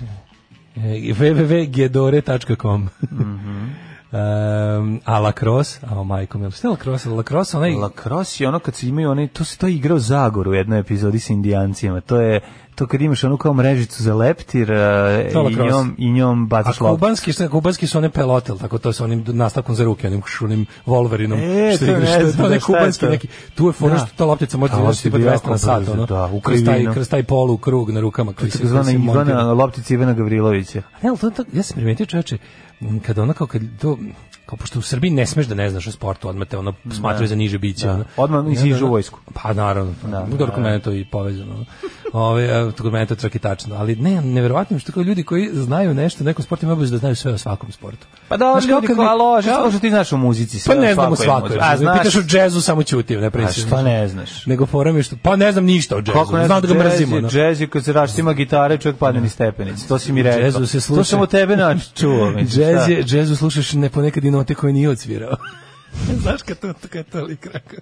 www.gedore.com
Mhm.
Um, a lacrosse, a o majkom, jel ste lacrosse? Lacrosse, onaj...
Lacrosse je ono kad se imaju one, to se to igra u Zagoru u jednoj epizodi sa indijancima. To je to kad imaš onu kao mrežicu za leptir eh,
To je
i
lacrosse.
njom, i njom
A
bacaš loptu.
kubanski, šta, kubanski su one pelote, jel tako to sa onim nastavkom za ruke, onim, kš- onim volverinom.
E, to ne
što,
znam,
to ne
da, šta je
kubanski
to?
neki. Tu je fora
Da.
što ta loptica može
Ta
da
loptica
tipa
bi
200
jako
na sat,
brzo,
ono.
da, u
kroz taj,
krivinu.
kroz taj polu krug na rukama. koji se-
Tako zvana
koji se montira.
Ivana, loptica Ivana Gavrilovića.
Ne, ali Pa to, to, ja sam primetio čoveče, m, kad ono kao, kad to, kao pošto u Srbiji ne smeš da ne znaš o sportu, odmah te ono smatraju za niže biće.
Da.
Ono.
Odmah
I onda,
nisi išao u
ono,
vojsku.
Pa naravno, pa, da, da, kod mene to i povezano. ono. Ove, a, to kod mene to čak i tačno. Ali ne, neverovatno je što kao ljudi koji znaju nešto, o nekom sportu, imaju obavezu da znaju sve o svakom sportu.
Pa da,
Znaš, kao
ljudi,
kad mi-
hvala, lože, kao što ti znaš u muzici.
Pa
sve,
ne znam o
svako je
svakoj.
muzičar. A,
Me
znaš,
Pitaš o džezu, samo ćutim, ne
a
precizno.
šta ne znaš?
Nego fora mi je što, pa ne znam ništa o džezu.
Kako ne
Znam da ga
jazz
mrzimo.
je-
ono.
Jazz je kad se raštima gitare, čovjek padne ni stepenice. To si mi rekao.
Jazzu se sluša.
To sam od tebe nač čuo. mislim,
Džez
šta?
je, džezu slušaš ne ponekad i note koje nije odsvirao. Znaš kad to, kad to lik rekao?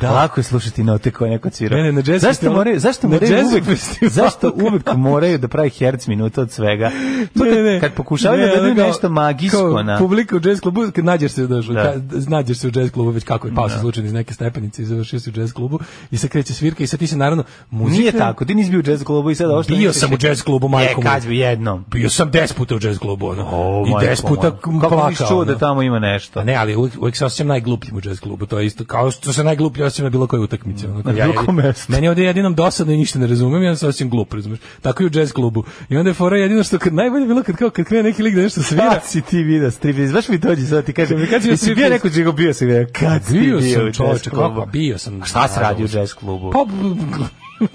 Da. Lako je slušati note koje neko cvira.
Ne, ne, na jazz
zašto
festivalu-
moraju, zašto
na
moraju
jazz
uvek,
festivalu.
zašto uvek moraju da pravi herc minuta od svega? To kad, kad pokušavaju da daju
ono kao-
nešto magijsko
kao
na...
Publika u jazz klubu, kad nađeš se, daš,
Da.
kad nađeš se u jazz klubu, već kako je pao se slučajno iz neke stepenice i završio se u jazz klubu i sad kreće svirka i sad ti se naravno muzika...
Nije tako, ti nisi bio u jazz klubu i sad ovo što...
Bio
misliš
sam u
je-
jazz klubu, majko
E,
mu.
kad bi jednom.
Bio sam 10 puta u jazz klubu, ono.
O,
I
majko
10 puta
moja. Kako nisi
plakao.
čuo
ono.
da tamo ima nešto?
Pa ne, ali uvijek, uvijek se osjećam najglupljim u jazz klubu, to je isto kao što se najgluplji osjećam na bilo kojoj utakmici. Ono, kad
Na bilo kom mestu.
Meni je ovdje jedinom dosadno i ništa ne razumem, ja se osjećam glup, razumeš. Tako i u jazz klubu. I onda je fora jedino što kad, najbolje je bilo kad, kao, kad krene neki lik da nešto svira,
Kad si ti video striptease? Baš mi dođi sad ti kažem,
Kad si bio
jesi bio
striptease?
neko čega bio si video? Kad si ti
bio
bio u
sam
jazz
čoveče, kako,
klubu?
bio sam.
A šta si radio u jazz klubu?
Pa,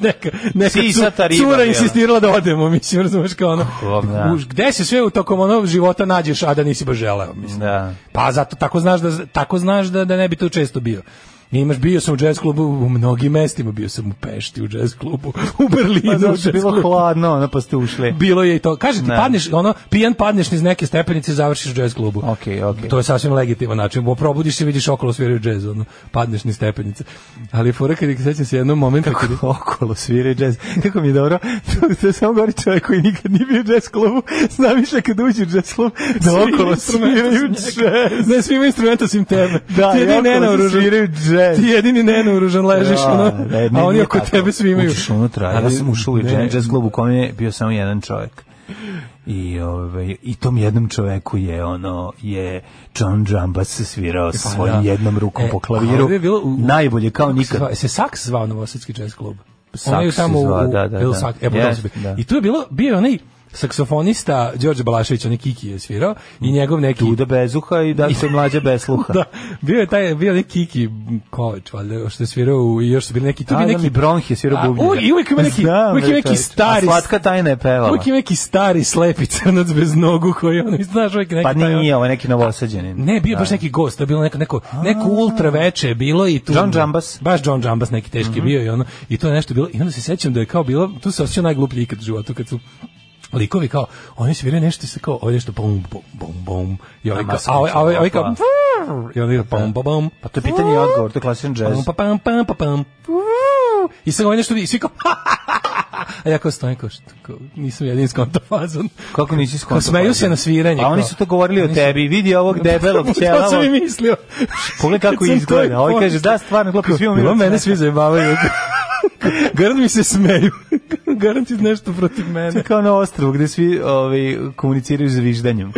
neka, neka
Sisata riba
cura
bila.
insistirala da odemo, mislim, razumeš kao ono.
Oh, da.
Už- gde se sve u tokom onog života nađeš, a da nisi baš želeo, mislim.
Da.
Pa zato tako znaš da tako znaš da da ne bi tu često bio. I imaš bio sam u jazz klubu u mnogim mestima, bio sam u Pešti u jazz klubu, u Berlinu
Pa
u
zato
jazz
što je bilo
klubu.
hladno, ono pa ste ušli.
Bilo je i to. Kaže ti
Ne.
padneš, ono, pijan padneš iz neke stepenice i završiš u jazz klubu.
Okej, okej.
To je sasvim legitiman način. Bo probudiš se i vidiš okolo sviraju jazz, ono, padneš niz stepenice. Ali fora kad je- sećam se jednom momentu kad je-
okolo svira jazz. Kako mi je dobro, to, to samo govori čovjek koji nikad nije bio u jazz klubu, zna više kad uđe u jazz klub, da
Svi
okolo
instrumenti
sviraju
su
jazz.
Ne, svi imaju instrumenta sim tebe.
Da,
ti
i
jedini
okolo se
nenaoružan.
sviraju jazz.
Ti jedini nenaoružan ležiš, ono, a oni oko tebe svi imaju.
Učiš unutra, ja
Ali-
sam ušao u
ne.
jazz, jazz klub u kojem je bio samo jedan čovjek. I, ovaj, I tom jednom čoveku je ono je John Jambas se svirao sa
Pa,
svojim
da.
jednom rukom
E,
po
a
klaviru.
ovdje je bilo u-
Najbolje kao
Kako se
nikad.
zva- Se Saks zvao Novosadski jazz klub.
Saks
Onaj
se
tamo u-
zvao,
u-
da, da,
Bill
da.
Saks, e, pa tamo
Jest,
su bili.
da.
I tu je bilo, bio je onaj saksofonista Đorđe Balašević, on je Kiki je svirao, i njegov neki...
Duda Bezuha i da se mlađa Besluha.
da, bio je taj bio je neki Kiki Kovač, valjda, što je svirao u, i još su bili neki, tu bi
Da, da,
neki
mi Bronhi je svirao
A,
bubnjeve.
uvijek- i uvijek ima neki-
Znam,
uvijek ima
bre,
neki
čoveče.
stari-
A slatka tajna je pevala.
Uvijek ima neki stari slepi crnac bez nogu koji ono, znaš, uvijek neki
Pa
taj-
nije, ovo je neki novosađeni.
Ne, bio je baš neki gost, to je bilo neko, neko, neko ultra veče je bilo i tu...
John Jambas. Mhm.
Baš John Jambas neki teški je bio i ono, i to je nešto bilo, i onda se sećam da je kao bilo, tu se osjećao najgluplji ikad u životu, kad su likovi kao, oni sviraju nešto i se kao, ovdje nešto bum, bum, bum, bum, i ovi
A
kao,
maska
a ovi, a ovi, a ovi
će
kao,
ovako,
i onda bum, bum, bum,
Pa to je pitanje i odgovor, to je klasičan džez.
Pa pam pam pa pam. I sad ovaj nešto i svi kao A ja kao stojim kao, što- kao nisam jedin skonto fazon.
Kako nisi
Kao
skonto?
smeju se na sviranje.
A oni
kao.
su to govorili o
Oni su-
tebi, vidi ovog debelog
To sam i
ćelavog.
mislio.
Pogledaj kako
Kad sam to
izgleda.
je
Ovaj kaže,
počeo.
da, stvarno, klopi, svi imamo
Bilo
imac.
mene svi zajebavaju. Garant mi se smeju. Garant je nešto protiv
To je
mene.
kao na ostrovu gde svi ovaj, komuniciraju zviždanjem.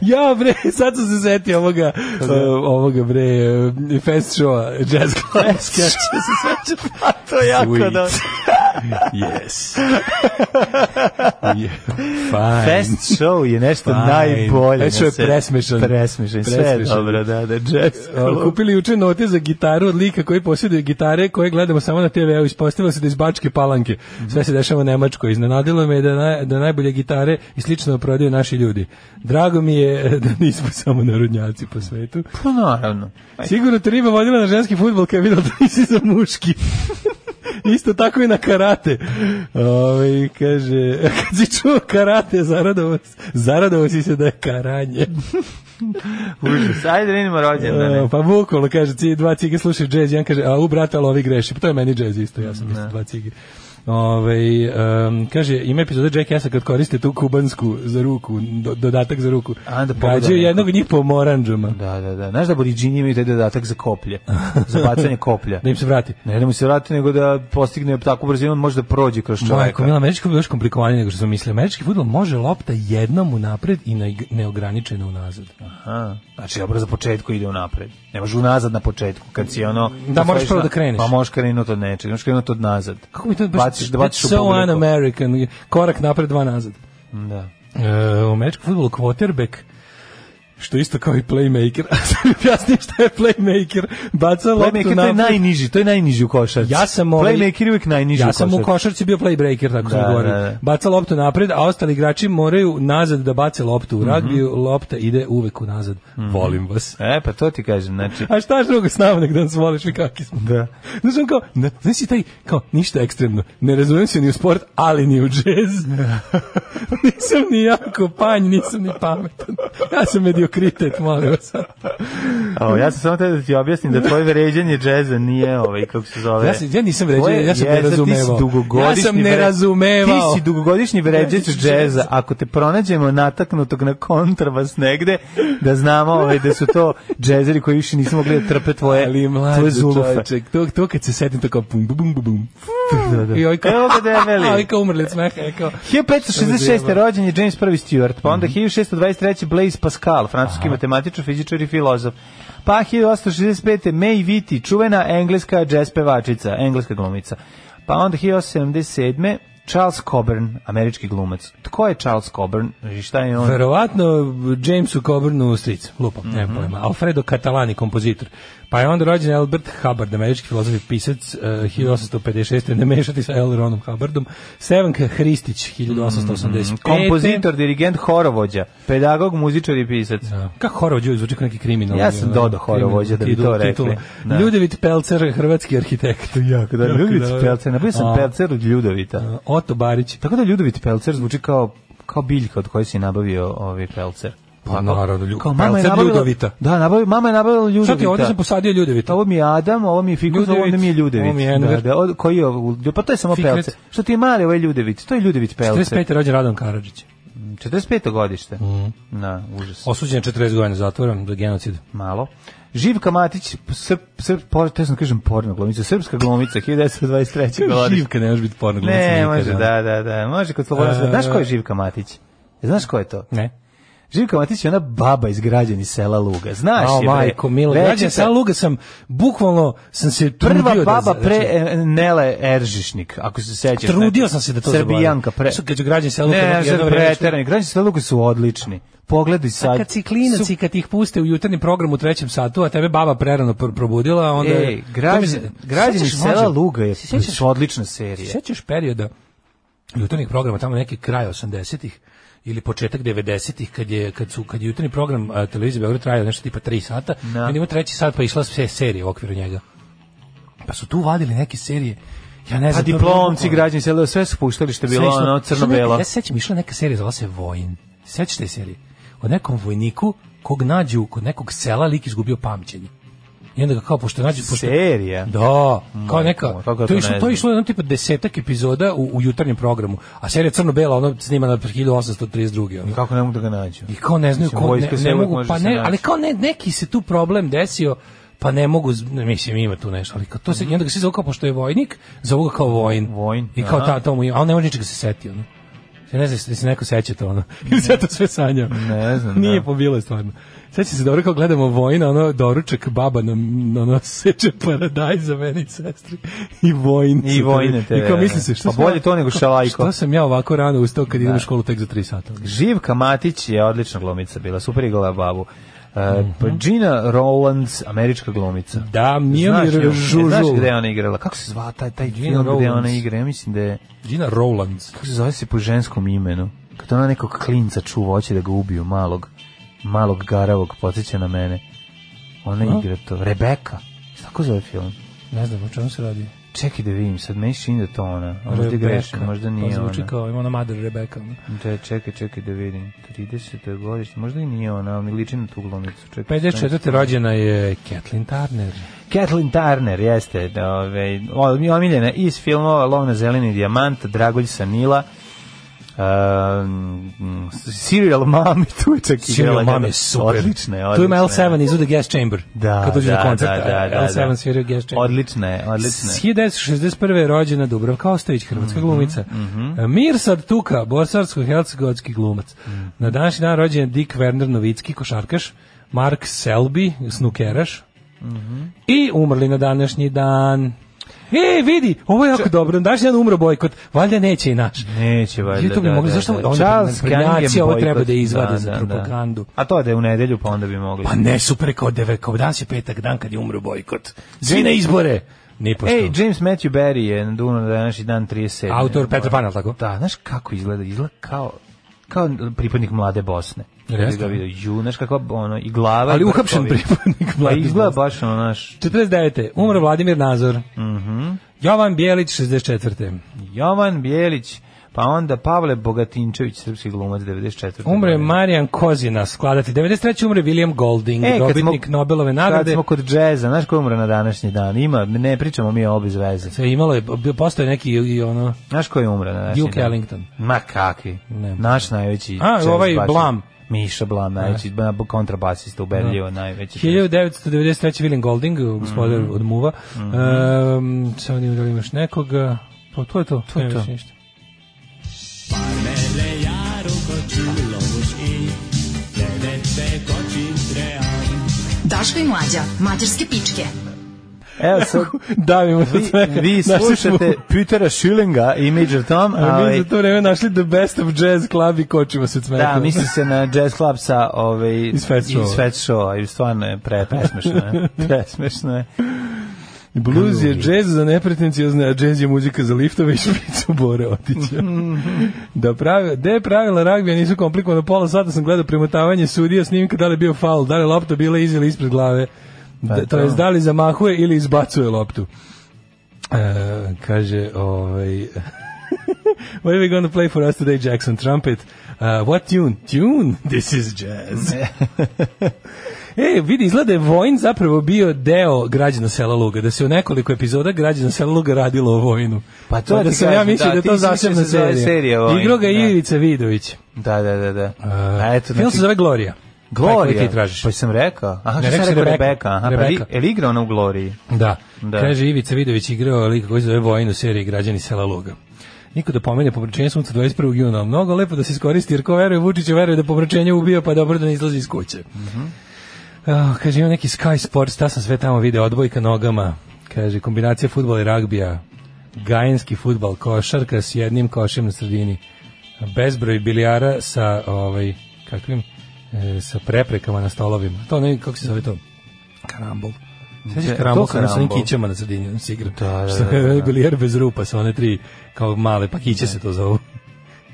Ja bre, sad sam se setio ovoga, uh, ovoga bre, uh, fest showa, jazz club. Sketch, se sećam.
A Pa, to je jako
Sweet.
da...
Yes. yeah. Fine.
Fest show je nešto
Fajn.
najbolje.
Fest show
na
je
svetu.
presmešan.
Presmešan, sve je
Presmešan.
dobro, da, da, jazz.
O, Kupili juče note za gitaru od lika koji posjeduje gitare koje gledamo samo na TV-u. Ispostavilo se da iz Bačke palanke. Sve se dešava u Nemačkoj. Iznenadilo me da, naj, da najbolje gitare i slično prodaju naši ljudi. Drago mi je e, da nismo samo narodnjaci po svetu.
Pa naravno.
Sigurno te riba vodila na ženski futbol kad je videla da nisi za muški. Isto tako i na karate. Ove, kaže, kad si čuo karate, zaradovao, zaradovao si se da je karanje.
Užas. Ajde, da idemo rođendane.
E, pa bukvalno, kaže, ci, dva cige slušaju džez, jedan kaže, a u brata, ali ovi greši. Pa to je meni džez isto, ja sam isto dva cige. Ove, em, kaže, ima epizoda Jack Jessa kad koriste tu kubansku za ruku, do- dodatak za ruku.
A, da pogledam.
Gađaju jednog od njih po moranđama.
Da, da, da. Znaš da aboriđini imaju taj dodatak za koplje, za bacanje koplja.
Da im se vrati.
Ne da mu se vrati, nego da postigne takvu brzinu, on može da prođe kroz
Majko,
čoveka.
mila, američki fudbal je još komplikovanije nego što sam mislio. Američki fudbal može lopta jednom unapred i na- neograničeno unazad.
Aha. Znači, dobro, za početku ide unapred. Ne može unazad na početku, kad si ono...
Da, moraš prvo da kreneš.
Pa možeš krenuti od nečega, možeš krenuti od nazad.
Kako mi to baš...
Baciš, da
that's
baciš u
so
publiku.
un-American. Korak napred, dva nazad.
Da.
E, u američkom fudbalu quarterback što je isto kao i playmaker. A sad mi objasni šta je playmaker. Baca loptu
Playmaker, to je
napred.
najniži, to je najniži u košarci.
Ja sam ovaj-
Playmaker je uvijek najniži
Ja
u
sam
košarci.
u košarci bio playbreaker, tako
Da,
sam govorio.
da, da.
Baca loptu napred, a ostali igrači moraju nazad da bace loptu. U
Mhm.
ragbiju lopta ide uvek unazad. Volim vas.
E, pa to ti kažem, znači...
A šta je drugo s nama nek da nas voliš vi kakvi smo.
Da.
Znaš, on kao, ne, znaš si taj, kao, ništa ekstremno. Ne razumijem se ni u sport, ali ni u džez. nisam ni jako panj, nisam ni pametan. Ja sam mediokritet, molim vas.
O, ja sam samo tebe da ti objasnim da tvoje vređanje džeza nije ovaj, kako se zove.
Ja, sam, ja nisam vređao,
Tvoje
ja sam
jeza, Ti si
nerazumevao.
dugogodišnji
Ja sam
vre-
nerazumevao.
Ti si dugogodišnji vređač
Vređač
džeza. Ako te pronađemo nataknutog na kontrabas negde, da znamo ovaj, da su to džezeri koji više nisu mogli da trpe tvoje,
ali
tvoje
mlađi
zulufe.
čovječek, to, to kad se setim, to kao bum, bum, bum, bum, bum.
Da, da.
I ovaj kao,
Evo ga debeli.
A ovaj kao umrli od smeha, je kao,
1566. rođen je James I Stewart, pa
Mhm.
onda 1623. Blaise Pascal, francuski matematičar, fizičar i filozof. Pa 1865. May Vitti, čuvena engleska jazz pevačica, engleska glumica. Pa onda 1877. Charles Coburn, američki glumac. Tko je Charles Coburn? I Šta je on?
Verovatno Jamesu Coburnu stric, lupam, mm
Mhm.
-hmm. pojma. Alfredo Catalani, kompozitor. Pa je onda rođen Albert Hubbard, američki filozof i pisac, uh, 1856. Ne mešati sa L. Ronom Hubbardom. Sevenka Hristić, 1885.
Mhm. Kompozitor, dirigent, horovođa, pedagog, muzičar i pisac.
Da. Kako Horovođ zvuči kao neki kriminalni.
Ja sam
ono,
dodao Horovođa da bi
kriminalni
to
titul,
rekli.
titula.
Da.
Ljudevit Pelcer, hrvatski arhitekt.
Jako da, Ljudovit
dobro.
Pelcer, napravio sam
A.
Pelcer od Ljudovita.
Uh, Oto Barić.
Tako da Ljudovit pelcer zvuči kao kao biljka od koje si nabavio ovaj pelcer.
Pa
Tako.
naravno, lju-
je
pelcer
nabavila-
Ljudovita.
Da, nabavi, mama je nabavila Ljudovita.
Šta ti, ovdje sam posadio Ljudevita.
Ovo mi je Adam, ovo mi je Fikus, ovo
Ljudevit.
mi je Ljudevit.
Ovo mi je
da,
Enver.
da, od- koji je ovo? Lju- Pa to je samo
Fikret.
pelcer. Što ti je mali ovaj Ljudevit? To je Ljudevit pelcer.
45. rođen Radon Karadžić.
45. godište.
Mhm.
Na, užas.
Osuđen na 40 godina zatvora za genocid.
Malo. Živka Matić, srp, srp, por, te sam da kažem porno glumica, srpska glumica, 1923. godište.
Živka ne može biti porno glumica
Ne,
nikad,
može,
ono.
da, da, da, može kod Slobodana. Znaš ko je Živka Matić? Znaš ko je to?
Ne.
Živka Matić je ona baba iz građani sela Luga. Znaš
A,
je, bre.
majko, milo, ja
Većita-
sa Luga sam, bukvalno sam se
Prva
trudio
baba
da, znači, Pa
pre e, Nele Eržišnik, ako se sećaš.
Trudio
neke.
sam se da to
Srbijanka
zaboravim.
pre.
Su kad su građani sela Luka
Ne,
jedno
ne, sad
vreme išli-
preterani. Građani sela Luka su odlični. Pogledaj sad.
Kad si klinac
Su-
i kad ih puste u jutarnjem programu u trećem satu, a tebe baba prerano pr probudila, onda...
Ej, E, građani,
To mi se-
građani
Sećaš,
sela
može-
Luga je
se sjećaš-
su odlična serija.
Sećaš perioda jutarnjih programa, tamo neki kraj 80-ih ili početak 90-ih kad je kad su kad je jutarnji program a, televizije Beograd trajao nešto tipa 3 sata,
Da.
no. ima treći sat pa je išla sve serije u okviru njega. Pa su tu vadili neke serije. Ja ne
Pa
znam. to je Ono,
diplomci,
bukvalno-
građani sela, sve su puštali što je bilo
Sećam-
ono
Sećam neka-
crno-belo.
Ja se sećam, išla neka serija, zvala se Vojin. Sećaš te serije? O nekom vojniku kog nađu kod nekog sela lik izgubio pamćenje. I onda ga kao, pošto nađu... Pošto,
Serija?
Da, kao neka...
Majko, Mm, kako
to,
ja to
je išlo,
ne
to
znam.
je išlo jedno tipa desetak epizoda u, u jutarnjem programu. A serija crno-bela, ono snimana 1832. Ono.
Kako ne mogu da ga nađu?
I kao ne znaju,
Mislim,
ko, ne,
vojska se
ne
uvek
mogu,
može
pa
se
ne,
naći.
ali kao ne, neki se tu problem desio, pa ne mogu, z- ne, mislim ima tu nešto, ali kao to se, i onda ga se zove kao, pošto je vojnik, zovu ga kao vojn.
Mhm. Vojn,
I kao
aha.
ta, to mu ima, ali ne može ničega se setio, ono. Ja ne znam, jesi- jesi neko seća to, ono. Ili se ja to sve sanjao.
Ne znam, da.
Nije pobilo je stvarno. Sećam se dobro kao gledamo vojna, ono, doručak, baba nam, ono, seče paradaj za meni i sestri. I vojn.
I vojne te.
I kao mislim se, što
Pa bolje to nego šalajko.
Što sam ja ovako rano ustao kad idem u školu tek za 3 sata? ono?"
Živka Matić je odlična glumica bila, super igrala babu. E, pa
Mhm.
Gina Rowlands, američka glumica.
Da,
Znaš nju?
Mijomir
E, Znaš
Žužul.
gde je ona igrala? Kako se zva taj, taj
Gina
film gde ona
Rowlands.
igra? Ja mislim da je,
Gina Rowlands.
kako se zove se po ženskom imenu? Kad ona nekog klinca čuva, hoće da ga ubiju, malog, malog garavog, podsjeća na mene. Ona igra to. Rebeka. Tako zove film.
Ne znam o čemu se radi.
Čekaj da vidim, sad meni se čini da je to ona. A možda
Rebecca.
grešim, možda
To
nije
Pa zvuči
ona.
kao ima ona Mother Rebecca. ono.
Da, čekaj, čekaj da vidim. 30. godište, možda i nije ona, ali mi liči na tu glumicu. Čekaj,
54.
Znači,
rođena je Kathleen Turner.
Kathleen Turner, jeste, da, ove, o- mi je omiljena iz filmova Lovna zeleni dijamant, Dragolj sa Nila, um, Serial Mami, tu je čak igrala.
Serial Mom je
jedna-
super.
Odlična je, odlična.
Tu ima L7
je.
iz The Guest Chamber.
Da,
Kad uđe
da,
na koncert,
da, da, da,
L7
da.
svira u Guest Chamber.
Odlična je, odlična je.
1961. je rođena Dubravka Ostojić, hrvatska glumica. Mirsad Tuka, bosansko-hercegovački glumac. Na današnji dan rođen je Dick Werner Novicki, košarkaš, Mark Selby, snukeraš. I umrli na današnji dan. E, vidi, ovo je jako dobro. Na današnji dan umro bojkot. Valjda neće i naš.
Neće valjda.
Ljudi, to bi
da,
mogli-
da,
zašto
da.
onda
Charles
naprednjaci
Cunningham
ovo treba
bojkot,
da izvade za propagandu.
A to da je u nedelju, pa onda bi mogli.
Pa ne, super, kao deve, kao danas je petak dan kad je umro bojkot. Svi na izbore. Nipošto.
Ej, James Matthew Berry je na dunu na današnji dan 37.
Autor Petra Pana, jel tako?
Da, znaš kako izgleda? Izgleda kao kao pripadnik mlade Bosne.
Jel jeste?
Kad ga vidio, ju, znaš kakva ono, i glava.
Ali
i
uhapšen
brkovi.
pripadnik
Pa
mladih
izgleda
Bosne.
baš ono, naš,
49. Umro Vladimir Nazor. Jovan Bjelić, 64.
Jovan Bjelić, pa onda Pavle Bogatinčević, srpski glumac, 94.
Umro je
godine.
Marijan Kozina, skladatelj. 93. umro je William Golding,
E, kad
dobitnik
smo-
Nobelove
Kad
nagrade.
smo kod džeza, znaš ko je umro na današnji dan? Ima, ne pričamo mi o obi zveze.
Se imalo je, bio- postoje neki i i ono...
Znaš ko je umro na današnji
Duke
dan?
Ellington.
Ma kakvi.
Ne.
Naš najveći.
A,
jazz
ovaj
basist.
Blam.
Miša Blam, najveći ba- kontrabasista, ubedljivo najveći.
1993. William Golding, gospodar
Mhm.
od Muva. Ehm, Samo nije da li imaš nekoga. Pa to je to. To je to. Ništa.
Daško i mlađa, mađarske pičke.
Evo sad,
Davimo se
vi,
svega.
vi
Našli smo-
slušate Petera Schillinga i Major Tom, ovaj,
A mi
ali...
za to vreme našli The Best of Jazz Club i kočimo se od smeka.
Da, misli se na Jazz Club sa ovaj,
Iz Fat Showa.
iz Fat Showa, i stvarno je pre, presmešno je. presmešno je.
Blues je jazz za nepretencijozne, a jazz je muzika za liftove i špicu Bore Otića. da pravi, de pravila ragbija nisu komplikovane, pola sata sam gledao premotavanje sudija snimka da li je bio faul, da li je lopta bila iz ili ispred glave, da, Pa to jest da li zamahuje ili izbacuje loptu. E, kaže, ovaj... What are we going to play for us today, Jackson? Trumpet. Uh, what tune? Tune? This is jazz. E, vidi, izgleda je Vojn zapravo bio deo građana sela Luga, da se u nekoliko epizoda građana sela Luga radilo o Vojnu.
Pa to
da
ti
sam ja
kažem,
mislio
da,
da, je
ti
to
si mislio
zasebna
da se zove
serija.
serija Vojn,
Igro ga je
da.
Ivica Vidović.
Da, da, da, da. A, eto,
Film
znači,
se zove Gloria. Taj koji
Gloria,
ti tražiš.
pa sam rekao. Aha,
Ne,
što sam
rekao si
rekao
Rebeka.
Rebeka. Aha, pa
Rebeka.
vi- je li igra ona u Gloriji?
Da.
Da.
Kaže Ivica Vidović igrao lika koji se zove Vojn u seriji Građani sela Luga. Niko da pomene pomračenje sunca 21. juna. Mnogo lepo da se iskoristi, jer ko veruje Vučiću, veruje da pomračenje ubija, pa dobro da ne izlazi iz kuće. Ah, kaže, ima neki Sky Sports, ta sam sve tamo video, odbojka nogama. Kaže, kombinacija futbola i ragbija. Gajenski futbal, košarka s jednim košem na sredini. Bezbroj bilijara sa, ovaj, kakvim, e, sa preprekama na stolovima. To ne, kako se zove to? Karambol.
Ne,
Sećaš karambol
Mm. E, to
sa onim- sa onim
karambol.
kićama na sredini, on se igra.
Da, da,
Što
da, da, da.
je bilijar bez rupa sa one tri, kao male, pa kiće se to zovu.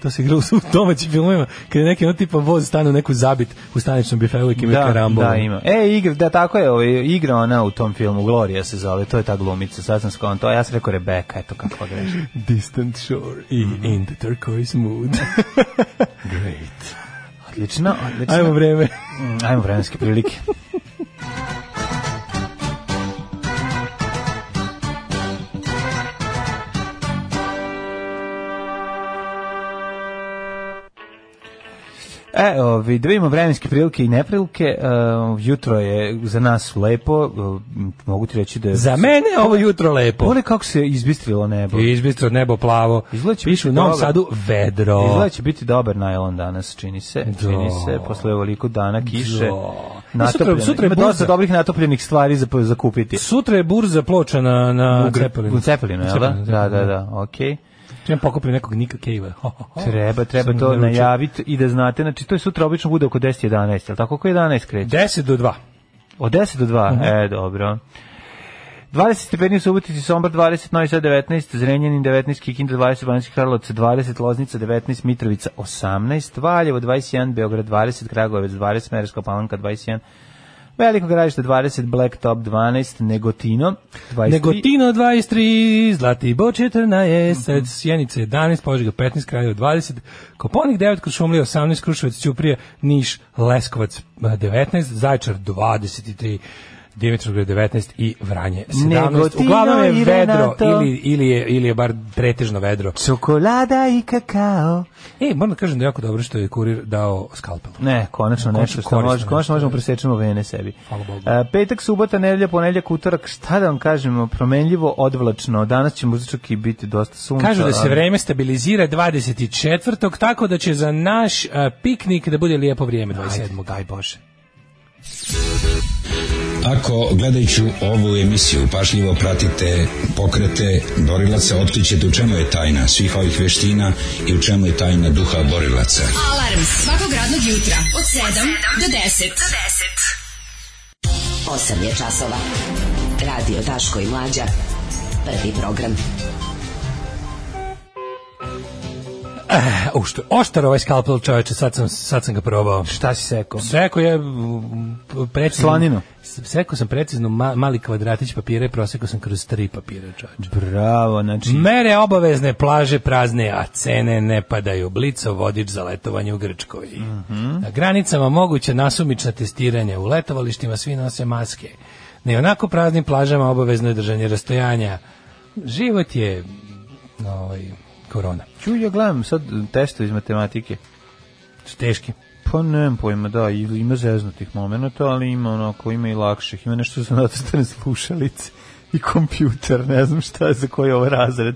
To se igra u u domaćim filmovima, kada je neki ono tipa voz stane u neku zabit u staničnom bifeu i kim je
Da,
karambol.
da, ima. E, igra, da, tako je, ovaj, igra ona u tom filmu, Gloria se zove, to je ta glumica, sad sam skonto, to, ja sam rekao Rebeka, eto kako greš.
Distant Shore i
Mhm.
In the Turquoise Mood. Great.
Odlično, odlično.
Ajmo vreme.
Mm, Ajmo vremenske prilike. E, ovi, da vidimo vremenske prilike i neprilike. E, jutro je za nas lepo. e, mogu ti reći da je...
Za mene je ovo jutro lepo.
Pogledaj kako se izbistrilo nebo.
Izbistro nebo plavo.
Izgleda će
Pišu u
biti
Novom
dobro.
Sadu vedro.
Izgleda će biti dobar najlon danas, čini se. Čini se, posle ovoliko dana kiše.
Da. Sutra,
natopljene.
sutra je
Ima dosta
burza.
dobrih natopljenih stvari za, za kupiti. Dakle,
Sutra je burza ploča na, na
U Gre-
Cepelinu.
U Cepelinu, jel da? Da, da, da, okej.
Trebam pokupiti nekog Nika Cave-a. Ho, ho, ho.
Treba, treba
Sam
to
naručio.
najaviti i da znate, znači to je sutra obično bude oko 10 11, jel tako? Oko 11 kreće.
10 do 2.
Od 10 do 2. E, dobro. 20 stepeni u Subotici, Sombor 20, Novi Sad 19, Zrenjanin 19, Kikinda 20, Banjski Karlovac 20, Loznica 19, Mitrovica 18, Valjevo 21, Beograd 20, Kragujevac 20, Merska Palanka 21, Veliko gradište 20, Blacktop 12, Negotino 23.
Negotino 23, Zlatibor 14, Sjenica 11, Požega 15, Kraljevo 20, Koponik 9, Krušumlija 18, Kruševac, Ćuprija, Niš, Leskovac eh, 19, Zaječar 23, Dimitrovgrad 19 i Vranje 17.
Negotino
Uglavnom
i
je vedro
Renato.
ili, ili, je, ili je bar pretežno vedro.
Čokolada i kakao.
E, moram da kažem da je jako dobro što je kurir dao skalpel.
Ne, konačno
Konačno
nešto što
korisno
može, konačno
nešto,
možemo
da.
presečemo vene sebi.
Hvala Bogu.
E, petak, subota, nedelja, ponedeljak, utorak, šta da vam kažemo, promenljivo, odvlačno. Danas će muzički i biti dosta sunca.
Kažu da se
ali-
vreme stabilizira 24. tako da će za naš eh, piknik da bude lijepo vrijeme 27. Aj Bože.
Ako gledajući ovu emisiju pašljivo pratite pokrete borilaca, otkrićete u čemu je tajna svih ovih veština i u čemu je tajna duha borilaca.
Alarm svakog radnog jutra od 7 do 10.
8 je časova. Radio Daško i Mlađa. Prvi program.
U što je oštar ovaj skalpel čoveče, sad sam, sad sam ga probao.
Šta si sekao?
Sreko je mm, precizno...
Slaninu.
Sreko sam precizno ma- mali kvadratić papira i prosekao sam kroz tri papira čoveče.
Bravo, znači...
Mere obavezne, plaže prazne, a cene ne padaju. Blico vodič za letovanje u Grčkoj.
Mhm.
Na granicama moguće nasumična testiranja. U letovalištima svi nose maske. Na ionako praznim plažama obavezno je držanje rastojanja. Život je ovaj, korona.
Ču, ja gledam sad testo iz matematike.
Teški.
Pa nemam pojma, da, i- ima zeznutih momenta, ali ima onako, ima i lakših. Ima nešto za natostane slušalice i kompjuter, ne znam šta je za koji je ovaj razred.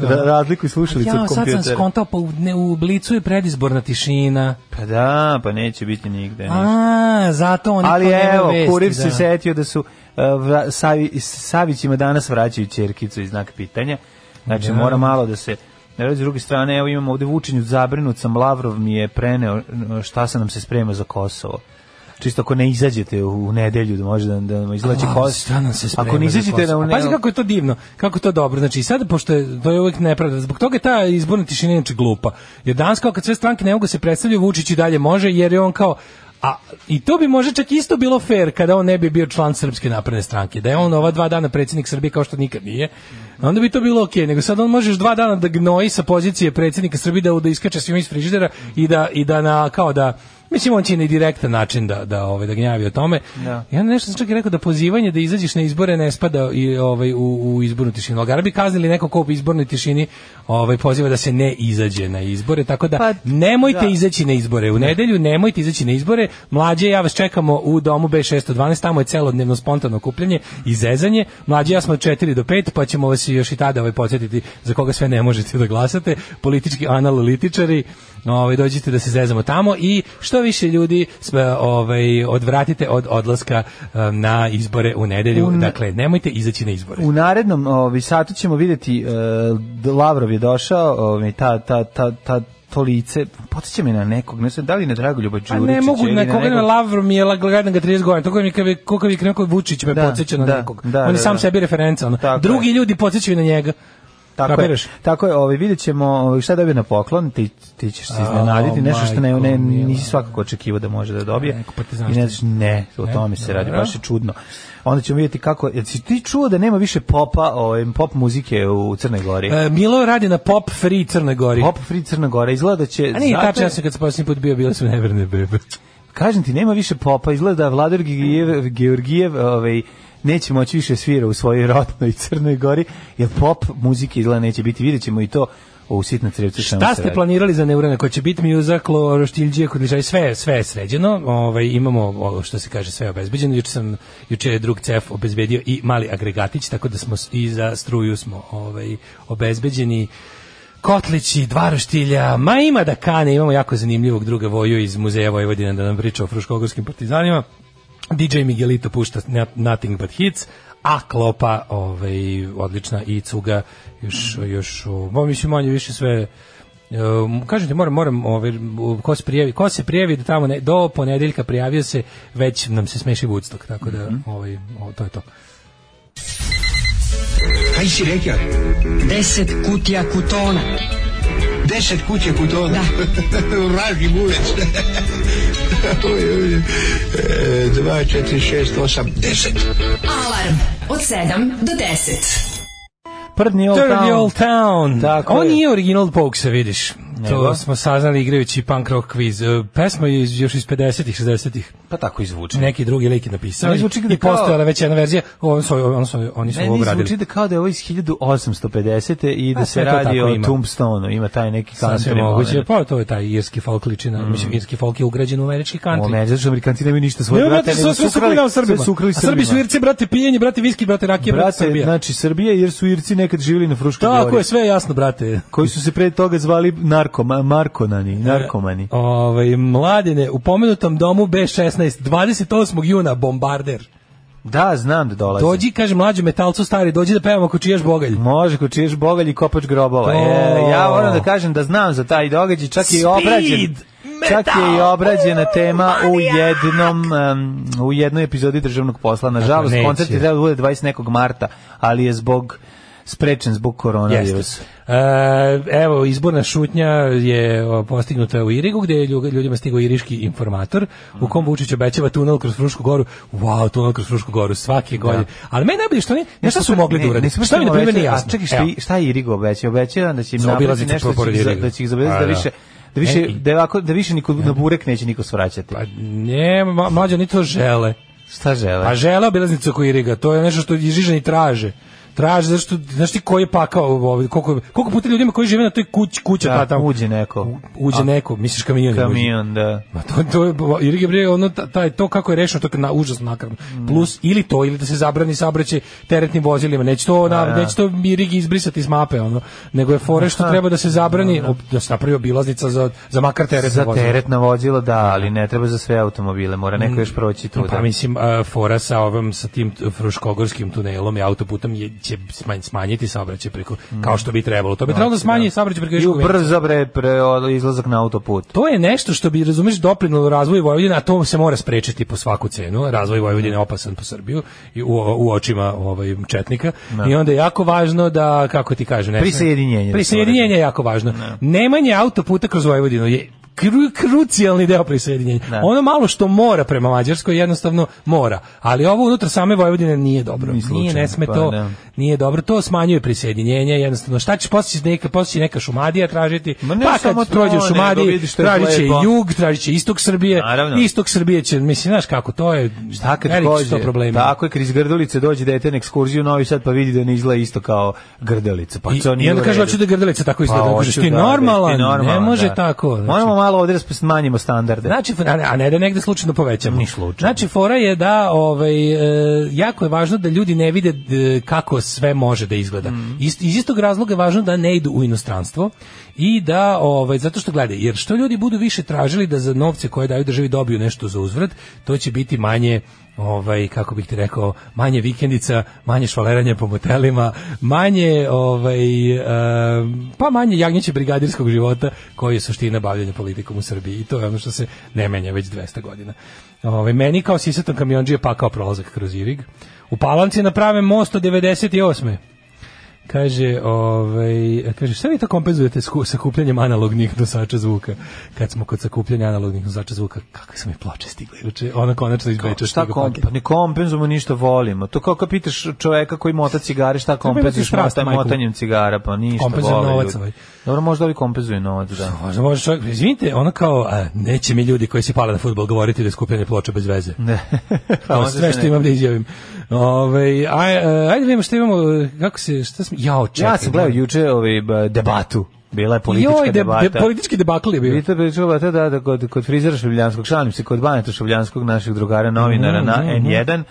Ra razliku i slušalice
Ja, sad
od kompjutera.
sam skontao, pa u, ne, u blicu je predizborna tišina.
Pa da, pa neće biti nigde. ništa.
A, zato oni
Ali
to nema
evo,
vesti,
Kuriv se
da.
setio da su uh, vra, savi, s- Savićima danas vraćaju čerkicu iz znak pitanja. Znači, mora malo da se... Ali, S druge strane, evo imamo ovde Vučinju zabrinut sam, Lavrov mi je preneo uh, šta se nam se sprema za Kosovo. Čisto ako ne izađete u, u nedelju, da može da, da vam izlači
A, šta
Kosovo.
nam se sprema
Ako ne
za
izađete
posao?
na u
A Pazi kako je to divno, kako je to dobro. Znači i sad pošto je, to je uvek nepravda, zbog toga je ta izborna tišina inače glupa. Jer danas kao kad sve stranke ne mogu da se predstavljaju, Vučić i dalje može jer je on kao A i to bi možda čak isto bilo fair kada on ne bi bio član Srpske napredne stranke, da je on ova dva dana predsjednik Srbije kao što nikad nije. Onda bi to bilo okej, nego sad on može još dva dana da gnoji sa pozicije predsjednika Srbije da, da iskače svima iz frižidera i da, i da na, kao da Mislim, on će i na direktan način da, da, ovaj, da gnjavi o tome.
Da.
I onda nešto sam čak i rekao da pozivanje da izađeš na izbore ne spada i, ovaj, u, u izbornu tišinu. Ali bi kaznili neko ko u izbornoj tišini ovaj, poziva da se ne izađe na izbore. Tako da
Pa,
nemojte
da.
izaći na izbore. U nedelju nemojte izaći na izbore. Mlađe i ja vas čekamo u domu B612. Tamo je celodnevno spontano kupljanje i zezanje. Mlađe i ja smo od 4 do 5, pa ćemo vas i još i tada ovaj, podsjetiti za koga sve ne možete da glasate. Politički analitičari, ovaj, dođite da se zezamo tamo i što više ljudi sve, ovaj, odvratite od odlaska em, na izbore u nedelju.
U ne-
Dakle, nemojte izaći na izbore.
U narednom ovaj, satu ćemo vidjeti, e, Lavrov je došao, ovaj, ta, ta, ta, ta, to lice, podsjeća me na nekog, ne znam, da li na Dragoljuba Đurića?
Pa ne mogu,
ili
na koga
nekog-
na Lavru mi je la- gledam ga 30 godina, tako mi kao kako mi kako Vučić me
Da,
podsjeća na
da,
nekog.
da,
On je
da,
sam
da.
sebi referenca, ono.
Tako
Drugi
je.
ljudi podsjećaju na njega.
Tako je,
Kapiraš?
tako je, ovaj vidjet ćemo ovaj, šta dobije na poklon, ti, ti ćeš se
A,
iznenaditi, nešto što ne, ne,
majko mila. E,
nisi svakako očekivao da može da dobije.
Neko partizanstvo.
I ne znaš, ne, o
Ne?
tome se radi,
Dobro.
baš je čudno. Onda ćemo vidjeti kako, jel si ti čuo da nema više popa, ovaj, pop muzike u Crnoj Gori?
E, Milo radi na Pop Free Crne Gori.
Pop Free Crna Gora, izgleda da će...
A nije
zato-
tačno, ja sam kad sam posljednji put bio, bile su neverne bebe.
Kažem ti, nema više popa, izgleda da Vladar Georgijev, Georgijev ovaj, neće moći više svira u svojoj rotnoj Crnoj Gori, jer pop muzike izgleda neće biti, vidjet ćemo i to u sitna crevca. šta nam
Šta
se
ste
radi.
planirali za Neurana koji će biti muzak, Roštiljđije, Kudlišaj, sve, sve je sređeno. Ovaj, imamo, ovo što se kaže, sve je obezbeđeno. Juče, sam, juče je drug cef obezbedio i mali agregatić, tako da smo s- i za struju smo ovaj, obezbeđeni. Kotlići, dva roštilja, ma ima da kane, imamo jako zanimljivog druga voju iz muzeja Vojvodina da nam priča o fruškogorskim partizanima. DJ Miguelito pušta na- Nothing But Hits, a Klopa, ovaj, odlična, i Cuga, još, još, o, mislim, manje više sve Um, kažem ti, moram, moram, ovaj, u- ko se prijavi, ko se prijavi do tamo, ne, do ponedeljka prijavio se, već nam se smeši Woodstock, tako da,
Mhm.
ovaj, ovo, to je to.
Kaj si rekao?
10 kutija kutona.
Deset kuće kutona. Vraži bulec. Uj, uj. E, Dva, četiri, šest, osam, deset.
Alarm od 7 do 10.
Prdni Old
Third
Town.
Old Town.
Tako
On
je.
nije original Pokesa, vidiš. To
Nego?
smo saznali igrajući punk rock quiz. E, Pesma je iz, još iz 50-ih, 60-ih.
Pa tako i zvuči.
Neki drugi lik je napisao.
Ali zvuči kao-
I postojala već jedna verzija. Oni su, oni su, oni su ovo
Meni
obradili.
zvuči da kao da je ovo iz 1850. i da
A, sve
se
to
radi
tako
o
ima.
Tombstone-u, ima taj neki
Sasvim
country
moguće.
moment.
Pa to je taj irski folk ličina.
Mm.
Mislim, irski folk je ugrađen u američki
U
country.
Americi, zato što znači, Amerikanci nemaju ništa svoje
Ne,
brate,
brate, sve, sve su ukrali nam Srbima.
sve su ukrali
A Srbi su Irci, brate, pijenje, brate, viski, brate, rakije, brate,
Brate,
Srbija.
znači Srbija, jer su Irci nekad živjeli na Fruškoj
Tako
gori.
je, sve je jasno, brate.
Koji su se pre toga zvali narkoma,
E,
markonani, narkomani.
Ovaj mladine, u pomenutom domu B16, 28. juna, bombarder.
Da, znam da dolaze.
Dođi, kaže mlađi metalcu stari, dođi da pevamo kočijaš bogalj.
Može, ko čiješ bogalj i kopač grobova.
To.
E, ja moram da kažem da znam za taj događaj, čak je i
Speed
obrađen. Čak je i
metal.
obrađena tema u jednom em, u jednoj epizodi državnog posla. Nažalost,
Dakle, neće.
koncert je trebao da bude 20 nekog marta, ali je zbog sprečen zbog koronavirusa.
Jeste. E, evo, izborna šutnja je o, postignuta u Irigu, gde je ljug- ljudima stigao iriški informator, u kom Vučić obećava tunel kroz Frušku goru. Wow, tunel kroz Frušku goru, svake godine. Ali meni je najbolje što oni, ne šta su mogli da urade?
nisu
Šta mi na primjer
obećali-
nije jasno?
A čekaj, šta,
Evo.
i- šta je Irigo obećao? Obećao je da će im napraviti
Zaobilaznicu
nešto da će,
pored
ih za-
Iriga.
da će ih zaobilaziti
Pa,
da
da.
više da više,
E, i-
da, je ovako- da više niko na burek neće niko svraćati.
Pa ne, ma- mlađe, oni to žele.
Šta žele?
Pa žele obilaznicu oko Iriga, to je nešto što i Žižani traže. Traže, znaš, što, znaš ti koji je pakao, ovaj, koliko, koliko puta ljudima koji žive na toj kuć, kuća
Da,
ta pa tamo.
uđe neko.
U- Uđe
A,
neko, misliš kamion. je uđe.
Kamion, da.
Ma to, to je, Irige bre, ono, ta- taj, to kako je rešeno, to je na, užasno nakarno.
Mm.
Plus, ili to, ili da se zabrani saobraćaj teretnim vozilima, neće to, na,
da.
neće to Irige izbrisati iz mape, ono, nego je fore što treba da se zabrani, ob- da se napravi obilaznica za, za makar teretna
Za
vozila.
teretna vozila, da, ali ne treba za sve automobile, mora neko još proći tu.
Pa
da.
mislim, a, fora sa ovim, sa tim t- fruškogorskim tunelom i autoputom je, će smanj- smanjiti saobraćaj preko, kao što bi trebalo. To bi trebalo da smanji saobraćaj preko
Mm. Znači, I
Iriškog venca.
brzo bre, pre, od- izlazak na autoput.
To je nešto što bi, razumeš, doprinalo razvoju Vojvodine, a to se mora sprečiti po svaku cenu. Razvoj Vojvodine je opasan po Srbiju i u, u očima ovaj, četnika. I onda je jako važno da, kako ti kažem, ne znam-
Prisjedinjenje.
Prisjedinjenje je jako važno. Nemanje autoputa kroz Vojvodinu je kru, krucijalni deo prisjedinjenja. Ono malo što mora prema Mađarskoj jednostavno mora, ali ovo unutar same Vojvodine nije dobro.
Ni
Nije,
slučajno,
ne sme
pa
to.
da.
Nije dobro, to smanjuje prisjedinjenje, jednostavno. Šta će posjeći neka, posjeći neka šumadija tražiti?
Ma ne
pa
samo
kad
to,
prođe u
nego
šumadiji,
vidi što je
tražit će i
lepo.
jug, tražit će istok Srbije,
Naravno.
istok Srbije će, mislim, znaš kako, to je
Šta kad
veliki
dođe?
sto problema.
Tako je, kriz Grdelice dođe dete na ekskurziju u Novi Sad pa vidi da ne izgleda isto kao Grdelica. Pa
I,
to nije
i onda
u
kaže,
redu.
hoću da Grdelica tako izgleda.
Pa,
Kažeš,
hoću
ti
da, da,
normalan,
ti
ne
normalan,
može
da.
tako. znači.
Moramo malo ovdje da smanjimo standarde.
Znači, a ne, a ne da negde slučajno povećamo.
Ni slučajno.
Znači, fora je da ovaj, e, jako je važno da ljudi ne vide d, kako sve može da izgleda.
Mhm.
Ist- iz istog razloga je važno da ne idu u inostranstvo i da, ovaj, zato što gledaj, jer što ljudi budu više tražili da za novce koje daju državi dobiju nešto za uzvrat, to će biti manje ovaj kako bih ti rekao manje vikendica, manje švaleranja po motelima, manje ovaj e, pa manje jagnjeće brigadirskog života koji je suština bavljenja politikom u Srbiji i to je ono što se ne menja već 200 godina. Ovaj meni kao sisatom kamionđije pakao prolazak kroz Irig. U Palanci naprave most od 98. Kaže, ovaj, kaže, šta vi to kompenzujete sku- sa kupljanjem analognih nosača zvuka? Kad smo kod sakupljanja analognih nosača zvuka, kakve su mi ploče stigle juče? Ona konačno iz Beča
šta
stigao
komp,
paket.
pa ne kompenzujemo ništa volimo. To kao kad pitaš čoveka koji mota cigare šta kompenzuješ
biti strast,
mota,
pa majku?
motanjem cigara, pa ništa
Kompenzuje
vole
novac
ljudi.
ovaj.
Dobro, možda ovi kompenzuju novac, da.
Možda može čovjek, izvinite, ono kao, a, neće mi ljudi koji se pale na futbol govoriti da je skupljanje ploče bez veze.
Ne.
Kao
Onda
sve
Mm. Pa, se
što
ne-
imam da izjavim. Ove, aj, e, ajde vidimo što imamo, e, kako se, šta smo, jao, čekaj.
Ja sam gledao juče ovaj b- debatu. Bila je politička
Joj, de- de-
debata.
politički debakl je bio.
Vidite, pričala debata da, da kod, kod frizera Šabljanskog, šalim se, kod Baneta Šabljanskog, naših drugara novinara na
Mhm, mhm.
N1,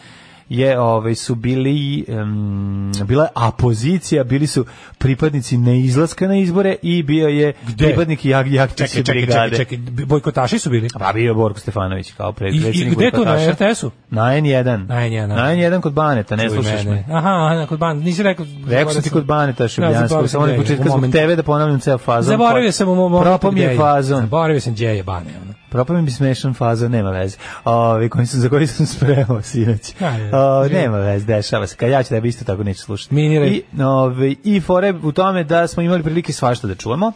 je ovaj su bili em, bila je apozicija bili su pripadnici neizlaska na izbore i bio je
Gde?
pripadnik jag
Čekaj,
jagtiće
čekaj,
brigade
čekaj, čekaj, bojkotaši su bili.
Pa bio je Borko Stefanović kao predsjednik.
I- i gde to, na
Bojkotaša.
RTS-u?
Na N1.
Na N1.
Na N1 kod Baneta, ne
Čuj
slušaš
mene.
me.
Aha, aha, kod band, nisi rekao.
Rekao sam ti kod Baneta
zaboravio
Šubljanskog,
sam
samo
gde
na
je,
početku
u
zbog
momentu.
tebe da ponavljam ceo fazon.
Zaboravio sam u mom momentu
Propao mi
gde
je fazon.
Zaboravio sam gdje je Bane. Ono.
Propao mi je smešan fazon, nema veze. Ovi, koji sam, za koji sam spremao sinoć.
Ajde,
O,
živi.
nema veze, dešava se. Kad ja ću tebi isto tako neću slušati.
Miniraj.
I, ove, I fore u tome da smo imali prilike svašta da čujemo,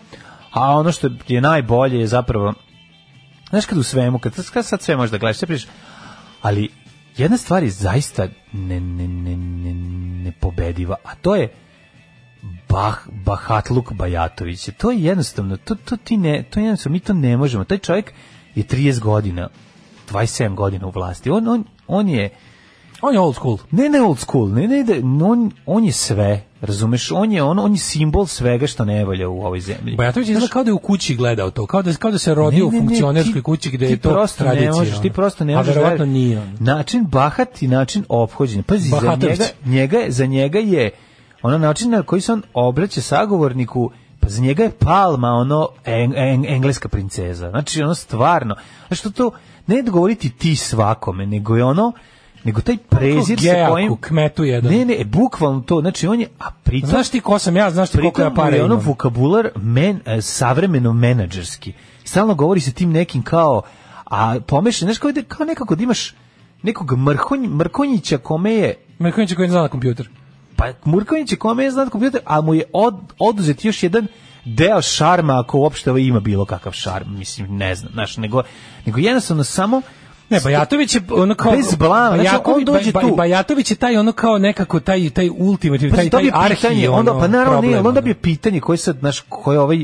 a ono što je najbolje je zapravo Znaš kad u svemu, kad, kad sad sve možeš da gledaš, sve pričaš, ali jedna stvar je zaista ne, ne, ne, ne, nepobediva, a to je Bah, Bahatluk Bajatović. To je jednostavno, to, to ti ne, to je jednostavno, mi to ne možemo. Taj čovjek je 30 godina, 27 godina u vlasti. On, on, on je,
On je old school.
ne, ne old school, ne, ne, da- on, on je sve, razumeš, on je, ono, on, on je simbol svega što ne valja u ovoj zemlji.
Bajatović izgleda kao da je u kući gledao to, kao da, kao da se
Ne,
rodio
ne,
u
ne,
funkcionerskoj
ti-
kući gdje
ti
je to
prosto ne
tradicija.
možeš, ti
ono.
prosto ne možeš.
A verovatno
verovat-
nije. ono.
Način bahat i način ophođenja. Pazi, za
Bahatović.
njega, njega, je- za njega je ono način na koji se on obraća sagovorniku pa za njega je palma ono eng- eng- engleska princeza. Znači ono stvarno. Znači to, to ne da govoriti ti svakome, nego je ono nego taj prezir sa
Gejaku,
kojim
kmetu jedan.
Ne, ne, bukvalno to. Znači on je a pritom
Znaš ti ko sam ja, znaš ti koliko
Pritom
ja para
je ono
imam.
vokabular men, e, savremeno menadžerski. Stalno govori se tim nekim kao, a pomešan, znaš, kao, da- kao nekako da imaš nekog mrhonj, mrkonjića kome je
Mrkonjić koji ne zna na kompjuter.
pa Mrkonjić je kome je znat kompjuter, a mu je od, oduzet još jedan deo šarma, ako uopšte ovo ima bilo kakav šarm, mislim, ne znam, znaš, nego, nego jednostavno samo
Ne, E, Bajatović je ono kao
Bez blama, znači,
Bajaković-
on dođe
Baj-
tu.
Bajatović je taj ono kao nekako taj taj ultimativni
Pa
Znači, taj
to bi
taj
je
arhi
pitanje, onda pa naravno
problem,
ne, ali onda
ono.
bi je pitanje koje sad znaš koje ovaj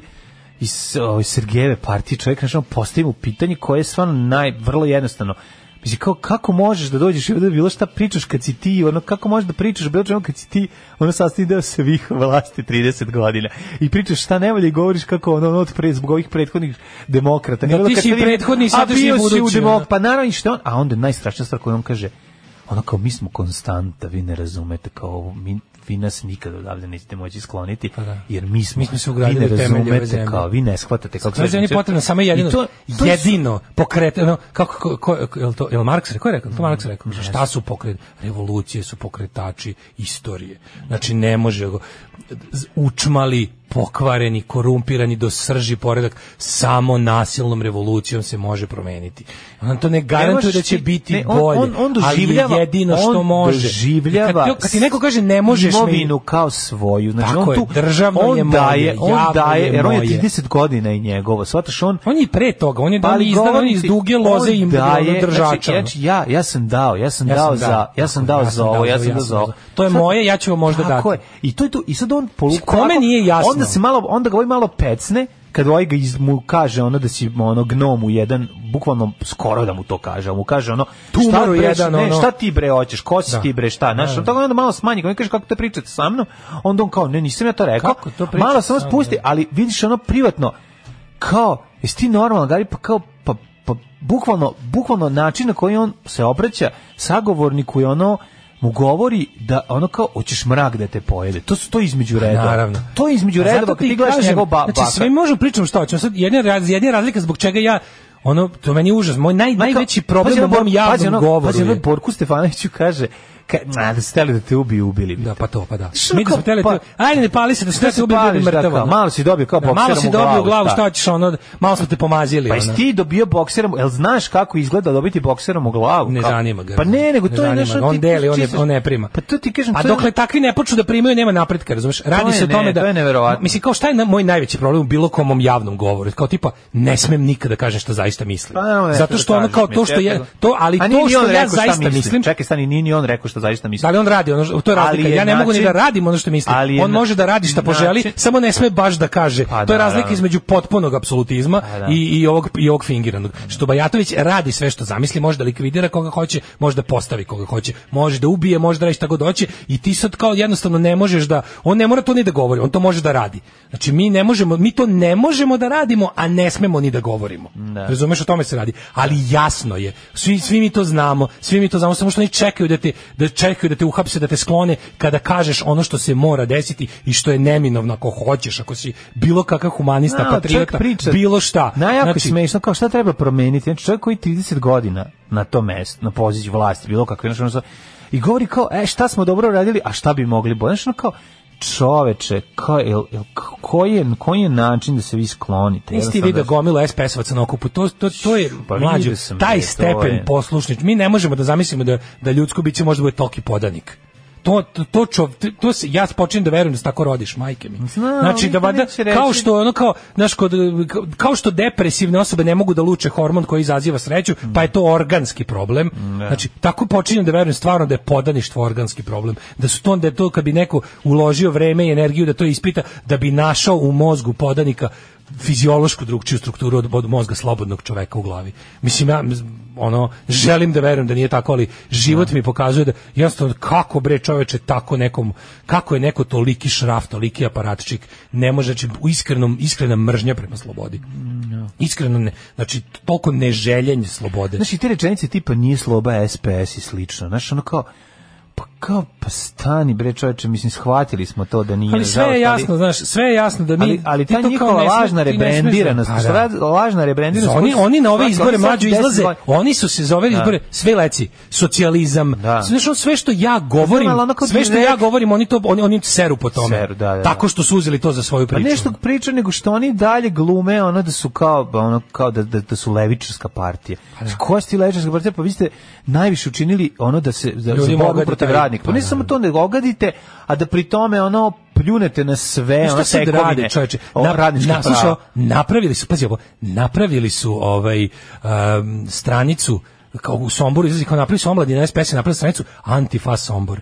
iz ovaj Sergejeve partije čovjek našao postavimo pitanje koje je stvarno naj vrlo jednostavno. Mislim, kao, kako možeš da dođeš i ovdje bilo šta pričaš kad si ti, ono, kako možeš da pričaš o bilo čemu kad si ti, ono, sastavni deo svih vlasti 30 godina. I pričaš šta nevalje i govoriš kako, ono, ono, od pre, zbog ovih prethodnih demokrata.
Da,
Nego
ti
kad
si
vidim,
prethodni,
a
sad još
bio
i
si u
budući,
demok-
ono.
Pa naravno, i što je on, a onda je najstrašnija stvar koju on kaže, ono kao mi smo konstanta, vi ne razumete kao ovo, mi vi nas nikada odavde nećete moći skloniti,
Pa da.
jer mi smo,
Mi smo se
vi
ugradili
ne
u temelje ove
razumete
zemlje.
kao, vi ne shvatate kako
Sve zemlji je potrebno samo jedino,
I to- to je-
jedino pokret, ono, kako, ko, ko, ko- jel to, jel Marks rekao, Ko je rekao, Jel to Marks rekao, šta su pokret, revolucije su pokretači istorije, znači ne može, go- z- učmali, pokvareni, korumpirani do srži poredak, samo nasilnom revolucijom se može promeniti. On to ne
Ne
garantuje
možeš
da će
ti-
biti
ne, on-
bolje,
on- on
ali je
doživljava-
jedino što
on
može.
doživljava
I Kad, ti- kad ti neko kaže ne možeš mi-
imovinu kao svoju. Znači,
Tako
on
je,
tu,
državno
on
je moje,
daje,
javno
on daje,
je
jer on je
moje.
30 godina i njegovo. Svataš, on
On je i pre toga, on je dao
ali
izdan, on je
govorim
iz
ti,
duge loze
Pa on
i
daje,
držača. ono.
Znači, ja, ću- ja, ja sam dao, ja sam dao za, ja sam dao za ovo, ja sam dao za ovo.
To je
Sad-
moje, ja ću vam možda dati.
Tako je. I to je to. I sad on polu-
Kome
ovako-
nije jasno?
Onda se malo onda ga ovaj malo pecne kad ovaj ga iz, mu kaže ono da si ono gnomu jedan bukvalno skoro da mu to kaže, a mu kaže ono
Tumoru
šta bre,
jedan,
ne,
ono."
šta ti bre hoćeš, ko si
Da.
ti bre, šta, znaš,
Da.
tako onda malo smanji, on kaže kako te pričate sa mnom, onda on kao ne, nisam ja to rekao.
Kako to pričate
malo samo
sa mnom,
spusti,
da.
ali vidiš ono privatno kao jesi ti normalan, Gari, pa kao pa, pa bukvalno, bukvalno način na koji on se obraća sagovorniku je ono mu govori da ono kao hoćeš mrak da te pojede. To su to je između redova.
Pa Naravno.
To je između
A zato
redova kad
ti
ti gledaš
kažem,
njegov ba,
Znači, sve možemo pričam šta hoćemo. Sad, jedna, raz- jedna je razlika zbog čega ja ono, to meni je užas. Moj naj, najveći problem u mom javnom govoru
ono Pazi, ono
je-
Borku Stefanoviću kaže ka, ma, da ste da te ubiju, ubili bi.
Da, pa to, pa da.
Što
Mi da smo
kao,
hteli
pa-
tu- ajde ne pali se da se
Šta
ne
se
ubije
pališ, da,
mrtavo.
kao, malo si dobio kao
Da, Malo
bokserom
si
u
dobio u
glavu,
glavu,
šta?
šta ćeš ono, malo smo te pomazili.
Pa
ono.
jesi ti dobio bokserom, jel znaš kako izgleda dobiti bokserom u glavu?
Ne
Kao-
zanima ga.
Pa ne, nego to je
zanima
nešto...
ga. On deli, on, je, on ne prima.
Pa to ti kažem...
A
to je-
dokle takvi ne počnu da primaju, nema napretka, razumeš? Radi
je
se o
ne-
tome da...
to je neverovatno.
Mislim, kao šta je na, moj najveći problem u bilo kom mom javnom govoru? Kao tipa, ne smem nikada kažem šta zaista mislim.
Pa naravno, ne
Zato
smeš
što
da
ono
kažeš,
kao to što
mislim,
je...
eto.
To, ali
A nije
to
ni
što
on
ja
rekao šta
zaista mislim...
Čekaj, stani, nije ni on rekao što zaista
Da
mislim.
li on radi ono, to je
Ali
razlika.
je
Ja ne mogu ni da
način-
radim ono što mislim.
ali je
On
na-
može da radi šta poželi,
način-
samo ne sme baš da kaže.
Pa
to je
da,
razlika
da.
između potpunog apsolutizma
Pa da.
i, i, ovog, i ovog fingiranog. Što Bajatović radi sve što zamisli, može da likvidira koga hoće, može da postavi koga hoće, može da ubije, može da radi šta god hoće i ti sad kao jednostavno ne možeš da, on ne mora to ni da govori, on to može da radi. Znači mi ne možemo, mi to ne možemo da radimo, a ne smemo ni da govorimo. Razumeš o tome se radi. Ali jasno je, svi, svi mi to znamo, svi mi to znamo, samo što oni čekaju da te, da čekaju da te uhapse, da te sklone kada kažeš ono što se mora desiti i što je neminovno ako hoćeš, ako si bilo kakav humanista,
A, čovjek
patriota,
priča-
bilo šta. Znači,
Najjako je smešno kao šta treba promeniti. Znači čovjek koji 30 godina na to mesto, na poziciji vlasti, bilo kakve, znači ono sa- i govori kao, e, šta smo dobro radili, a šta bi mogli bolje. Znači ono kao, čoveče, kao, jel, jel, k- koji, je, koji je način da se vi sklonite?
Nisi ti
Jednostavno
vidio
da-
gomilu SPS-ovaca na okupu, to, to, to je,
Pa vidio
mlađo,
sam,
taj
bre, to
stepen
je.
poslušnič. Mi ne možemo da zamislimo da, da ljudsko biće može da bude toki podanik. To, to, to, čov, to se, ja počinjem da verujem da se tako rodiš, majke mi.
Znam,
znači, da
niko
vada,
neće reći.
kao što ono kao, znaš, kod, kao što depresivne osobe ne mogu da luče hormon koji izaziva sreću, pa je to organski problem.
Mm,
Znači, tako počinjem da verujem stvarno da je podaništvo organski problem. Da su to, da je to kad bi neko uložio vreme i energiju da to ispita, da bi našao u mozgu podanika fiziološku drugčiju strukturu od, od mozga slobodnog čoveka u glavi. Mislim, ja ono, želim da verujem da nije tako, ali život mi pokazuje da jednostavno kako bre čoveče tako nekom, kako je neko toliki šraf, toliki aparatčik, ne može, znači u iskrenom, iskrena mržnja prema slobodi. Iskreno ne, znači toliko neželjenje slobode.
Znači te rečenice tipa nije sloba SPS i slično. Znaš ono kao, pa kao, pa stani bre čoveče, mislim, shvatili smo to da nije.
ali sve
nažalost,
je
ali-
jasno, znaš, sve je jasno da mi...
ali, ali
ti
ta
to kao
njihova
ne sme-
lažna
ti ne smeš da-
rebrandiranost,
Pa da.
sad lažna rebrandiranost.
Oni
koju su-
oni na ove
svaki-
izbore
oni sad
mlađu
deset
izlaze.
godina-
Oni su se za ove izbore sve leci, socijalizam.
Da.
Znaš ono, sve što ja govorim,
Znam, ali ono kao
sve što ja
direkt-
govorim, oni to oni oni seru po tome.
Seru, da, da, da.
Tako što su uzeli to za svoju
Pa
priču.
nešto priča nego što oni dalje glume ono da su kao ono kao da da, da su levičarska partija.
Pa
Koja ste levičarska partija? Pa vi ste najviše učinili ono da se da
Ljudima
za borbu
ogadi
protiv
taj-
radnika. Pa
Pa
ne
da,
samo
da.
to nego ogadite, a da pri tome ono pljunete na sve,
Znaš
ono
E šta se
tekovine,
radi, čoveče?
o, radnička
na, slušaj,
prava.
napravili su, pazi ovo, napravili su ovaj em, stranicu kao u Somboru, izlazi kao napravili su omladina SPS, je napravili stranicu Antifa Sombor.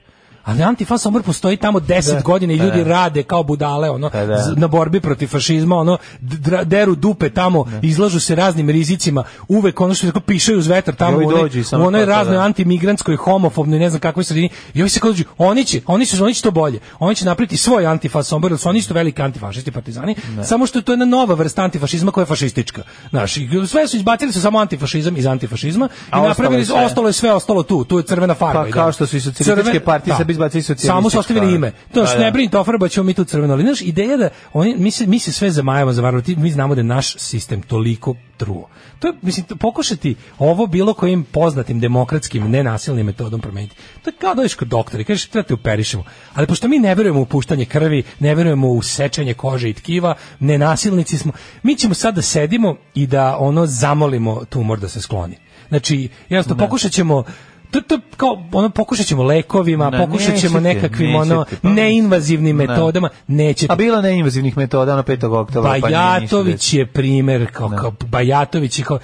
Ali Antifa Sombor postoji tamo 10 godina i ljudi rade kao budale ono
Pa da.
z- na borbi protiv fašizma, ono dra- deru dupe tamo, izlažu se raznim rizicima, uvek ono što se pišaju uz vetar tamo
I ovi
u onoj-
dođu i samo
u onoj
tako, da.
raznoj antimigrantskoj, homofobnoj, ne znam kakvoj sredini. I ovi se kao dođu, oni će, oni su oni će to bolje. Oni će napraviti svoj antifas sombor, jer su oni isto veliki antifašisti partizani, samo što je to jedna nova vrsta antifašizma koja je fašistička. Znaš, i sve su izbacili su samo antifašizam iz antifašizma
A
i
ostalo
napravili
je
su
sve.
ostalo je sve ostalo tu, tu je crvena farba.
Pa
i
kao
da.
što su i socijalističke
Crve-
partije sad bi izbacili
Samo su
socijalistička.
ostavili ime. To
Da,
što
da.
ne brinite, ofarbat ćemo mi tu crveno. Ali znaš, ideja da oni, mi, se, mi se sve zamajamo, zavaramo, ti, mi znamo da je naš sistem toliko truo. To je, mislim, to- pokušati ovo bilo kojim poznatim demokratskim, nenasilnim metodom promeniti. To je kao dođeš kod doktora i kažeš, treba te uperišemo. Ali pošto mi ne verujemo u puštanje krvi, ne verujemo u sečenje kože i tkiva, nenasilnici smo, mi ćemo sad da sedimo i da ono zamolimo tumor da se skloni. Znači, jednostavno, pokušat ćemo to, to kao ono pokušat ćemo lekovima,
Na,
pokušat ćemo
nećete,
nekakvim
nećete,
ono
pa-
neinvazivnim
Na.
metodama, nećete. Pa
A bilo je neinvazivnih metoda na 5. oktobra. pa nije ništa
Bajatović je primer kao, kao Bajatović je kao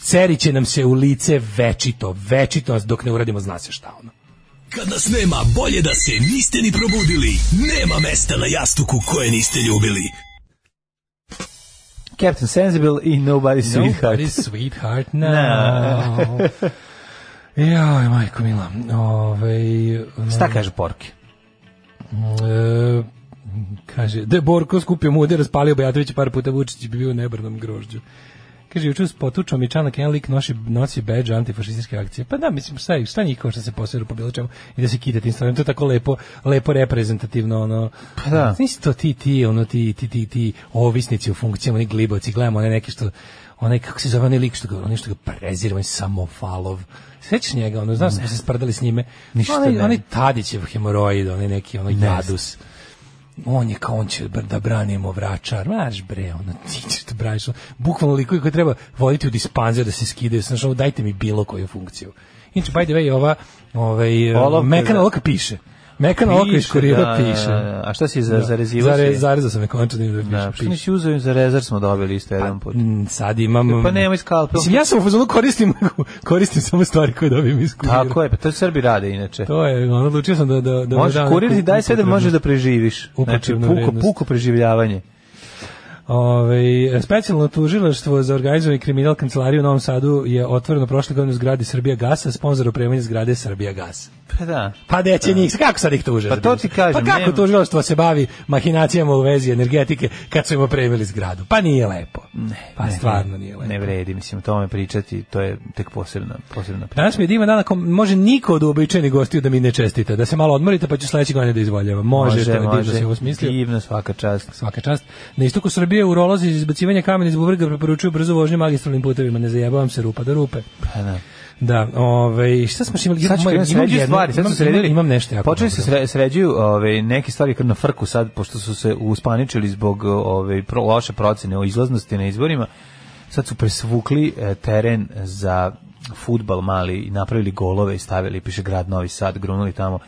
Ceri će nam se u lice večito, večito nas dok ne uradimo zna se šta ono.
Kad nas nema, bolje da se niste ni probudili. Nema mesta na jastuku koje niste ljubili.
desilo. Captain Sensible i Nobody Sweetheart.
Nobody's sweetheart now. Joj, majko mila. Ovaj, Ove,
Šta kaže Porki?
E, kaže, da je Borko skupio mude, raspalio Bajatović par puta Vučić bi bio u nebrnom grožđu. Kaže, juče potučao mi članak, jedan lik nosi, nosi badge antifašističke akcije. Pa da, mislim, šta, je- šta njihovo što se posveru po bilo čemu i da se kidate Instagram, to je tako lepo, lepo reprezentativno, ono,
Pa da.
Nisi to ti, ti, ono, ti, ti, ti, ti ovisnici u funkcijama, oni glibovci, gledamo one neke što, onaj, kako se zove, onaj lik što ga, onaj što ga prezira, on je samofalov. Sećaš njega, ono, znaš, smo se sprdali s njime.
Ništa
onaj,
ne.
onaj Tadićev hemoroid, onaj neki, onaj
znam.
jadus. On je kao, on će br- da branimo vračar. Maš bre, ono, ti ćeš da braniš. Bukvalno likovi koji treba voditi u dispanzer da se skidaju. Znaš, ono, dajte mi bilo koju funkciju. Inče, by the way, ova, ovaj,
Olovka,
mekana
da.
olovka piše. Mekana olovka iz kurira
da,
Pa piše.
da, da. A šta si za,
Da.
zarezivao?
Zare-
si?
zarezao sam je končano i da
Da,
piše,
što
piše.
nisi uzeo za rezar smo dobili isto jedan put.
Mm, sad imam...
Pa nemoj skalpel.
Mislim, ja sam u fazonu koristim, koristim samo stvari koje dobijem iz kurira.
Tako je, pa to Srbi rade inače.
To je, ono, odlučio sam da... da, da
Možeš
da-
kurir ti daj sve da
upotrebno.
možeš da preživiš. Znači,
Upotrebna
puko,
vrednost.
puko preživljavanje.
Ove, specijalno tužilaštvo za organizovani kriminal kancelarije u Novom Sadu je otvoreno prošle godine u zgradi Srbija Gasa, sponsor opremanja zgrade Srbija Gas.
Pa da.
Pa gde će njih, kako sad ih tuže?
Pa to ti kažem,
Pa kako
nema-
tužilaštvo se bavi mahinacijama u vezi energetike kad su im opremili zgradu? Pa nije lepo. Ne, pa stvarno nije lepo.
Ne vredi, mislim, o tome pričati, to je tek posebna, posebna priča.
Danas mi je divan dan ako može niko od uobičajenih gostiju da mi ne čestita, da se malo odmorite pa ću sledeće godine da izvoljava. Može, to je divno se osmislio.
Divno, svaka čast.
Svaka čast. Na istoku Srbije urolozi iz izbacivanja kamena iz bubrega preporučuju brzo vožnju magistralnim putevima, ne zajebavam se rupa do rupe.
Pa da.
Da, ovaj šta smo još imali?
Sad ću
Imam-
krenuti
imam
sređuju
jednu-
stvari, sad su
imam-
sredili.
imam- Imam nešto jako.
Počeli se
dobro.
sre- sređuju ove, neke stvari kad na frku sad, pošto su se uspaničili zbog ove, pro, loše procene o izlaznosti na izborima, sad su presvukli e, teren za futbal mali i napravili golove i stavili, piše grad Novi Sad, grunuli tamo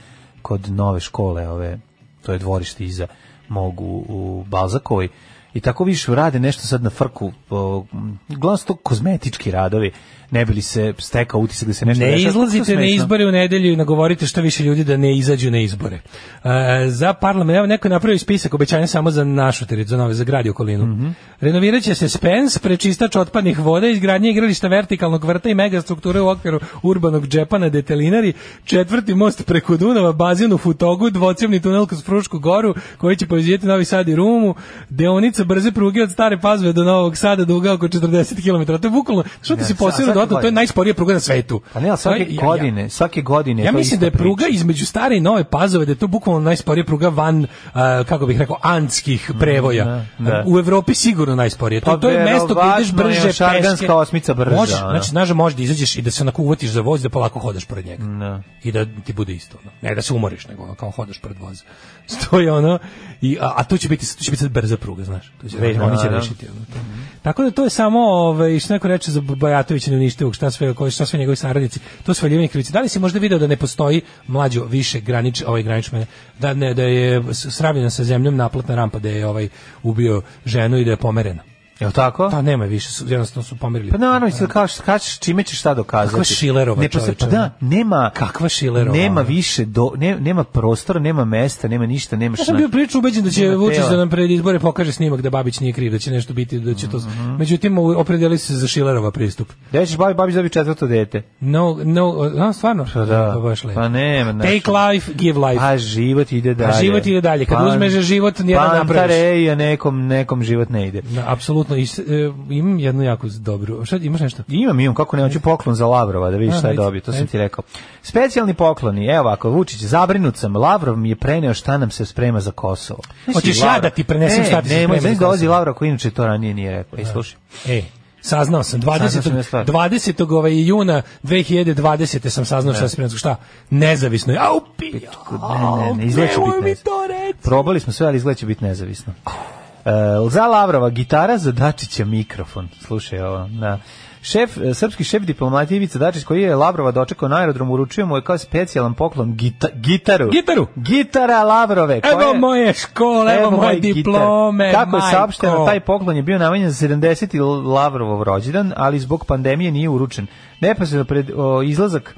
kod nove škole, ove, to je dvorište iza mogu u Balzakovoj i tako više rade nešto sad na frku o, m, uglavnom su to kozmetički radovi ne bi li se stekao utisak da se nešto
Ne
dešava. Što
izlazite
je
na
smešno?
izbore u nedelju i nagovorite što više ljudi da ne izađu na izbore. E, za parlament, evo neko je napravio spisak obećanja samo za našu teritoriju, za nove, za grad i okolinu.
Mhm.
Renovirat će se Spens, prečistač otpadnih voda, izgradnje igrališta vertikalnog vrta i megastrukture u okviru urbanog džepa na Detelinari, četvrti most preko Dunava, bazin u Futogu, dvocevni tunel kroz Frušku goru, koji će povezivati Novi Sad i Rumu, deonica brze pruge od Stare Pazve do Novog Sada, duga oko 40 km. To je bukvalno, što ti
Ne,
si
sa-
posebno
svake
dodatno, to je
godine.
najsporija pruga na svetu.
Pa ne, ali
To
svake
je- ja- ja-
godine, svake godine.
Ja
to
mislim da je
ista
pruga
priča.
između stare i nove pazove, da je to bukvalno najsporija pruga van, a, kako bih rekao, andskih prevoja.
Mm, da, da.
U Evropi sigurno najsporije. To,
Pa
to je mesto gde ideš
verovatno je
brže
Šarganska
peške.
osmica brža,
Možeš,
ono.
znači, znaš da možeš da izađeš i da se onako uvatiš za voz i da polako hodaš pored njega.
Da.
I da ti bude isto. Ono. Ne da se umoriš, nego ono, kao hodaš pored voza. To je ono, i, a, a to će biti, to će biti sad brza pruga, znaš. To će,
Da,
oni će
da.
rešiti. Ono, to. Tako da to je samo, ovaj, što neko reče za Bajatovića neuništivog, šta sve, koji šta sve njegovi saradnici, to su valjivanje krivice. Da li si možda video da ne postoji mlađo više granič, ovaj granič mene, da, ne, da je s- sravljena sa zemljom naplatna rampa da je ovaj ubio ženu i da je pomerena?
Jel tako?
Pa nema je više, su, jednostavno su pomerili.
Pa naravno, mislim, kao što kačeš, čime ćeš šta dokazati?
Kakva Šilerova,
ne, pa, se- pa
čoveče,
da, nema...
Kakva Šilerova,
Nema
ono.
više, do, ne, nema prostora, nema mesta, nema ništa, nema
Ja sam
na-
bio priču ubeđen da će
Nema
Vučić
tela.
da nam pred izbore pokaže snimak da Babić nije kriv, da će nešto biti, da će to...
Mhm.
Međutim, opredeli se za Šilerova pristup.
Da ćeš babi, babi dobi četvrto dete.
No, no, no, stvarno?
Pa da.
Pa baš lepo.
Pa nema, znači.
Take life, give life.
A život ide dalje.
život ide dalje. Kad uzmeš život, jedan napraviš.
Pantareja, nekom, nekom život ne ide.
Da, apsolutno. I, s- e, imam jednu jako dobru. Šta, imaš nešto?
Imam, imam, kako ne, hoću poklon za Lavrova, da vidiš
A,
šta je
vidi,
dobio, to sam
ajde.
ti rekao. Specijalni pokloni, evo ovako, Vučić, zabrinut sam, Lavrov mi je preneo šta nam se sprema za Kosovo. Znaš,
Hoćeš
i
ja
Lavrov-
da ti prenesem
Ne,
šta ti se
nemoj,
sprema za
znaš, dolazi
Kosovo?
Lavrov koji inače to ranije nije rekao. Ej, slušaj.
E, saznao sam. 20.
Saznao sam jednu stvar.
20. Ovaj, juna 2020. sam saznao šta se spremno. Šta? Nezavisno. je. Au, pija.
Ne, ne, ne, izgleda će biti
Nemoj mi
nezavisno.
to reći.
Probali smo sve, ali izgleda će biti nezavisno. E, za Lavrova gitara, za Dačića mikrofon. Slušaj ovo, da. Šef, e, srpski šef diplomatije Ivica Dačić koji je Lavrova dočekao na aerodromu uručio mu je kao specijalan poklon gita, gitaru.
Gitaru?
Gitara Lavrove. koja-
Evo moje škole, evo moje
Pa moje gitare.
diplome,
Kako je
majko.
saopšteno, taj poklon je bio namenjen za 70. Lavrovov rođendan, ali zbog pandemije nije uručen. Neposredno pred o, izlazak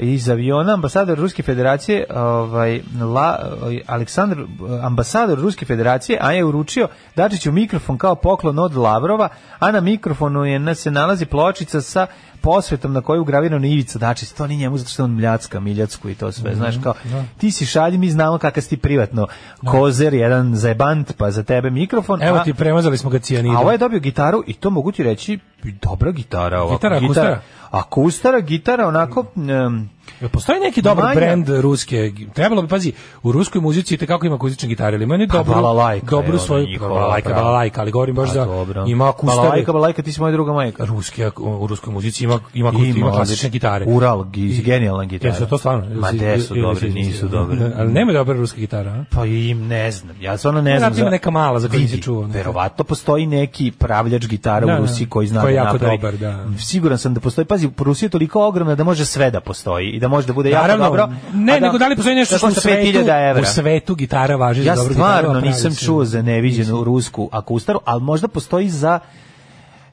iz aviona ambasador Ruske Federacije ovaj La, Aleksandar ambasador Ruske Federacije a je uručio Dačiću mikrofon kao poklon od Lavrova a na mikrofonu je na- se nalazi pločica sa posvetom na kojoj je ugravirano Ivica Dačić to ni njemu zato što je on mljacka miljacku i to sve znaš kao
Mhm, da.
ti si šalji mi znamo kakav si ti privatno kozer jedan zajebant pa za tebe mikrofon
Evo
a-
ti, premazali smo ga cijanidom.
a ovaj je dobio gitaru i to mogu ti reći, dobra gitara. Ovako,
Gitara, akustara?
Akustara, gitara, onako... em,
Jel Postoji neki dobar
Manja.
brend ruske, trebalo bi, pazi, u ruskoj muzici itekako ima akustične gitare, ali ima ne dobru,
balalajka Pa je
dobru
ona
svoju,
njihova,
balalajka,
pravo.
balalajka, ali govorim baš
Pa
za,
dobro.
ima akustare.
Balalajka, balalajka, ti si moja druga majka.
Ruski, ak- u ruskoj muzici ima, ima, akust- ima klasične
odlične.
gitare.
Ural, gi- genijalna gitara.
Jesu to stvarno?
Ma te su
Ili- ili-
dobri,
ili-
nisu dobri.
Ali nema dobra ruska gitara, a?
Pa im ne znam, ja stvarno ne znam.
Vjerojatno ima neka mala za koju
Vidi,
nisi čuo, ne?
Verovatno postoji neki pravljač gitara
Da, da.
u Rusiji koji zna
Koji je
da
jako
napravi.
dobar, da.
Siguran sam da postoji. Pazi, Rusija je toliko ogromna da može sve da postoji i da može da bude
Naravno,
jako dobro.
ne,
a
nego da li postoji nešto
da
što u
košta
svetu,
5000 evra.
u svetu gitara važi
Ja
za dobru gitaru, a
stvarno
pravi
nisam
se-
čuo za neviđenu rusku akustaru, ali možda postoji za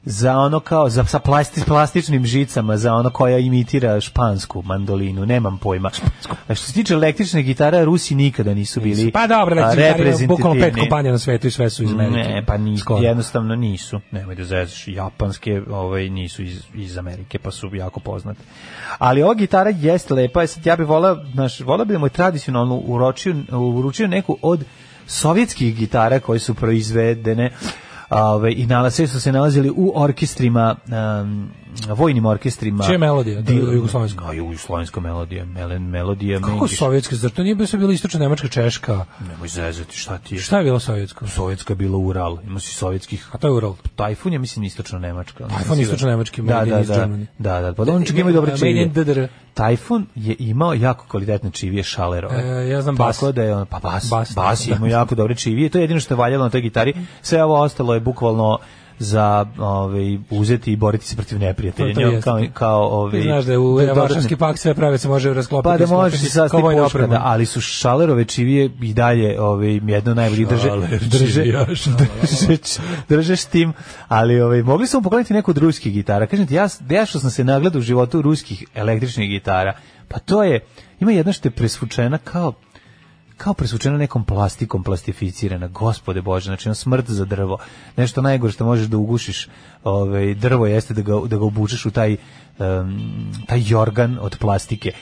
za ono kao za sa plasti, plastičnim žicama za ono koja imitira špansku mandolinu nemam pojma a što se tiče električne gitare Rusi nikada nisu bili
Pa dobro,
a,
električne gitare, ima
reprezentativni.
bukvalno pet kompanija na svetu i sve su iz Amerike.
ne pa nisu
Skoro.
jednostavno nisu nemoj da zezaš japanske ovaj nisu iz, iz Amerike pa su jako poznate ali ova gitara jeste lepa e sad ja bih voleo naš voleo bih da mu je tradicionalno uročio uručio neku od sovjetskih gitara koje su proizvedene Ove, i nalaze su se nalazili u orkestrima um, vojnim orkestrima
Čija je melodija?
Dil-
Da, jugoslovenska?
A, jugoslovenska melodija melen melodija
Kako
Mengiš.
sovjetske, zar to nije bilo sve bila istočna Nemačka, Češka?
nemoj zezati šta ti je
Šta je bilo sovjetsko?
sovjetska je bila Ural ima si sovjetskih
A to je Ural.
Tajfun je mislim istočno nemačka. ali
Tajfun
nisam
je
siguran.
istočnonemački,
Da,
Made
da,
in East
da.
Germany.
Da, da, pa da, oni čak imaju dobre
Made
čivije.
in DDR.
Tajfun je imao jako kvalitetne čivije šalerove.
E, ja znam bas.
Tako da je on, pa bas,
Bas,
bas,
da.
je imao jako dobre čivije. To je jedino što je valjalo na toj gitari. Sve ovo ostalo je bukvalno za ovaj uzeti i boriti se protiv neprijatelja
To- to jeste.
kao kao ovaj
Ti znaš da je u
dodatne-
Varšavski pak sve prave se može rasklopiti.
pa da
isklopiti
možeš i sad
kao vojna
poška,
oprema.
da, ali su šalerove čivije i dalje ovaj jedno od najboljih drže
Šaler
drže
čivija, šaler.
drže drže s tim, ali ovaj mogli smo pokloniti neku od ruskih gitara. Kažem ti ja ja što sam se nagledao u životu ruskih električnih gitara. Pa to je ima jedna što je presvučena kao kao presvučena nekom plastikom plastificirana, gospode bože, znači ono smrt za drvo. Nešto najgore što možeš da ugušiš ovaj, drvo jeste da ga, da ga obučeš u taj, em, taj jorgan od plastike.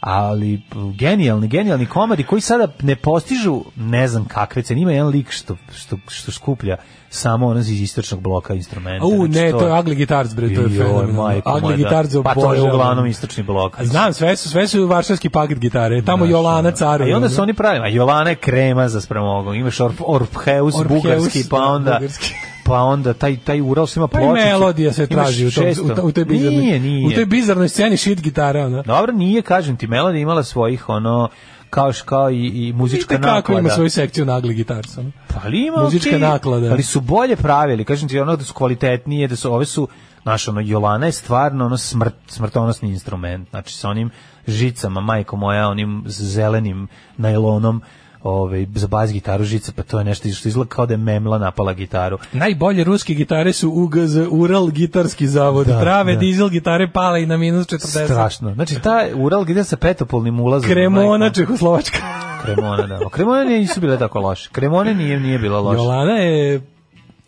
Ali p- genijalni, genijalni komadi koji sada ne postižu ne znam kakve cene. Ima jedan lik što, što, što skuplja samo ono iz istočnog bloka instrumenta.
U,
Znači,
ne, to je Ugly Guitars, bre, to je
Joj,
fenomenalno.
majko
Ugly
moja, da.
Guitars
Pa to je
obožavam.
uglavnom istočni blok.
Znam, sve su, sve su varšavski paket gitare. Tamo
Znaš,
Jolana
ono.
Caru.
A I onda su oni pravili, a Jolana je krema za spramogu. Imaš Orp, Orpheus,
Orpheus,
bugarski, pa
da,
onda
bugarski.
pa onda taj taj Ural što ima
Pa i
pločicu.
melodija se
imaš
traži u, tom, u,
šesto.
ta- u toj bizarnoj,
Nije, nije.
u toj bizarnoj sceni shit ono. gitara. Ona.
Dobro, nije, kažem ti, melodija imala svojih ono kao š- kao i, i muzička
Vidite kako
naklada.
ima svoju sekciju na Ugly Guitars. Ono.
Pa ali ima
Muzička
okej,
naklada.
Ali su bolje pravili, kažem ti, ono da su kvalitetnije, da su ove su Znaš, ono, Jolana je stvarno ono smrt, smrtonosni instrument, znači sa onim žicama, majko moja, onim zelenim najlonom ovaj, za bas gitaru žica, pa to je nešto što izgleda kao da je memla napala gitaru.
Najbolje ruske gitare su UGZ, Ural gitarski zavod.
Da,
Prave
da.
dizel gitare pale i na minus 40.
Strašno. Znači, ta Ural gdje sa petopolnim ulazom.
Kremona
majko.
Čehoslovačka.
Kremona, da. Kremona nije, nisu bile tako loše. Kremone nije, nije bila loše.
Jolana je...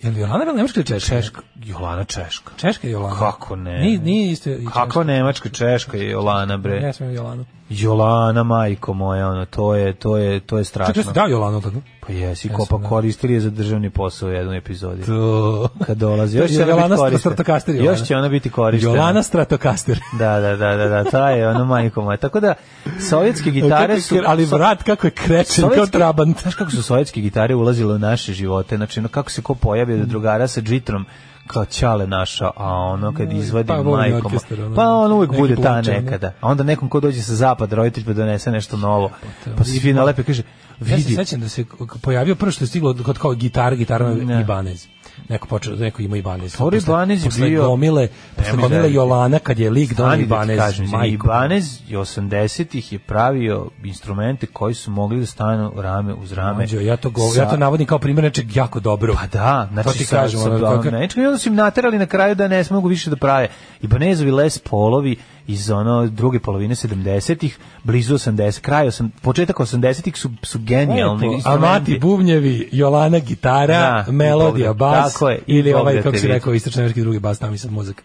Je li Jolana bila nemačka ili češka?
Češka. Jolana Češka.
Češka je Jolana.
Kako ne?
Nije, nije isto. i
Kako Nemačka, Češka i Jolana, bre.
češka. Ja sam Jolanu.
Jolana majko moja, ono to je to je to je strašno.
Čekaj, jesi dao Jolanu tako?
Pa jesi,
Ja
ko
sam,
pa
da.
koristili je za državni posao u jednoj epizodi.
To...
Kad dolazi, još će ona
Jolana
biti
Stratokaster,
korištena.
Jolana.
Još će ona biti korištena.
Jolana Stratokaster.
Da, da, da, da, da, ta je ono majko moja. Tako da, sovjetske gitare su...
Ali vrat kako je krećen, kao
Sovjetski-
trabant.
Znaš kako su sovjetske gitare ulazile u naše živote, znači ono kako se ko pojavi od drugara sa džitrom, kao ćale naša, a ono kad izvadi
pa
pa,
vojni
majkom,
orkestar, ono,
pa on uvek
neki
bude ta
plaća, ne?
nekada. A onda nekom ko dođe sa zapada, roditelj pa donese nešto novo, pa se svi nalepe i kaže,
Ja se
vidi,
sećam da se k- pojavio prvo što je stiglo kod kao gitar, gitarna
Ne.
Ibanez. neko počeo, neko ima Ibanez.
Flori
Posle-
Ibanez je
posle
bio-
Gomile,
Nemoj
posle gomile
veriti.
Jolana kad je lik Don
Stani da ti
Ibanez,
kažem, znači,
majko.
Ibanez je 80-ih je pravio instrumente koji su mogli da stanu rame uz rame.
Mlađo, ja to gov- ja to navodim kao primjer nečeg jako dobro.
Pa da, znači
to ti kažem,
sa,
ono,
sa,
kako-
nečega, i onda su im naterali na kraju da ne mogu više da prave. Ibanezovi Les Polovi iz ono druge polovine 70-ih, blizu 80, kraj 8, početak 80-ih su, su genijalni
Lepo,
instrumenti.
Amati bubnjevi, Jolana gitara,
Da,
melodija
i
bas,
tako je, i
ili ovaj,
pogledajte
kako si
vi.
rekao, istočnoamerički drugi bas, tamo i sad muzika.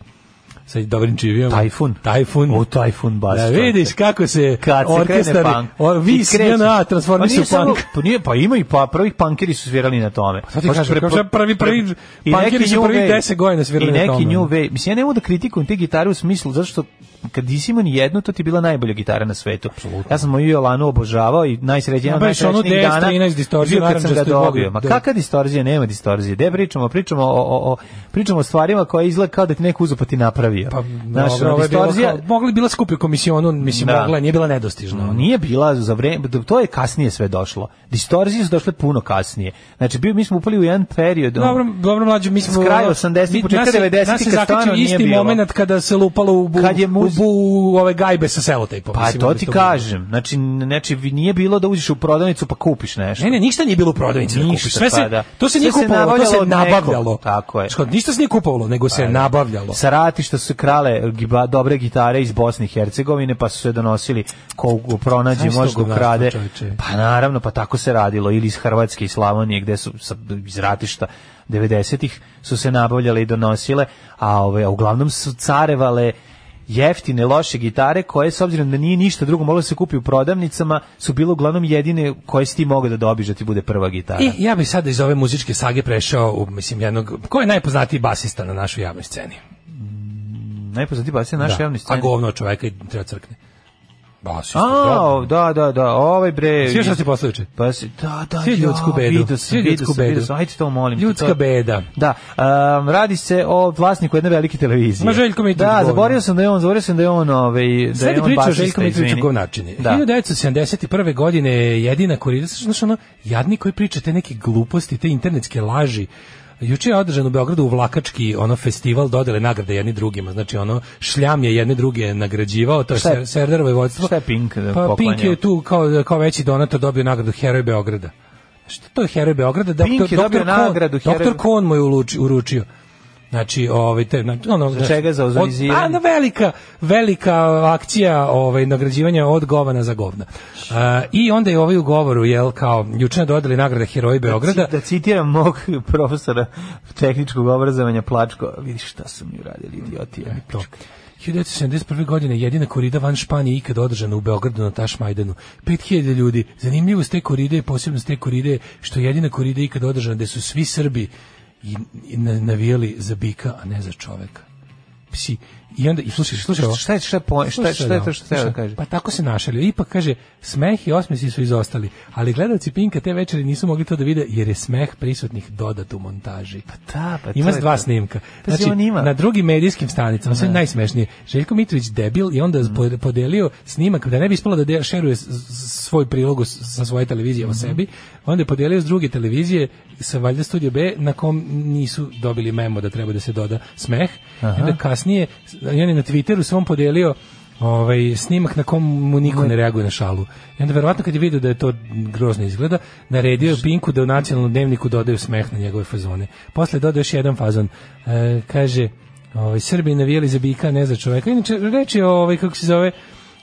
Sa dobrim čivijom.
Tajfun.
Tajfun.
O, Tajfun bas.
Da
čovječe.
vidiš kako se
Kad se krene
orkestar,
punk.
o, vi
I
s
kreće.
JNA transformiš
Pa nije
u punk. Pa
samo- Pa nije, pa ima i pa prvih punkeri su svirali na tome.
sad ti
Baš
kažem, kao šta prvi- prvi
i neki
punkeri su
new
prvih
wave.
10 godina svirali
I
na
neki
tome.
new wave. Mislim, ja ne mogu da kritikujem te gitare u smislu, zato što kad nisi imao ni jednu, to ti je bila najbolja gitara na svetu. Ja sam moju Jolanu obožavao i najsrećeniji
Ma,
od
baš ono
najsrećnijih
DS13
dana.
distorzija,
bio kad sam ga
narančastu i bogu.
dobio. Ma
Da.
kakva distorzija, nema distorzije. De pričamo, pričamo o, o, o, pričamo o stvarima koje izgleda kao da ti neko uzeo pa ti napravio. Pa,
Znaš, ovo je bilo kao- mogla je bila skuplju komisionu, mislim,
Da.
mogla, je, nije bila nedostižna.
No, Ono, Nije bila za vreme, to je kasnije sve došlo. Distorzije su došle puno kasnije. Znači, bio, mi smo upali u jedan period. ono-
Dobro, dobro mlađo, mi smo
S kraja
ono,
80-ih,
mi-
početka
nas je-
90-ih,
nas je
kad
zakačio
stvarno nije
isti
bilo.
momenat kada se lupalo u bu,
Kad je
u,
muz-
bu, u ove gajbe sa selotejpom.
Pa
mislim,
to
da bi
ti
bilo.
kažem. Znači, znači, vi- nije bilo da uđeš u prodavnicu pa kupiš nešto.
Ne, ne, ništa nije bilo u prodavnici da
Ništa,
kupiš. Sve se,
pa da.
to se
Sve
nije
se
kupovalo, to
nabavljalo
se
od nekog.
nabavljalo.
Tako je. Pa
Što, ništa se nije kupovalo, nego se nabavljalo.
Sa ratišta su se krale giba- dobre gitare iz Bosne i Hercegovine, pa su se donosili ko u pronađe
Znaš
može
što
da ukrade.
govorstvo, čovječe?
Pa naravno, pa tako se radilo. Ili iz Hrvatske i Slavonije, gde su sa, iz ratišta 90-ih su se nabavljale i donosile, a, ove, a uglavnom su carevale jeftine, loše gitare koje, s obzirom da nije ništa drugo moglo da se kupi u prodavnicama, su bile uglavnom jedine koje si ti mogao da dobiš da ti bude prva gitara.
I ja bih sada iz ove muzičke sage prešao u, mislim, jednog, ko je najpoznatiji basista na našoj javnoj sceni?
Najpoznatiji basista na našoj
Da.
javnoj sceni.
A govno od čoveka i treba crkne. Basista,
A,
dobro.
o, da, da, da, ovaj bre.
Sviđa šta si poslao juče?
Pa si, da, da,
Svi ljudsku
ja,
bedu.
Vidio sam,
Svi
vidio
ljudsku
sam, vidio
bedu.
sam, ajde to molim. te,
Ljudska
to-
beda.
Da, um, radi se o vlasniku jedne velike televizije.
Ma, Željko Mitrović
Da,
govna.
zaboravio sam da je on, zaboravio sam da je on, ovaj, da
Sad
je
je
on
priča o
basista,
Željko Mitroviću
izvini.
Govnačini.
Da.
1971. godine je jedina kurira, znaš ono, jadni koji priča te neke gluposti, te internetske laži, Juče je održan u Beogradu u Vlakački ono festival dodele nagrade jedni drugima. Znači ono šljam je jedne druge nagrađivao, to je,
Šta je-
Ser- Serdarovo vodstvo.
šta je Pink, e,
Pa Pink
poklanjao?
je tu kao kao veći donator dobio nagradu Heroj Beograda. Što to je Heroj Beograda? Doktor,
Pink je dobio
doktor Kon-
nagradu Heroj-
Doktor Kon mu je uluči- uručio. Znači, ovaj te, znači, ono,
Za čega? Za ozoniziranje?
Od- a, na velika, velika akcija ovaj, nagrađivanja od govana za govna. A, I onda je ovaj u govoru, jel, kao, juče dodali nagrada Heroji Beograda,
Da citiram mog profesora tehničkog obrazovanja Plačko, vidi šta su mi uradili idioti. jedni.
E, to. 1971. godine jedina korida van Španije ikad održana u Beogradu na Tašmajdanu. 5000 ljudi. Zanimljivo s te koride i posebno s te koride je što je jedina korida ikad održana gde su svi Srbi i, i na- navijali za bika, a ne za čoveka. Psi. I onda, i slušaj, slušaj, ovo.
Šta je, šta je, po- šta, je- šta je to što treba da
Slušaj,
kaže?
Pa tako se našalio. Ipak kaže, smeh i osmesi su izostali, ali gledalci Pinka te večeri nisu mogli to da vide jer je smeh prisutnih dodat u montaži. Pa
da, pa to
ima
je
dva
to.
snimka. Znači,
Pazi, on ima.
na drugim medijskim stanicama, sve najsmešnije. Željko Mitrović debil i
Mm.
onda po- podelio snimak da ne bi ispalo da de- šeruje s- s- svoj prilog s- sa svoje televizije
Mm-hmm.
o sebi. Onda je podelio s druge televizije sa valjda Studio B na kom nisu dobili memo da treba da se doda smeh. I onda kasnije i on je na Twitteru svom podelio ovaj snimak na kom mu niko ne reaguje na šalu. I onda verovatno kad je video da je to grozno izgleda, naredio je Pinku da u nacionalnom dnevniku dodaju smeh na njegove fazone. Posle je dodao još jedan fazon. E, kaže, ovaj, Srbi navijali za bika, a ne za čoveka. Inače, reč je o, ovaj, kako se zove,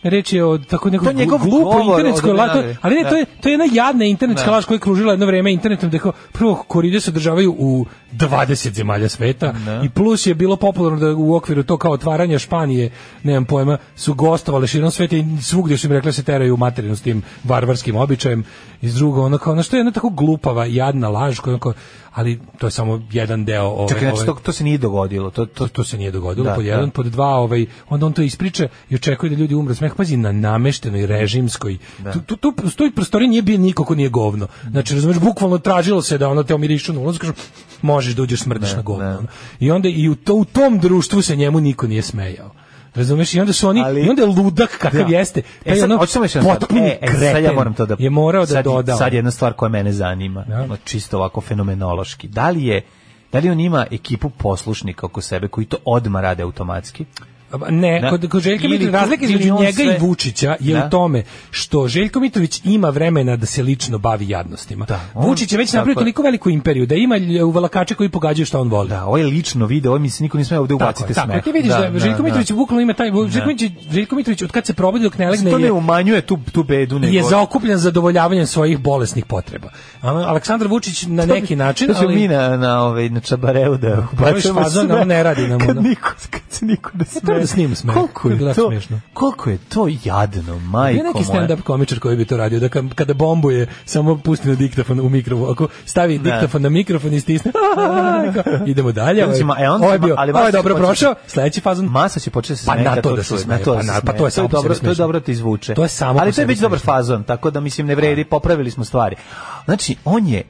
reč je o tako nekom
To je njegov
glu- glupo
govor
internetskoj
od
laži,
Benade.
ali ne, to je, to je jedna jadna internetska
Da.
laž koja je kružila jedno vreme internetom, da je kao, prvo koride se održavaju u 20 zemalja sveta i plus je bilo popularno da u okviru to kao otvaranja Španije, nemam pojma, su gostovale širom sveta i svugdje su im rekli da se teraju u materinu s tim varvarskim običajem i s drugo, ono kao, ono što je jedna tako glupava, jadna laž koja je onako, ali to je samo jedan deo ove,
Čekaj, znači,
ove-
to, to se nije dogodilo. To, to,
ovaj. to, to se nije dogodilo
Da,
pod jedan,
da.
pod dva, ovaj onda on to ispriča i očekuje da ljudi umru od smeha. Pazi na nameštenoj režimskoj. Tu tu tu u toj prostoriji nije bio niko ko nije govno.
Mhm.
Znači razumeš bukvalno tražilo se da ono te omirišu na ulazu, kažu možeš da uđeš smrdiš na govno. ono. I onda i u, to, u tom društvu se njemu niko nije smejao. Razumeš? I onda su oni
Ali-
i onda je ludak kakav
Da.
jeste.
E,
je
sad,
ono
hoću samo još jednu stvar.
potpuni
E, e, sad ja
kreten
moram to da...
je morao da
sad,
doda.
Sad jedna stvar koja mene zanima,
Da.
ono, čisto ovako fenomenološki. Da li je Da li on ima ekipu poslušnika oko sebe koji to odma rade automatski?
Pa, Ne,
Da.
kod, kod Željka
Ili
Mitrović,
ko-
razlika
ili
između
on
njega
sve-
i Vučića je
Da.
u tome što Željko Mitrović ima vremena da se lično bavi jadnostima.
on-
Vučić je već
tako
napravio
je.
toliko veliku imperiju da ima lj- uvalakače koji pogađaju šta on voli. Da,
ovo je lično video, ovo mi se niko ne sme ovde ubacite
tako,
smeh.
Ti vidiš da, Željko Mitrović bukvalno ima taj...
Da.
Željko Mitrović, Željko Mitrović od kad se probudi dok ne legne
To ne
je,
umanjuje tu, tu bedu. Nego...
je zaokupljen zadovoljavanjem svojih bolesnih potreba. A Aleksandar Vučić na neki način...
To ćemo
ali-
mi na, na, ovaj, na čabareu da ubacimo
fazon,
sve.
on ne radi nam
Kad
ono.
niko, kad se niko ne sme.
da snimam smeh.
Koliko
To je
je
bilo
to,
smešno.
koliko je to jadno,
Bio
majko
neki
moja.
stand-up komičar koji bi to radio, da kad- kada bombuje, samo pusti na diktafon u mikrofon, ako stavi diktafon na mikrofon i stisne, idemo dalje,
Onda
ovaj,
će ma- e, onda
ovo je
će ma-
bio,
ali
ovo je
masa će
dobro
početi-
prošao, sledeći fazon,
Masa će početi da se
Pa
smeje
na
kad
to da se
čuje,
smeje,
da
pa
se
na- pa
smeje.
to je samo po
dobro,
sebi
to je
smešno.
dobro da te izvuče.
To je samo
Ali
po
to je
sebi
već dobar
smešno.
fazon, tako da mislim ne vredi, popravili smo stvari. Znači, on je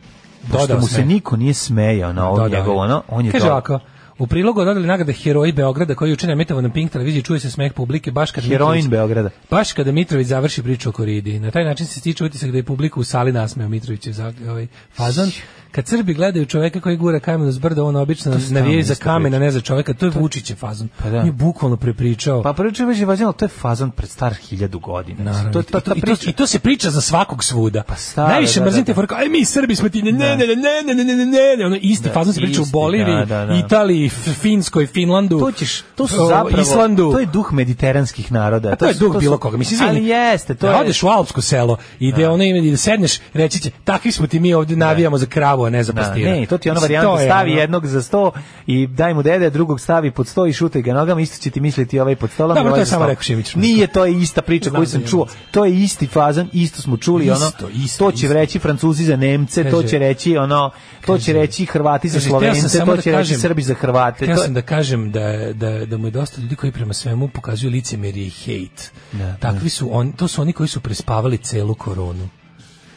Pošto
Dodao
mu se
smeh.
niko nije smejao na ovo
Dodao je.
njegovo, ono, on je
Kaže
to-
ovako, u prilogu dodali nagrade Heroji Beograda koji je juče emitova na Pink televiziji čuje se smeh publike baš kad
Heroin
Mitrović-
Beograda.
Baš kada Mitrović završi priču o Koridi. Na taj način se stiče utisak da je publika u sali nasmeo Mitrovićev za, ovaj fazon. Kad Srbi gledaju čoveka koji gura kamen uz brdo, on obično navijaju za
ista
kamen,
priča.
a ne za čoveka. To je Vučićev fazon.
Pa da.
On je bukvalno prepričao.
Pa priča već je važno, ali to je fazon pred star hiljadu godina.
Naravno.
To, pa to,
I, to, i, to, i to se priča za svakog svuda. Pa
stara,
Najviše
da,
mrzim
da,
te
da.
forke, aj mi Srbi smo ti, ne, ne, ne, ne, ne, ne, ne, ne, ne, ono isti
Da,
fazon se priča u
isti,
Boliviji,
da, da, da.
Italiji, F- Finskoj, Finlandu,
To ćeš, to su
o,
zapravo,
Islandu.
to je duh mediteranskih naroda.
A to je
su-
duh
su-
bilo koga. Mislim, izvini.
Ali jeste, to
da
je...
odeš u alpsko selo i da ono ime i da sedneš, reći će, takvi smo ti mi ovdje navijamo za kravu, a ne za
Da,
pastira.
ne, to ti je ona
Mislim,
varijanta,
to je
stavi
ono-
jednog za sto i daj mu dede, drugog stavi pod sto i šutaj ga nogama, isto će ti misliti ovaj pod stolom.
Dobro,
i ovaj
to je
za
samo
stolom.
rekao Šimić.
Nije, to je ista priča
Znam
koju
da
sam
je
čuo. To je isti fazan, isto smo čuli,
Isto,
ono,
isto,
to će
isto.
reći francuzi za Nemce, to
Kaže-
će reći, ono, to će reći Hrvati za
Kaže, hteo sam
Slovence,
samo
to
da
će reći
kažem-
Srbi za Hrvate.
Htio
to-
sam da kažem da, da, da mu je dosta ljudi koji prema svemu pokazuju licemerje i hejt. Takvi su on, to su oni koji su prespavali celu koronu.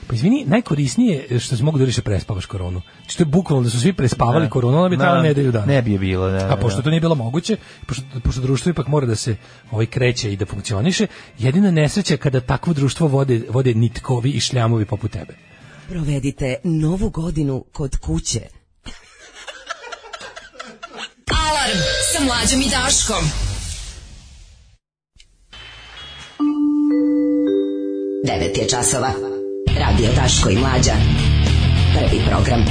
Pa izvini, najkorisnije je što se mogu da reći da prespavaš koronu. Znači to je bukvalno da su svi prespavali
Da.
koronu, ona bi
Da,
trajala nedelju dana.
Ne bi je bilo, da, da.
A pošto to nije bilo moguće, pošto, pošto društvo ipak mora da se ovaj kreće i da funkcioniše, jedina nesreća je kada takvo društvo vode, vode nitkovi i šljamovi poput tebe.
Provedite novu godinu kod kuće.
Alarm sa mlađom i Daškom.
Devet je časova. Radio Daško i Mlađa. Prvi program.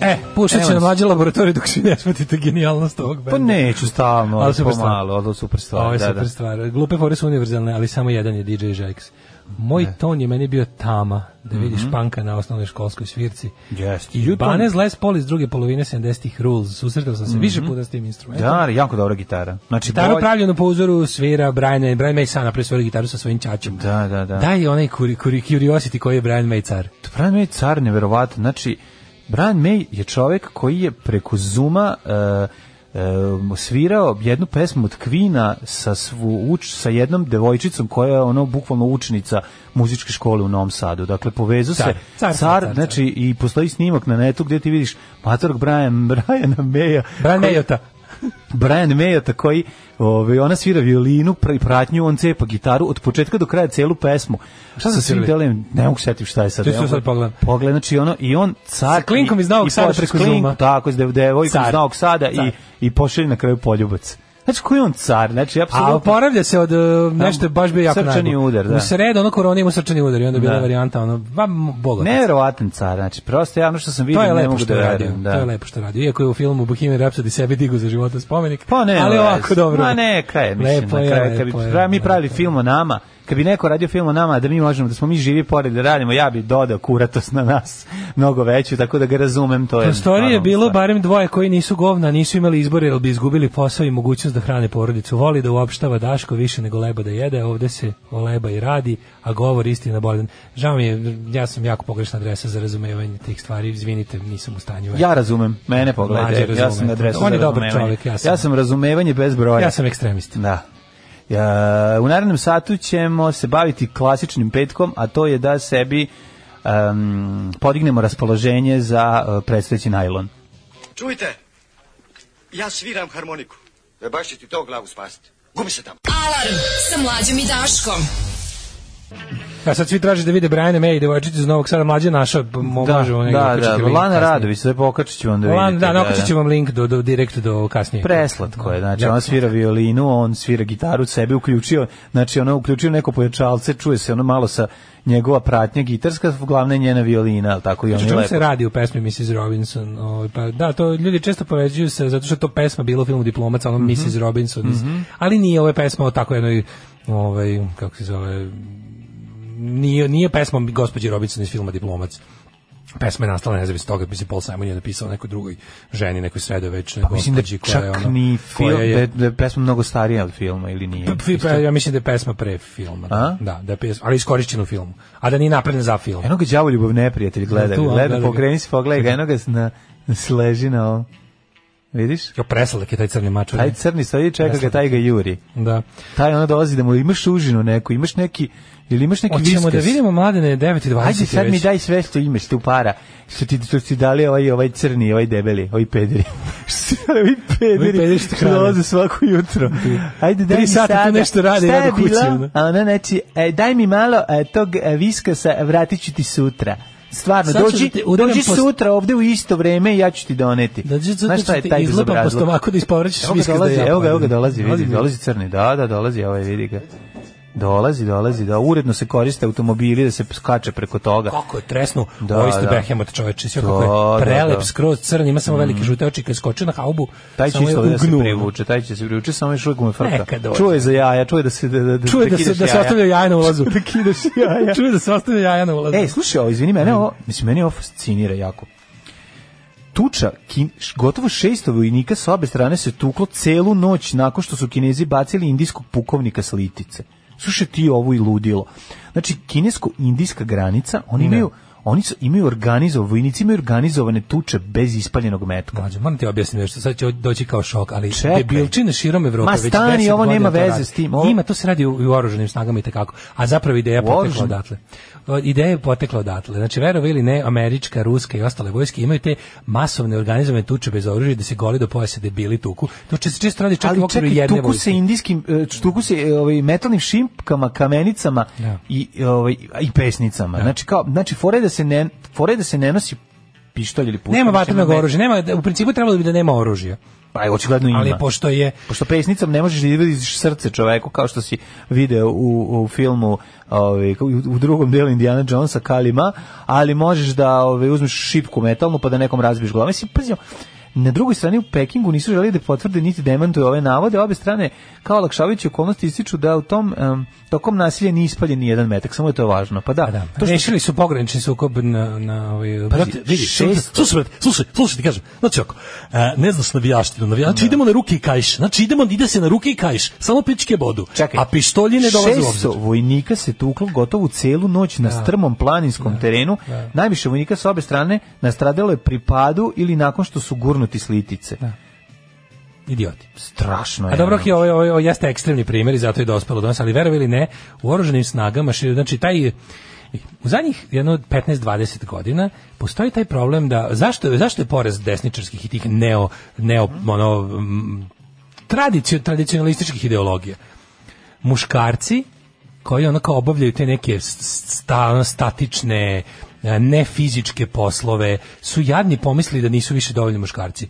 E, pušat
Evo
će na
nas.
mlađe laboratorije dok svi ne shvatite genijalnost ovog benda.
Pa neću stalno,
Ali
ali
super stvar.
pomalo, ali super stvar.
Ovo je
da,
super
da.
stvar. Glupe fore su univerzalne, ali samo jedan je DJ Jax. Moj
E.
ton je meni bio tama, da vidiš panka na osnovnoj školskoj svirci.
Mhm. Jeste.
I Banez Les Paul iz druge polovine 70-ih Rules. Susretao sam se više puta s tim instrumentom.
Mhm. Da, jako dobra gitara. Znači,
Gitaru
bolj-
pravljenu po uzoru svira Brian, Brian May sam napravio svoju gitaru sa svojim ćaćom.
Da, da, da.
Daj onaj kuri, kuri, curiosity koji je Brian May car.
Brian May je car neverovatno. Znači, Brian May je čovek koji je preko Zuma e, e, svirao jednu pesmu od Kvina sa svu uč sa jednom devojčicom koja je ono bukvalno učenica muzičke škole u Novom Sadu. Dakle povezao se
Car. Car, car, car,
znači i postoji snimak na netu gdje ti vidiš matorog Brian Briana Maya.
Brian
koji-
Mayota.
Brian Mayota koji ovaj ona svira violinu, pra- pratnju, on cepa gitaru od početka do kraja celu pesmu.
Šta
sa
su
svim
svirali?
delom, ne mogu se setim šta je sad.
Ti ću
evo,
sad pogledam.
Pogled, znači ono i on car
Sa klinkom iz Novog
i- i
Sada
pošalje
preko
klinku,
Zooma.
Tako, s dev- devojkom
Car.
iz Novog Sada
Car.
i i pošalje na kraju poljubac. Znači koji je on car? Znači
A
apsolutno
oporavlja se od uh, nešto je baš bio jako
Srčani
najbolj.
udar, da.
U sredu ono korona ima srčani udar i onda je bila
Da.
varijanta ono, ba, m, boga.
neverovatan car, znači prosto javno što sam
to
vidio
je
ne
lepo
mogu
što
da
je radio.
verujem,
To je
da.
lepo što je radio. Iako je u filmu Bohemian Rhapsody sebi digu za života spomenik.
Pa ne,
ali
veze.
ovako dobro.
Ma ne, kaj, je, mislim,
Lepo
na
je,
kraju, kad bi
lepo je,
pravi- mi
lepo
pravili
je.
film o nama, kad bi neko radio film o nama, da mi možemo, da smo mi živi pored da radimo, ja bi dodao kuratost na nas mnogo veću, tako da ga razumem, to je...
Prostorije je
normalna
bilo
stvar.
barem dvoje koji nisu govna, a nisu imali izbor jer bi izgubili posao i mogućnost da hrane porodicu. Voli da uopštava Daško više nego leba da jede, ovde se leba i radi, a govor istina bolan. Žao mi je, ja sam jako pogrešna adresa za razumevanje tih stvari, izvinite, nisam u stanju.
Ja razumem, mene
Mlađe
pogledaj, ja
razume.
sam na adresu
On je
za
dobar
razumevanje.
čovjek, ja sam-
ja sam razumevanje bez broja.
ja sam ekstremista.
Da. Ja, u narednom satu ćemo se baviti klasičnim petkom, a to je da sebi em, podignemo raspoloženje za uh, predstojeći najlon.
Čujte, ja sviram harmoniku. E baš će ti to glavu spasiti. Gubi se tamo.
Alarm sa mlađom i Daškom.
Ja sad svi traže da vide Brian May, devojčicu iz Novog Sada, mlađa naša, da, možemo negdje
da, da,
okačiti link
Lana
kasnije.
Radović, sve pokačit ću vam da
Lan-
vidite.
da, naokačit ću vam link do, do, direkt do kasnije.
Preslatko je, znači
Da.
ona svira violinu, on svira gitaru, sebe uključio, znači ona uključio neko pojačalce, čuje se ono malo sa njegova pratnja gitarska, glavna je njena violina, ali tako i on
Znači, o
je
čemu
lepo.
se radi u pesmi Mrs. Robinson? Ovaj, pa, da, to ljudi često poveđuju se, zato što je to pesma bilo u filmu Diplomac, ono Mrs. Robinson. iz-
Mhm.
Ali nije ova pesma o tako jednoj, ovaj, kako se zove, nije, nije pesma gospođe Robinson iz filma Diplomac. Pesma je nastala nezavisno toga, mislim, Paul Simon je napisao nekoj drugoj ženi, nekoj sredovečnoj
Pa mislim da
gospođi koja je
čak
ono...
ni film,
koja je-
da je, da je pesma mnogo starija od filma ili nije.
Pa, fi- pa, ja mislim da je pesma pre filma. Da, da, da je pesma, ali iskorišćena u filmu. A da nije napravljena za film.
Eno ga đavo ljubav neprijatelj gleda,
Tu, a,
gleda,
gleda ga.
pokreni se, pogledaj ga, eno ga na, na sleži na ovom. Vidiš?
Jo, preslak je taj crni mač.
Taj crni stoji, čeka ga,
Presladak.
taj ga juri.
Da.
Taj ono dolazi da mu imaš užinu neku, imaš neki, ili imaš neki
Hoćemo
viskas.
da vidimo mladene 9 i 20.
Ajde, sad mi daj sve što imaš tu para. Što ti, što ti dali ovaj, ovaj crni, ovaj debeli, ovaj pederi. što ti dali ovaj pederi,
Ovi pederi što hrane.
dolaze svako jutro. Ajde, daj
Tri
mi
sata tu
sada.
nešto rade,
Šta je
jedu kući,
bilo?
ono.
A ona znači, e, daj mi malo e, tog e, viskasa, vratit ću ti sutra. Stvarno,
Sad ću
dođi,
da te udaram
dođi
po-
sutra ovde u isto vreme i ja ću ti doneti.
Dođi sutra
Znaš šta
ću
je
ti
taj
izlupam po
bezobrazluk?
stomaku da isporačiš
Evo ga
viskas da
dolazi,
ja
Evo ga, evo ga
pojedem.
dolazi,
Dolazi
vidi,
mi.
dolazi crni, da, da, dolazi, ovaj, vidi ga. Dolazi, dolazi, da, uredno se koriste automobili da se skače preko toga.
Kako je tresno, da, ovo isto da. Behemoth čoveče, sve kako
Da, da,
je prelep,
da. Mm.
skroz crn, ima samo velike žute oči, kad skoče na haubu,
Taj će
samo je
isto da se
ugnuo.
privuče, taj će se privuče, samo još uvijek mu je frka.
Neka dođe.
Čuje za jaja, čuje da se da, da, da,
Čuje da, se,
kidaš
da se
jaja.
ostavljaju jaja na ulazu.
da kidaš jaja.
Čuje da se ostavljaju jaja na ulazu.
Ej, E, slušaj, ovo, izvini, mene ovo, mislim, meni ovo fascinira jako. Tuča, kin, š- gotovo 600 vojnika sa obe strane se tuklo celu noć nakon što su Kinezi bacili indijskog pukovnika s litice. Slušaj ti ovo i ludilo. Znači, kinesko-indijska granica, oni imaju... Oni su, imaju organizovane, vojnici imaju organizovane tuče bez ispaljenog metka.
Mlađe, moram ti objasniti nešto, sad će ovo doći kao šok, ali
Čekaj.
debilčine širom Evrope.
Ma
već
stani,
10
ovo
godina
nema
to
veze
radi.
s tim, ovo-
Ima, to se radi u, u oruženim snagama i tekako. A zapravo ideja
U
potekla
oružanim?
odatle. O, Ideja je potekla odatle. Znači, verovi ili ne, američka, ruska i ostale vojske imaju te masovne organizovane tuče bez oružja da se goli do pojasa debili tuku. To će se često radi čak i u
ali
okviru
čekaj,
jedne
tuku
vojske.
se indijskim, e, tuku se e, ovaj, metalnim šimpkama, kamenicama i, e, ovaj, i pesnicama. Znači, kao, znači fore da se ne, fore da se ne nosi pištolj ili puška.
Nema
znači,
vatrenog
ne-
oružja, nema, u principu trebalo bi da nema oružja.
Pa je, očigledno ima.
Ali pošto je
Pošto pesnicom ne možeš da izvadiš srce čoveku, kao što si video u, u filmu ovaj, kao i u, u drugom delu Indiana Jonesa, Kalima, ali možeš da ovaj, uzmeš šipku metalnu pa da nekom razbiješ glavu. Mislim, pazimo, na drugoj strani u Pekingu nisu želi da potvrde niti demantuju ove navode, obe strane kao lakšavajući okolnosti ističu da u tom em, tokom nasilja nije ispaljen ni jedan metak, samo je to važno. Pa da, to što Pa
Rešili su pogranični sukob na, na ovaj,
Pazi,
brate, vidi,
šest-
slušaj, brate, slušaj, slušaj, ti kažem. Znači ako, e, ne znaš navijaštinu, navijači, znači idemo na ruke i kajš. Znači idemo, ide se na ruke i kajš, samo pičke bodu. A pištolji ne dolaze u obzir.
600 vojnika se tuklo gotovo celu noć na strmom planinskom terenu. Najviše vojnika sa obe strane nastradalo je pri padu ili nakon što su gurnuti s litice.
Idioti.
Strašno je. ono.
A dobro, okej, ovo, je- ovo, je- ovo jeste ekstremni primjer i zato je dospelo do nas, ali verovali ili ne, u oruženim snagama, šir- znači taj u zadnjih jedno 15-20 godina postoji taj problem da zašto, zašto je porez desničarskih i tih neo, neo ono, mm, tradicio, tradicionalističkih ideologija. Muškarci koji ono kao obavljaju te neke sta, ono, statične, e, nefizičke poslove, su jadni pomislili da nisu više dovoljni muškarci.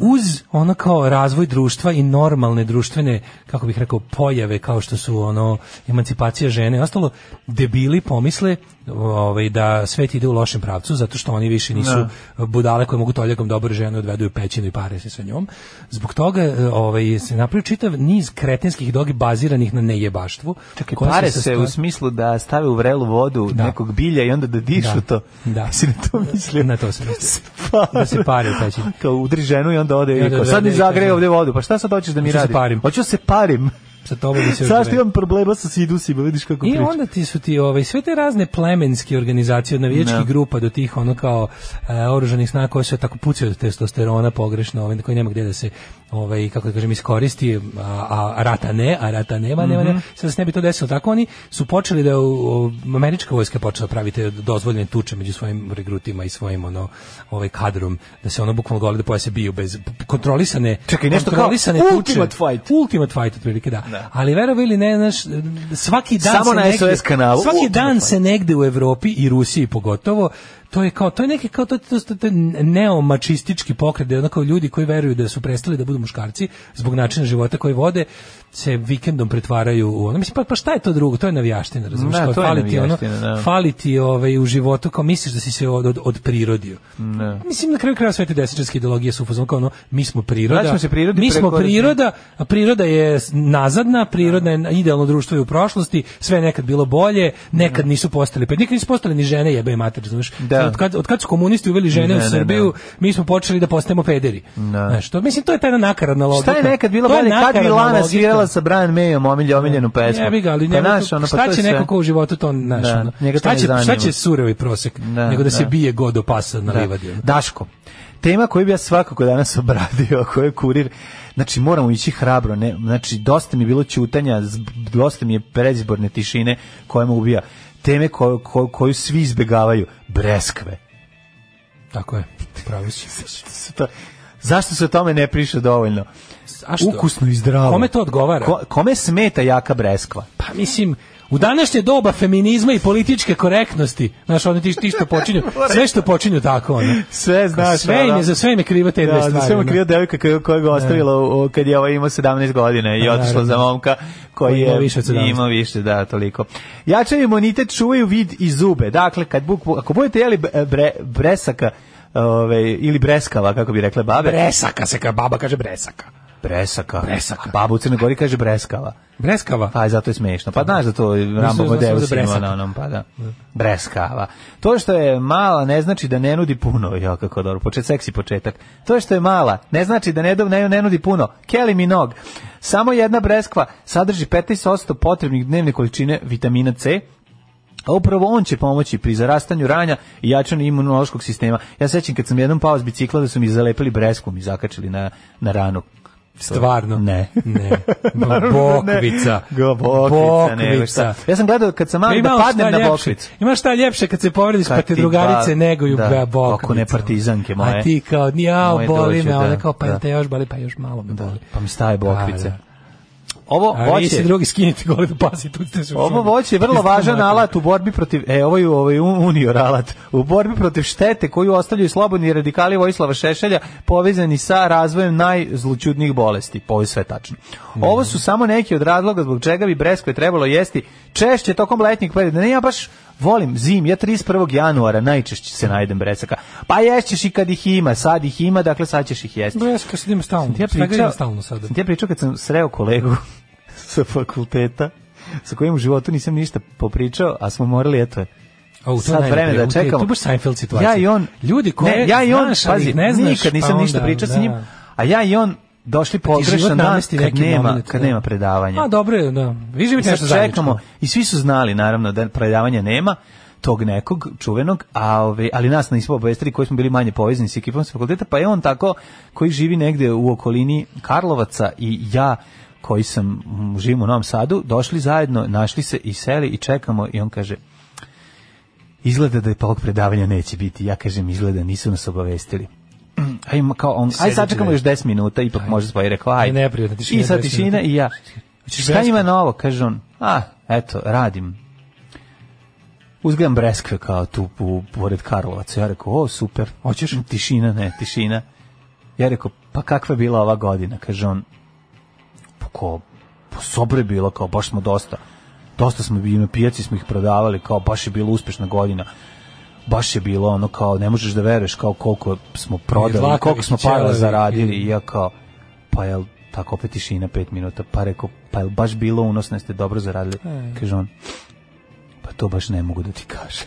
Uz ono kao razvoj društva i normalne društvene, kako bih rekao, pojave kao što su ono emancipacija žene i ostalo, debili pomisle ovaj, da svet ide u lošem pravcu zato što oni više nisu
Da.
budale koje mogu toljakom dobro žene odvedu u pećinu i pare se sa njom. Zbog toga e, ovaj, se napravio čitav niz kretenskih dogi baziranih na nejebaštvu.
Čekaj,
koja
pare
sastoje-
se u smislu da stave u vrelu vodu nekog bilja i onda da dišu
Da.
to.
Da.
Si na to mislio?
Na to sam mislio. Da se pare u pećini.
Kao udri ženu i onda ode i
I onda
kao,
da-
sad mi
da-
zagreje
da-
ovde vodu. Pa šta sad hoćeš da mi
Hoću da se
radiš?
parim.
Hoću da se parim.
Sa tobom bi se još
Zašto
dovedio.
imam problema sa sidusima, vidiš kako
I
pričam.
onda ti su ti ovaj, sve te razne plemenske organizacije, od navijačkih
Da.
grupa do tih ono kao e, oruženih snaga koje se tako pucaju od testosterona pogrešno, ovaj, koji nema gdje da se ovaj, kako da kažem, iskoristi, a, a rata ne, a rata nema, nema,
Mhm.
nema. Sad se ne bi to desilo. Tako oni su počeli da u, u- američka vojska je počela praviti dozvoljene tuče među svojim regrutima i svojim ono, ovaj kadrom, da se ono bukvalno goli da poja se biju bez kontrolisane
Čekaj, nešto kao
kontrolisane tuče.
ultimate fight.
Ultimate fight otprilike, da. ali verovi ili ne, znaš, svaki dan
Samo
se
na
negde-
SOS kanalu.
Svaki
U,
dan se negde u Evropi i Rusiji pogotovo to je kao to je neki kao to, to, to, to je neomačistički pokret da onako ljudi koji veruju da su prestali da budu muškarci zbog načina života koji vode se vikendom pretvaraju u ono mislim pa, pa šta je to drugo to je navijaština razumiješ
Da,
kao
to je
fali ti ono
navijaština, da.
fali ti ovaj u životu kao misliš da si se od od, od prirodio
Ne.
mislim na kraju krajeva sve te desničarske ideologije su u fazonu kao ono mi smo priroda
Vraćamo se prirodi
mi smo
preko-
priroda a priroda je s- nazadna priroda je idealno društvo je u prošlosti sve je nekad bilo bolje nekad nisu postali pa nikad nisu postali ni žene jebe je mater znaš
Da.
od kad od kad su komunisti uveli žene
Ne,
u
ne,
Srbiju mi smo počeli da postajemo pederi znaš to mislim to je ta jedna nakaradna logika
Šta je nekad bilo
Pa To je
bolje kad bi
nakaradna
Lana
logika.
svirala sa Brian Mayom omilje, omiljenu pesmu?
Jebi ga, ali
Pa
njemu to-
znaš, ono, pa
šta
to je
će
sve.
neko ko u životu to naš,
Da,
ono,
njega to
šta,
ne
će, šta
zanima.
će surovi prosek,
Da,
nego da, se
da.
bije god do pasa na
Da.
livadi. ono.
Daško, tema koju bi ja svakako danas obradio, a koju je kurir, znači moramo ići hrabro, ne, znači dosta mi je bilo ćutanja, z- dosta mi je predizborne tišine koja me ubija. Teme ko, ko- koju svi izbegavaju, breskve.
Tako je, pravo si.
To- Zašto se o tome ne priše dovoljno?
A što?
Ukusno i zdravo.
Kome to odgovara?
Ko- kome smeta jaka breskva?
Pa mislim, u današnje doba feminizma i političke korektnosti, znaš, oni ti, ti što počinju, sve što počinju tako, ono.
Sve znaš,
Sve im
ono.
je, za sve im je kriva te dve
Da,
stvari.
da sve mu
ono.
kriva devojka koju- koja ga ostavila u- u- kad je ovaj imao 17 godina i
Da,
otišla
Pa naravno.
za momka koji
Koji
je
ima više od 17.
imao više, da, toliko. Jačaju imunitet, čuvaju vid i zube. Dakle, kad buk, ako budete jeli b- bre, bresaka ove, ili breskava, kako bi rekle babe.
Bresaka se, ka, baba kaže bresaka.
Bresaka. Bresaka. Baba u Crnoj Gori kaže breskava.
Breskava?
Pa zato je smiješno. Pa znaš da to Rambo
znao sam
modelu
za
snima
bresaka.
na onom, pa da. Breskava. To što je mala ne znači da ne nudi puno. Jo, kako dobro, počet, seksi početak. To što je mala ne znači da ne, do- ne, ne nudi puno. Kelly Minog. Samo jedna breskva sadrži 15% potrebnih dnevne količine vitamina C, a upravo on će pomoći pri zarastanju ranja i jačanju imunološkog sistema. Ja sećam kad sam jednom pao s bicikla da su mi zalepili breskvom i zakačili na, na ranu.
Stvarno?
Ne.
Ne.
Naravno da ne.
Bokvica.
Go, bokvica, nego šta. Ja sam gledao kad sam mali da
Ima ono
padnem
šta
na
ljepše-
bokvicu.
Ima šta ljepše kad se povrediš pa
Kad
te
ti
drugarice
ba-
neguju
da,
da, bokvica.
kako ne partizanke moje.
A ti kao, jao,
Moje
boli
dođu,
me, a
da,
ona kao, pa
da.
te još boli, pa još malo me boli.
Pa mi staje bokvice.
A, da.
Ovo
A vi se
Pa voće,
drugi skinite pa gole do pasa i tucite se u
ovo
šljunak.
voće je vrlo važan alat u borbi protiv, e, ovo je ovaj un- unior alat, u borbi protiv štete koju ostavljaju slobodni radikali Vojislava Šešelja povezani sa razvojem najzlučudnijih bolesti. Pa Ovo je sve tačno. Ovo su samo neki od razloga zbog čega bi breskve trebalo jesti češće tokom letnjeg perioda. Ne, ja baš volim zim, ja 31. januara najčešće se najdem bresaka. Pa ješćeš i kad ih ima, sad ih ima, dakle sad ćeš ih jesti.
Breskve sad ima stalno.
Ti ja
Svega
pričao,
ima stalno sada.
sam ti ja pričao kad sam sreo kolegu sa fakulteta, sa kojim u životu nisam ništa popričao, a smo morali, eto je.
Au, to je
sad vreme
najbolje.
da
U, to je-
čekamo.
to je baš Seinfeld situacija.
Ja i on,
Ljudi koje
ne, ja i on,
znaš, ali
pazi,
ih ne znaš,
nikad
pa
nisam ništa
onda,
pričao sa
da.
njim, a ja i on došli pogrešan
život
dan
namesti
kad
neki
nema,
moment,
kad
da.
nema predavanja.
A Pa dobro je, da. Vi
I
živite
sad
nešto
čekamo, i svi su znali naravno da predavanja nema tog nekog čuvenog, a ove, ali nas na ispod obestri koji smo bili manje povezani s ekipom sa fakulteta, pa je on tako koji živi negde u okolini Karlovaca i ja koji sam mm, živim u Novom Sadu, došli zajedno, našli se i seli i čekamo i on kaže izgleda da je ovog predavanja neće biti. Ja kažem izgleda, nisu nas obavestili. Aj, ma kao on, aj
Sedite
sačekamo
dalje.
još 10 minuta, ipak može svoje rekao, aj.
I neprijatna tišina,
I sad
10
tišina
minuta.
i ja. Znači,
Hoćeš
Šta
breskve?
ima novo, kaže on. A, eto, radim. Uzgajam breskve kao tu u, pored Karlovaca. Ja rekao, o, super. Hoćeš? Tišina, ne, tišina. Ja rekao, pa kakva je bila ova godina? Kaže on, pa ko, pa sobra je bila, kao baš smo dosta. Dosta smo bili na pijaci, smo ih prodavali, kao baš je bila uspešna godina. Baš je bilo ono kao, ne možeš da veruješ kao koliko smo prodali,
zlakavi,
koliko smo
i
para
ćelavi,
zaradili. I ja kao, pa jel, tako opet tišina pet minuta, pa rekao, pa jel baš bilo unosno, jeste dobro zaradili?
E.
Kaže on, pa to baš ne mogu da ti kažem.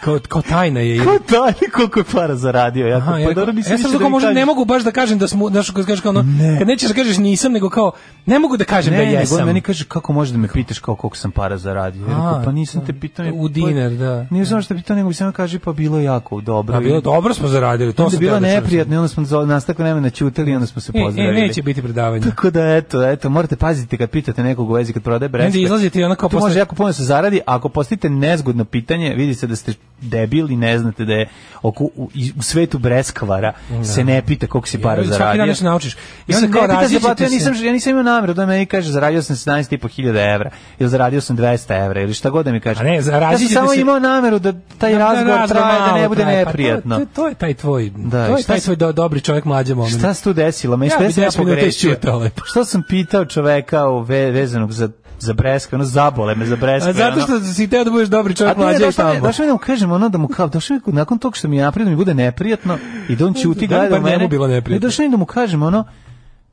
Kao, kao tajna je.
Ko to je koliko je para zaradio? Ja,
Aha,
kao,
ja,
pa dobro,
ja
nisi
sam
više
tako
da mi
možda ne
kažeš.
mogu baš da kažem da smo, znaš, kad kažeš kao ono, kad nećeš da kažeš nisam, nego kao, ne mogu da kažem
Ne,
da
nego
jesam.
on meni kaže kako možeš da me pitaš kao koliko sam para zaradio. Ja rekao,
A,
pa nisam
da.
te pitao.
U dinar, da.
Nije znam što te pitao, nego mi samo kaže pa bilo je jako dobro.
Pa bilo dobro smo zaradili, to
Onda
sam
je bilo
teo da čujem.
neprijatno, i onda smo za- nas tako vremena ćutali i onda smo se
E, e,
pozdravili.
neće biti predavanja.
Tako da eto, eto, morate paziti kad pitate nekog u vezi kad prodaje breskve.
izlazite i onako
Tu
posle-
može jako puno se zaradi, a ako postavite nezgodno pitanje, vidi se da ste debil i ne znate da je oko, u, u svetu breskvara se ne pita koliko si para
Svaki
zaradio.
dan nešto naučiš. I
I
onda
onda
kao
ne pita se, pa
različite
ja nisam,
se.
ja nisam imao namjeru da meni kaže zaradio sam 17.500 evra ili zaradio sam 200 evra ili šta god da mi kaže.
A ne, za
ja sam
različite
samo
se-
imao nameru da taj
Da, da
razgovor traje, da ne
malo
bude
traje. Pa to-
neprijatno.
to- To je taj tvoj,
Da,
to
i
je
šta
taj
si-
tvoj do- dobri čovjek mlađe moment.
Šta se tu desilo? Me
Ja
šta
bi
sam ja
deset minuta
pogrešio?
isćutao lepo.
Šta sam pitao čoveka o ve, vezanog za za breskve, ono zabole me za breskve.
A zato
ono.
što si teo da budeš dobri
A
čovjek
ti ne,
mlađe i
došao mi-
tamo.
došao mi da mu kažem ono da mu kao, došao mi nakon tog što mi je napravio da mi bude neprijatno i da on ćuti
Da,
gleda
bar
u mene.
njemu bilo neprijatno.
Ne, došao mi da mu kažem ono,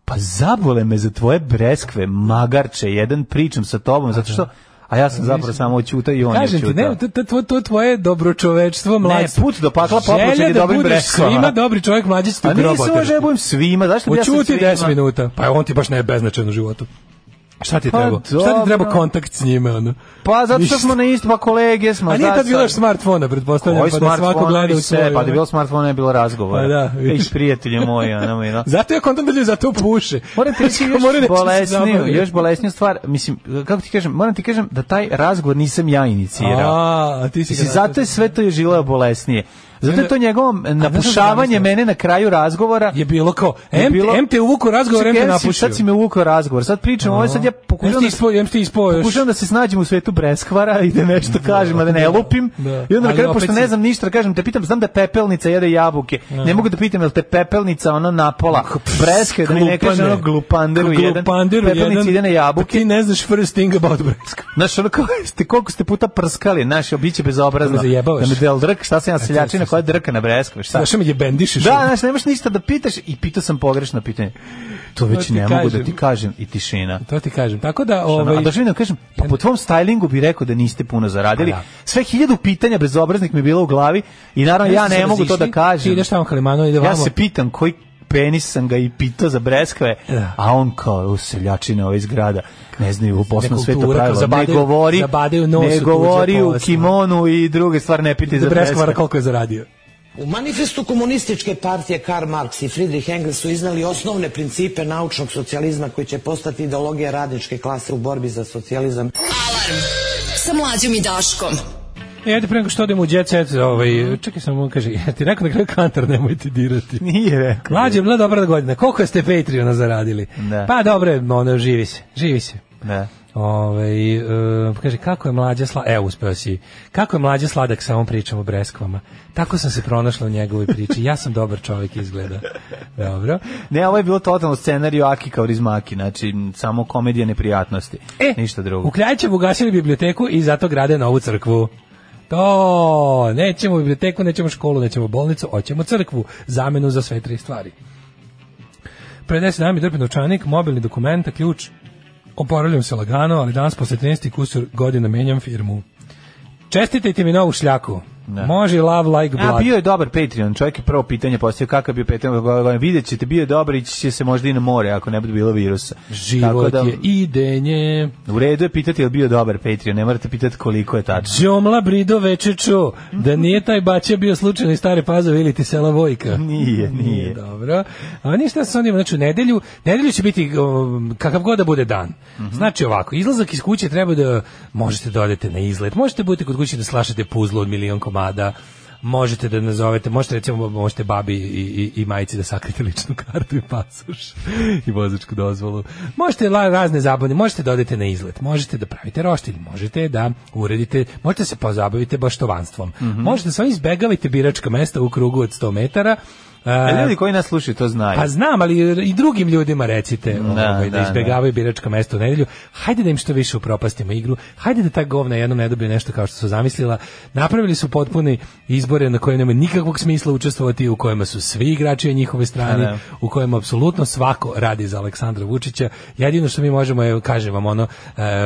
pa zabole me za tvoje breskve, magarče, jedan pričam sa tobom, zato što, a ja sam zapravo samo oćutao i on je
Kažem ti, ne,
oćutao.
to, to, to, to tvoje dobročovečstvo mlađe.
put do pakla popločen je
Želja da
dobrim
budeš
breskvama.
svima Pa dobri čovjek mlađe će ti
A
u grobu
nisam ovo
oterati.
žebujem svima, zašto bi ja sam
Učuti
svima?
10 minuta. Pa on ti baš ne je beznačajan u životu. Šta ti
Pa
treba? Šta
dobro.
ti treba kontakt s njime? Ono?
Pa zato što
Ništa.
smo na isto, pa kolege smo.
A nije
znaš
tad bilo
sad.
još smartfona, pretpostavljam,
Koji
pa da svako
smartfon
gleda u
i sve,
svoju.
pa da je
ono.
bilo smartfona je bilo razgovora.
Pa da,
Ej,
vidiš.
prijatelju moj, ono mi, no.
Zato je kontent da ljudi zato puše. Znači,
Moram ti reći
Kao
još
moraju da se
bolesniju,
zabave.
još bolesniju stvar, mislim, kako ti kažem, moram ti kažem da taj razgovor nisam ja inicirao.
A, a ti si
Mislim,
ga-
zato je sve to je žileo bolesnije. Zato je to njegovo napušavanje
zamislio?
mene na kraju razgovora
je bilo kao,
je
em,
bilo-
em te uvuku razgovor, em
Čekaj,
te
em si-
napušio.
Sad si me uvukao razgovor, sad pričam, ovo je sad ja
Em
pokušavam
ti
da
ispo, em ti ispo još.
Pokušavam da se snađem u svetu breskvara i da nešto kažem, a da ne lupim.
da.
I onda na
Ali
kraju,
opet
pošto
si-
ne znam ništa, da kažem, te pitam, znam da pepelnica jede jabuke. Ne mogu da pitam, jel te pepelnica ono napola breske, da mi ne kaže ono glupanderu jedan.
Glupanderu
Pepelnica
jedan.
ide na jabuke.
Pa Ti ne znaš first thing about breska.
Znaš, ono kao ste, koliko ste puta prskali, znaš, biće bezobrazno.
Da me zajebavaš.
Da me del drk, šta sam ja seljačina
sad-
koja drka na breskve, šta?
Znaš, ono, me je bendišeš.
Da, znaš, nemaš ništa da pitaš i pitao sam pogrešno pitanje. To već
ti
ne mogu da
kažem.
ti kažem i tišina.
To ti kažem. Tako da,
Ovaj, a
ovaj,
došli da kažem, pa po tvom stylingu bi rekao da niste puno zaradili.
Pa da.
Sve hiljadu pitanja bezobraznih mi je bilo u glavi i naravno ja
Znaš,
ne
sad
mogu to
razišli,
da kažem.
Ti ideš tamo kalimano, ide
Ja
vamo.
se pitam koji penis sam ga i pitao za breskve,
Da.
a on kao u seljačine ove zgrada, ne znaju u poslovnom svetu
kultura,
pravila, ne
zabadaju-
govori,
zabadaju nos u
ne
tuđe
govori u
povesti.
kimonu i druge stvari ne piti
Za
za
breskvara
breskve.
koliko je zaradio.
U manifestu komunističke partije Karl Marx i Friedrich Engels su iznali osnovne principe naučnog socijalizma koji će postati ideologija radničke klase u borbi za socijalizam.
Sa mlađom i Daškom.
E, ajde pre nego što odemo u jet set, ovaj, čekaj samo, kaže, ja ti rekao na kraju kantar, nemojte dirati.
Nije rekao.
Mlađe, mla dobra godina. Koliko ste Patreona zaradili?
Da.
Pa dobro, je, ono, živi se, živi se.
Da.
Ovaj e, kaže, kako je mlađa sla... E, uspeo si. Kako je mlađa sladak sa ovom pričom o breskvama? Tako sam se pronašla u njegovoj priči. Ja sam dobar čovjek izgleda. Dobro.
Ne, ovo je bilo totalno scenariju Aki kao Rizmaki, znači m, samo komedija neprijatnosti,
E,
ništa drugo.
U Kraljećevu ugasili biblioteku i zato grade novu crkvu. To, nećemo biblioteku, nećemo školu, nećemo bolnicu, hoćemo crkvu, zamenu za sve tri stvari. Pre 10 dana mi drpi novčanik, mobilni dokumenta, ključ, oporavljam se lagano, ali danas posle 13 kusur godina menjam firmu. Čestitajte mi novu šljaku. Može love like blood.
A bio je dobar Patreon, čovjek je prvo pitanje postavio kakav je bio Patreon, godine. vidjet ćete, bio je dobar i će se možda i na more ako ne bude bilo virusa. Tako
Život
da,
je idenje.
U redu je pitati je li bio dobar Patreon, ne morate pitati koliko je tačno.
Đomla brido večeču, da nije taj bače bio slučajno iz stare pazove ili ti sela Vojka.
Nije, nije.
Dobro. A ništa sa onim, znači u nedelju, nedelju će biti um, kakav god da bude dan. Znači ovako, izlazak iz kuće treba da možete da odete na izlet, možete da budete kod kuće da slašate puzlu od milion komada, možete da nazovete, možete recimo možete babi i, i, i majici da sakrite ličnu kartu i pasoš i vozačku dozvolu. Možete la, razne zabavne, možete da odete na izlet, možete da pravite roštilj, možete da uredite, možete da se pozabavite baštovanstvom. Možete samo izbegavajte biračka mesta u krugu od 100 metara.
A
A,
ljudi koji nas slušaju to znaju.
pa znam, ali i drugim ljudima recite
Ovaj. Da,
ovaj, da,
da,
izbegavaju biračka mesta u nedelju. Hajde da im što više upropastimo igru. Hajde da ta govna jednom ne dobije nešto kao što su zamislila. Napravili su potpuni izbore na kojima nema nikakvog smisla učestvovati, u kojima su svi igrači na njihovoj strani,
Da, da.
u kojima apsolutno svako radi za Aleksandra Vučića. Jedino što mi možemo je, kažem vam, ono,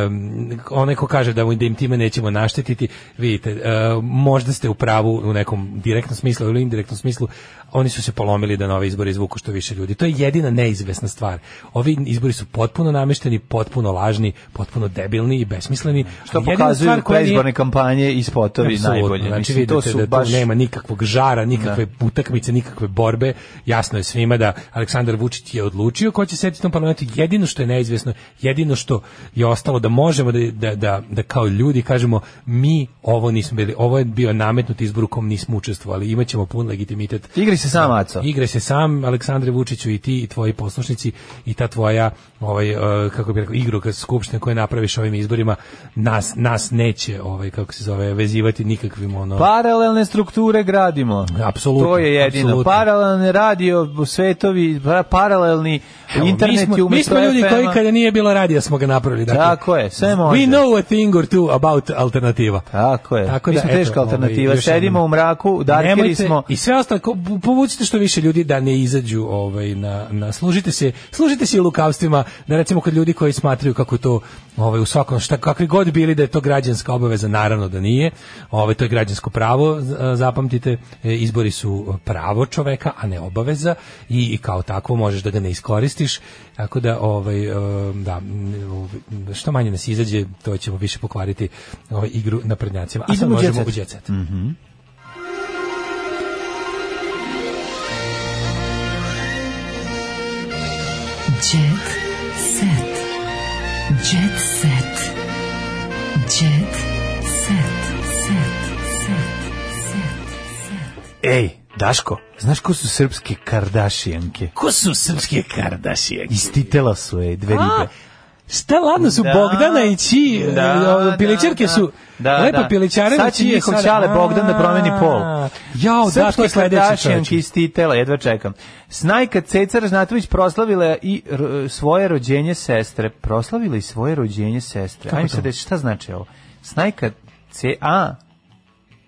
um, onaj ko kaže da, mu- da im time nećemo naštetiti, vidite, e, možda ste u pravu u nekom direktnom smislu ili indirektnom smislu, oni su se polomili da nove izbore izvuku što više ljudi. To je jedina neizvesna stvar. Ovi izbori su potpuno namešteni, potpuno lažni, potpuno debilni i besmisleni.
Što
ali jedina
pokazuju
stvar koja nije-
predizborne kampanje i spotovi
Apsolutno,
najbolje.
Znači,
Mislim,
vidite
to su
da
baš
tu nema nikakvog žara, nikakve utakmice, nikakve borbe. Jasno je svima da Aleksandar Vučić je odlučio ko će sediti u tom parlamentu. Jedino što je neizvjesno, jedino što je ostalo da možemo da, da, da, da kao ljudi kažemo mi ovo nismo bili, ovo je bio nametnut izbor u kom nismo učestvovali, imaćemo pun legitimitet.
Igri se sam, Aco.
Igre se sam, Aleksandre Vučiću i ti i tvoji poslušnici i ta tvoja ovaj, eh, kako bi rekao, igroka skupština koju napraviš ovim izborima, nas, nas neće ovaj, kako se zove, vezivati nikakvim ono...
Pa, Paralelne strukture gradimo.
Apsolutno,
To je jedino.
apsolutno.
Paralelne radio, svetovi, pa- paralelni
Evo, mi
internet
smo- Mi smo ljudi koji kada nije bilo radija smo ga napravili. Dakle,
Tako je, sve može.
We know a thing or two about alternativa.
Tako je.
Tako
Mi
da,
smo
eto,
teška
ovaj,
alternativa.
još
Sedimo
jednom.
u mraku, darkeri
Nemojte-
smo.
I sve ostalo, ko- bu- povucite što više ljudi da ne izađu ovaj, na, na, služite se, služite se i lukavstvima, da recimo kod ljudi koji smatraju kako to ovaj, u svakom, šta, kakvi god bili da je to građanska obaveza, naravno da nije, ovaj, to je građansko pravo, z- zapamtite, e, izbori su pravo čoveka, a ne obaveza i, i kao takvo možeš da ga ne iskoristiš, tako da, ovaj, e, da, m, ovaj, što manje nas izađe, to ćemo više pokvariti ovaj, igru na prednjacima. A sad
Idemo u
možemo
jet
u
set.
jet set.
Mhm.
Jet set. Jet set. Jet set. Set. Set. Set.
Ej, Daško, znaš ko su srpske kardašijanke?
Ko su srpske kardašijanke?
Iz titela su, ej, dve
A,
ribe.
Šta, ladno su
Da.
Bogdana i Či,
Da,
e, pilićarke
da,
su,
da,
lepa
da.
pilićareva
Sad će
Čija
njihov
sada-
ćale Bogdan da promeni pol.
A, Jao, da, to je sledeće
Kardašijanke iz titela, jedva čekam. Snajka Cecar Žnatović proslavila i r- svoje rođenje sestre. Proslavila i svoje rođenje sestre.
Kako
Ajme
to?
se da šta znači ovo? Snajka C... A,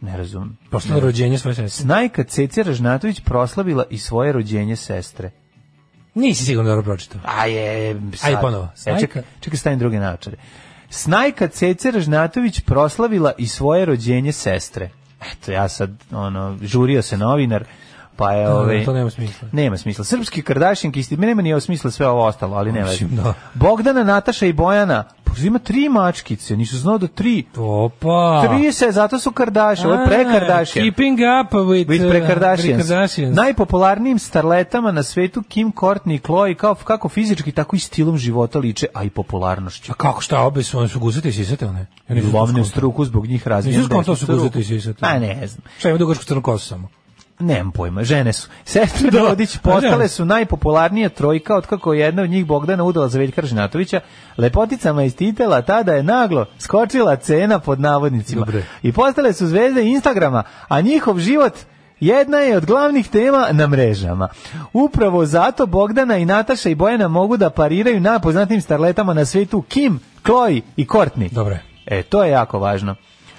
ne razumem.
Proslavila rođenje svoje sestre.
Snajka Cecar Žnatović proslavila i svoje rođenje sestre.
Nisi sigurno dobro pročitao.
A je, sad.
Ajde ponovo.
E,
Snajka.
čekaj, čekaj, stavim druge naočare. Snajka Cecer Žnatović proslavila i svoje rođenje sestre. Eto, ja sad, ono, žurio se novinar, pa je...
Da, da,
ovaj,
to nema smisla.
Nema smisla. Srpski kardašinki, isti, nema ni ovo smisla sve ovo ostalo, ali ne važno.
Mislim, da.
Bogdana, Nataša i Bojana, pa ima tri mačkice, nisu znao da tri.
Opa.
Tri se, zato su kardaši, ovo je
A,
prekardašijan.
Keeping up with,
With
uh,
Prekardašijan.
Prekardašijans.
Najpopularnijim starletama na svetu Kim Courtney i Chloe kao, kako fizički, tako i stilom života liče, a i popularnošću.
A kako šta, obe su, one su guzete i sisate, one? Ja nisam
Lomne
skontao.
struku zbog njih razmijem.
Nisam skontao su guzete i sisate.
A Pa ne znam.
Šta ima dugačku crnu kosu samo?
Nemam pojma, žene su. Sestre
Da,
Rodić
a
postale
žene.
su najpopularnija trojka otkako je jedna od njih Bogdana udala za Veljka Žnatovića. Lepoticama iz titela tada je naglo skočila cena pod navodnicima.
Dobre.
I postale su zvezde Instagrama, a njihov život Jedna je od glavnih tema na mrežama. Upravo zato Bogdana i Nataša i Bojana mogu da pariraju najpoznatijim starletama na svetu Kim, Chloe i Courtney.
Dobre.
E, to je jako važno.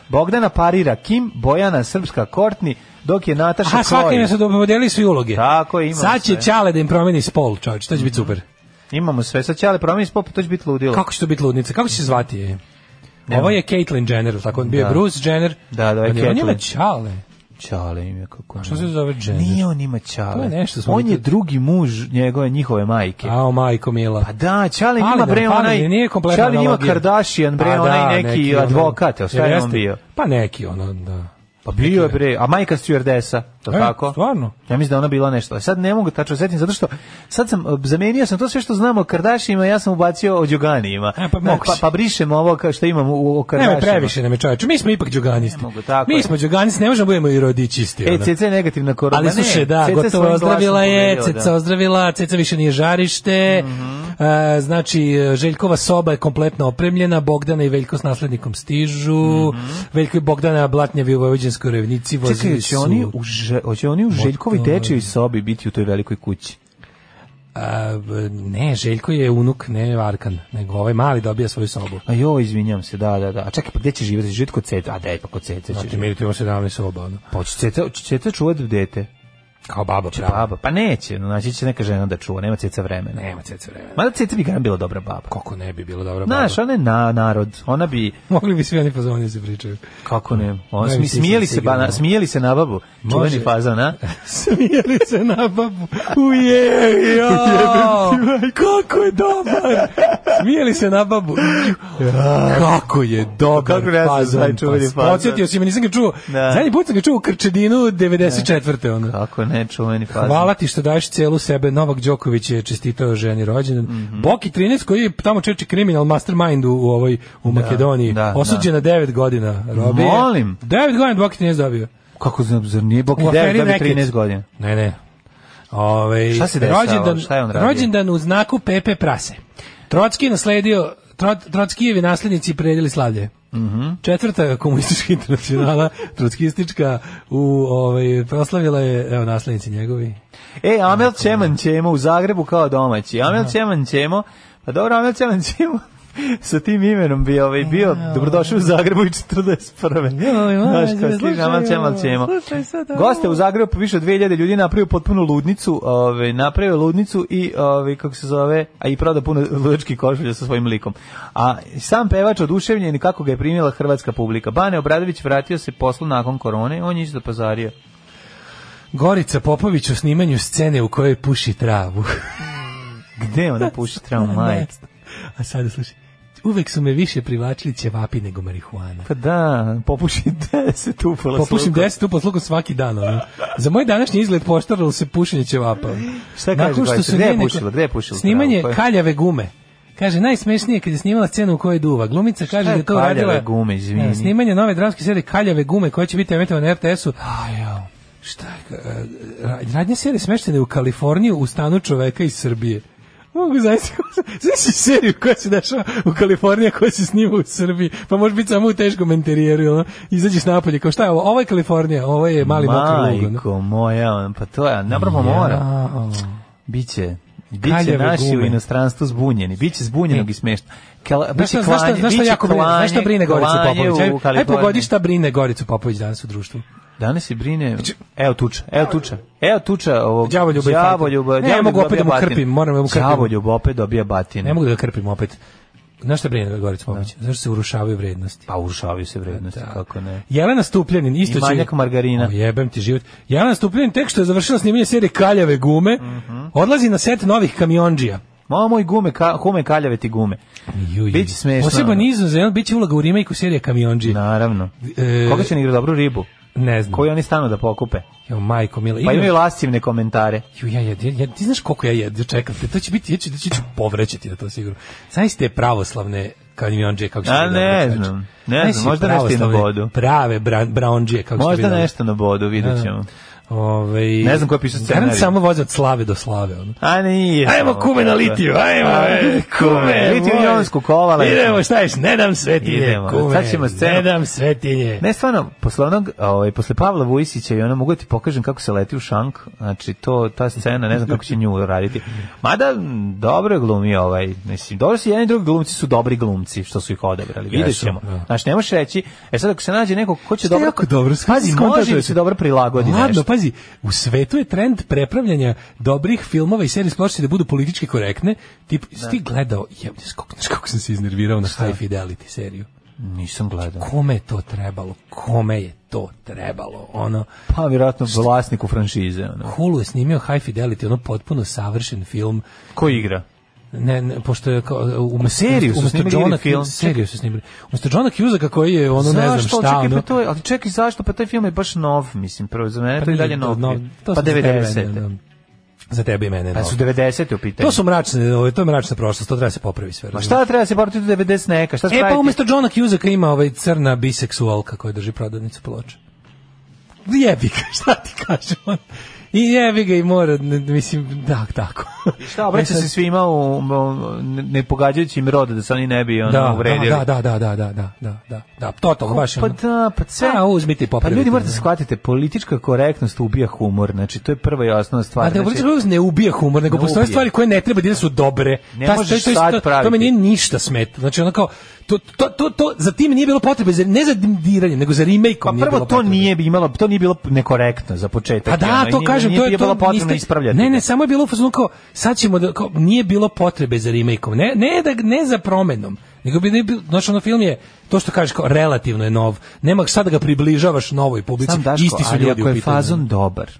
Bogdana parira Kim, Bojana srpska Courtney, dok je Nataša
Aha, svaki
Chloe.
im su dopodelili su i uloge.
Tako je, imamo
Sad će
sve. Mhm.
Ćale da im promeni spol, čovječ, to će biti super.
Imamo sve, sad će ali promijeniti pop, pa to će biti ludilo.
Kako će to biti ludnica? Kako će se zvati? je? Ovo je Caitlyn Jenner, tako on bio
Da.
je Bruce Jenner.
Da, da, je
on je, on je
Caitlyn.
ima Ćale.
Čale ime kako.
Što se zove Jenner?
Nije on ima Čale.
To je nešto smo
on je
vidjeli.
drugi muž njegove njihove majke.
Ao, majko mila.
Pa da, Čale
Ali
ima
da,
bre
ali
onaj.
nije kompletna
Čale ima
analogija.
Kardashian bre,
Pa
onaj
da,
neki,
ono-
advokat, jel šta je
Jel
on
jeste?
bio?
Pa neki ono, da.
Pa bio je bre, a majka stewardesa, to
E,
tako?
stvarno?
Ja mislim da je ona bila nešto. A Sad ne mogu tačno setim zato što sad sam e, zamenio sam to sve što znam o Kardashianima, ja sam ubacio o Đoganijima.
E, pa
pa,
moguće.
pa, pa brišem ovo kao što imam u, u
Nema
Kardashianima.
previše nam je čoveče, mi smo ipak džuganisti.
mogu, tako je.
Mi smo džuganisti, ne možemo budemo i rodičisti.
E,
ono.
CC je negativna korona.
Ali
Ne,
slušaj, da,
CC
gotovo
svojim
ozdravila
glasom
je,
pobedio, da. Mhm.
Ceca ozdravila, Ceca više nije žarište, E, znači Željkova soba je kompletno opremljena, Bogdana i Veljko s naslednikom stižu, Veljko i Bogdana blatnjavi u Vojvođanskoj revnici,
Mhm. Čekaj,
vozili
hoće
su...
oni u, Ž- hoće oni u Željkovi
Motor.
dečjoj sobi biti u toj velikoj kući?
A, b- ne, Željko je unuk, ne Arkan, nego ovaj mali dobija svoju sobu.
A jo, izvinjam se, da, da, da. A čekaj, pa gde će živjeti? Živjeti kod Cete? A daj, pa kod Cete će
Znači,
živjeti.
mi tu imamo 17 soba, ono.
Pa će Cete, će Cete čuvati dete.
Kao baba
prava. Baba. Pa neće, no, znači će neka žena da čuva, nema ceca vremena.
Nema ceca vremena.
Mada ceca bi garant bila dobra baba.
Kako ne bi bila dobra baba?
Znaš, ona je na, narod, ona bi...
Mogli bi svi oni fazoni se pričaju.
Kako ne? On, smi, smijeli, se, ba, na, smijeli se na babu. Čuveni fazon, a?
smijeli se na babu. Uje, jo, kako je dobar. Smijeli se na babu. Kako je dobar
Kako ne znam taj
fazon.
čuveni
pa,
fazon.
Podsjetio si me, nisam ga čuo.
Da.
Zadnji put sam ga čuo u Krčedinu 94. Ono.
Kako ne, čuveni fazon.
Hvala ti što daješ celu sebe. Novak Đoković je čestitao ženi rođendan.
Mhm.
Boki 13 koji je tamo čeči kriminal mastermind u, u ovoj u Makedoniji.
da,
Osuđen na 9 godina robije.
Molim.
9 godina Boki 13 dobio.
Kako znam, zar nije Bog
U aferi
da bi
Reket.
13 godina?
Ne, ne. Ove,
Šta se dešavalo? Šta je on radio?
Rođendan u znaku Pepe Prase. Trotski je nasledio Trot, Trotskijevi naslednici predjeli slavlje.
Mhm.
Četvrta komunistička internacionala, trotskistička, u, ovaj, proslavila je, evo, naslednici njegovi.
E, Amel Čeman Ćemo u Zagrebu kao domaći. Amel Čeman Ćemo, pa dobro, Amel Čeman Ćemo sa tim imenom bi ovaj bio dobrodošao u Zagrebu i 41. Znaš kao stiže Amel Čeman Ćemo. Goste u Zagrebu po više od 2000 ljudi napravio potpuno ludnicu, ovaj napravio ludnicu i ovaj kako se zove, a i prodao puno ludački košulja sa svojim likom. A sam pevač oduševljen i kako ga je primila hrvatska publika. Bane Obradović vratio se poslu nakon korone, on je isto pazario.
Gorica Popović u snimanju scene u kojoj puši travu.
Gde ona puši travu majke?
A sada slušaj. Uvek su me više privlačili ćevapi nego marihuana.
Pa da, popušim 10 upola
Popušim
sluka.
10 upola sluka svaki dan. ono. Za moj današnji izgled poštaralo se pušenje ćevapa.
Šta kaže
Nakon što
Gorica?
su
Gde je
njene-
pušila? Gde je Pa- pušila
Snimanje
travu? Koje-
kaljave gume. Kaže, najsmešnije je kad je snimala scenu u kojoj duva. Glumica kaže da
je
je to
kaljave
radila...
gume, izvini?
Snimanje nove dramske serije Kaljave gume koja će biti emitovana na RTS-u. Šta je, e, ra- radnja serije smeštene u Kaliforniju u stanu čoveka iz Srbije. Mogu zaista, znači seriju koja se dešava u Kaliforniji, a koja se snima u Srbiji, pa može biti samo u teškom interijeru, jel ono? izađeš napolje, kao šta je ovo, ovo je Kalifornija, ovo je mali mokri lug, ono.
Majko moja, on, pa to je, napravo mora.
Jao.
Biće, biće
Kaljave
naši u
gume.
inostranstvu zbunjeni, biće zbunjenog i smešno. Kela,
Znaš
biće
šta, znaš šta,
klanje,
znaš šta
biće
jako brine, znaš šta
klanje-
brine Goricu
klanje
Popović?
u
Aj, aj
Kaliforniji.
pogodi šta brine Goricu Popović danas u društvu.
Danas je brine, evo tuča, evo tuča, evo tuča ovog...
Đavo ljubav i
Đavo
fatin.
ljubav,
Ne,
đavo
ja mogu opet
ljubav dobija
da mu
batine.
krpim, moram da mu krpim.
Đavo ljubav opet dobija batine.
Ne mogu da ga krpim opet. Znaš šta brine Goricu Popović? Zašto se urušavaju vrednosti?
Pa urušavaju se vrednosti, kako ne.
Jelena Stupljanin isto
I manjak margarina.
O, jebem ti život. Jelena Stupljanin tek što je završila snimanje serije Kaljave gume,
Mhm.
odlazi na set novih kamiondžija.
Mamo moj gume, ka, gume kaljave ti gume.
Juj.
Biće smešno.
Poseban izazov biće uloga u remake serije Kamiondžije.
Naravno.
E,
Koga će ne igra dobru ribu?
Ne znam.
Koju oni stanu da pokupe?
Jo, majko mila.
Pa
Ima-
imaju lascivne komentare.
Ju, ja, jed- ja- ti znaš koliko ja jedem, čekam te, to će biti, ja ću, ja ću povrećati na to sigurno. Znaš te pravoslavne kamionđije, kako se ono, znači? to dobro
A, ne
kaže.
znam, ne
Znaš
znam,
te
možda nešto i na
pravoslavne
bodu.
Prave bra, braondžije, kako se to
Možda
dobro-
nešto na bodu, vidjet ćemo.
Ove,
Ne znam ko je pisao scenarij.
Garant samo voze od slave do slave. Ono.
A nije.
Ajmo kume na litiju, ajmo e, kume.
Litiju
moj.
jonsku kovala.
Idemo, šta ješ, ne dam svetinje,
Idemo,
kume.
sad ćemo scenu.
Ne dam svetinje.
Ne, stvarno, posle onog, ovaj, posle Pavla Vujsića i ono, mogu ti pokažem kako se leti u šank, znači to, ta scena, ne znam kako će nju raditi. Mada, m, dobro je glumi ovaj, mislim, dobro su jedni i drugi glumci su dobri glumci, što su ih odabrali, vidjet
Jesu,
ćemo.
da.
Znači, ne možeš reći, e sad ako se nađe neko ko će
Šta je
dobro...
jako dobro,
Pazi,
skontažio
može im
si.
se dobro prilagodi
Ladno,
nešto.
pazi, u svetu je trend prepravljanja dobrih filmova i serija splošće da budu politički korektne. Tip, si ti gledao, jebno, kako, znaš kako sam se iznervirao na High Fidelity seriju.
Nisam gledao.
Kome je to trebalo? Kome je to trebalo? Ono,
Pa, vjerojatno, vlasniku franšize, ono.
Hulu je snimio High Fidelity, ono potpuno savršen film.
Ko igra?
Ne, ne pošto je kao u
seriju su snimili ili film?
seriju su snimili. Umesto Johna Cusacka koji je ono ne znam
Zašto?
šta,
Čekaj,
ono,
pa to je, ali čekaj, zašto? Pa taj film je baš nov, mislim, prvo za mene, pa to je i
Pa nije
dalje nov.
nov,
film.
to
pa
sam za tebe,
90.
da. za tebe i mene.
Pa
no.
su 90. u pitanju.
To su mračne, ovo, to je mračna prošlost, to treba se popravi sve.
Pa
razumeš?
šta treba se boriti do 90 neka? Šta
E
spraviti?
pa umesto Johna Cusacka ima ovaj crna biseksualka koja drži prodavnicu ploča. Jebi ga, šta ti kažem? on? I jebi ga i mora, ne, mislim, da, tako.
Šta, obraća
E sad-
se svima u, u- ne- ne pogađajući im rod da se oni ne bi ono
da,
uvredili.
da, da, da, da, da, da, da, da, da, totalno, baš
Pa
ono.
da, pa sve...
A, uzmite i
Pa
popravite.
ljudi morate shvatite, politička korektnost ubija humor, znači to je prva i osnovna stvar.
A da
znači,
politička ne ubija humor, nego
Ne
postoje
ubija.
stvari koje ne treba da su dobre.
Ne
Ta-
možeš
to, to,
sad
to, to,
praviti.
me nije ništa smeta. Znači ono kao, to, to, to, to, za tim nije bilo potrebe, za, ne za diranje, nego za remake-om
Pa
nije
prvo
bilo
to
potrebe.
nije bi imalo, to nije bilo nekorektno za početak.
Pa da,
ono, i
to
nije
kažem,
nije
to je
bilo
to
potrebno
niste-
ispravljati.
Ne, ne, samo je bilo u fazonu kao sad ćemo da kao, nije bilo potrebe za remake-om. Ne, ne da ne za promenom. Nego bi ne bilo, znači ono film je to što kažeš kao relativno je nov. Nema sad da ga približavaš novoj publici.
Znam, Daško,
Isti su
ali
ljudi
ako
u
je
pitanju.
fazon dobar,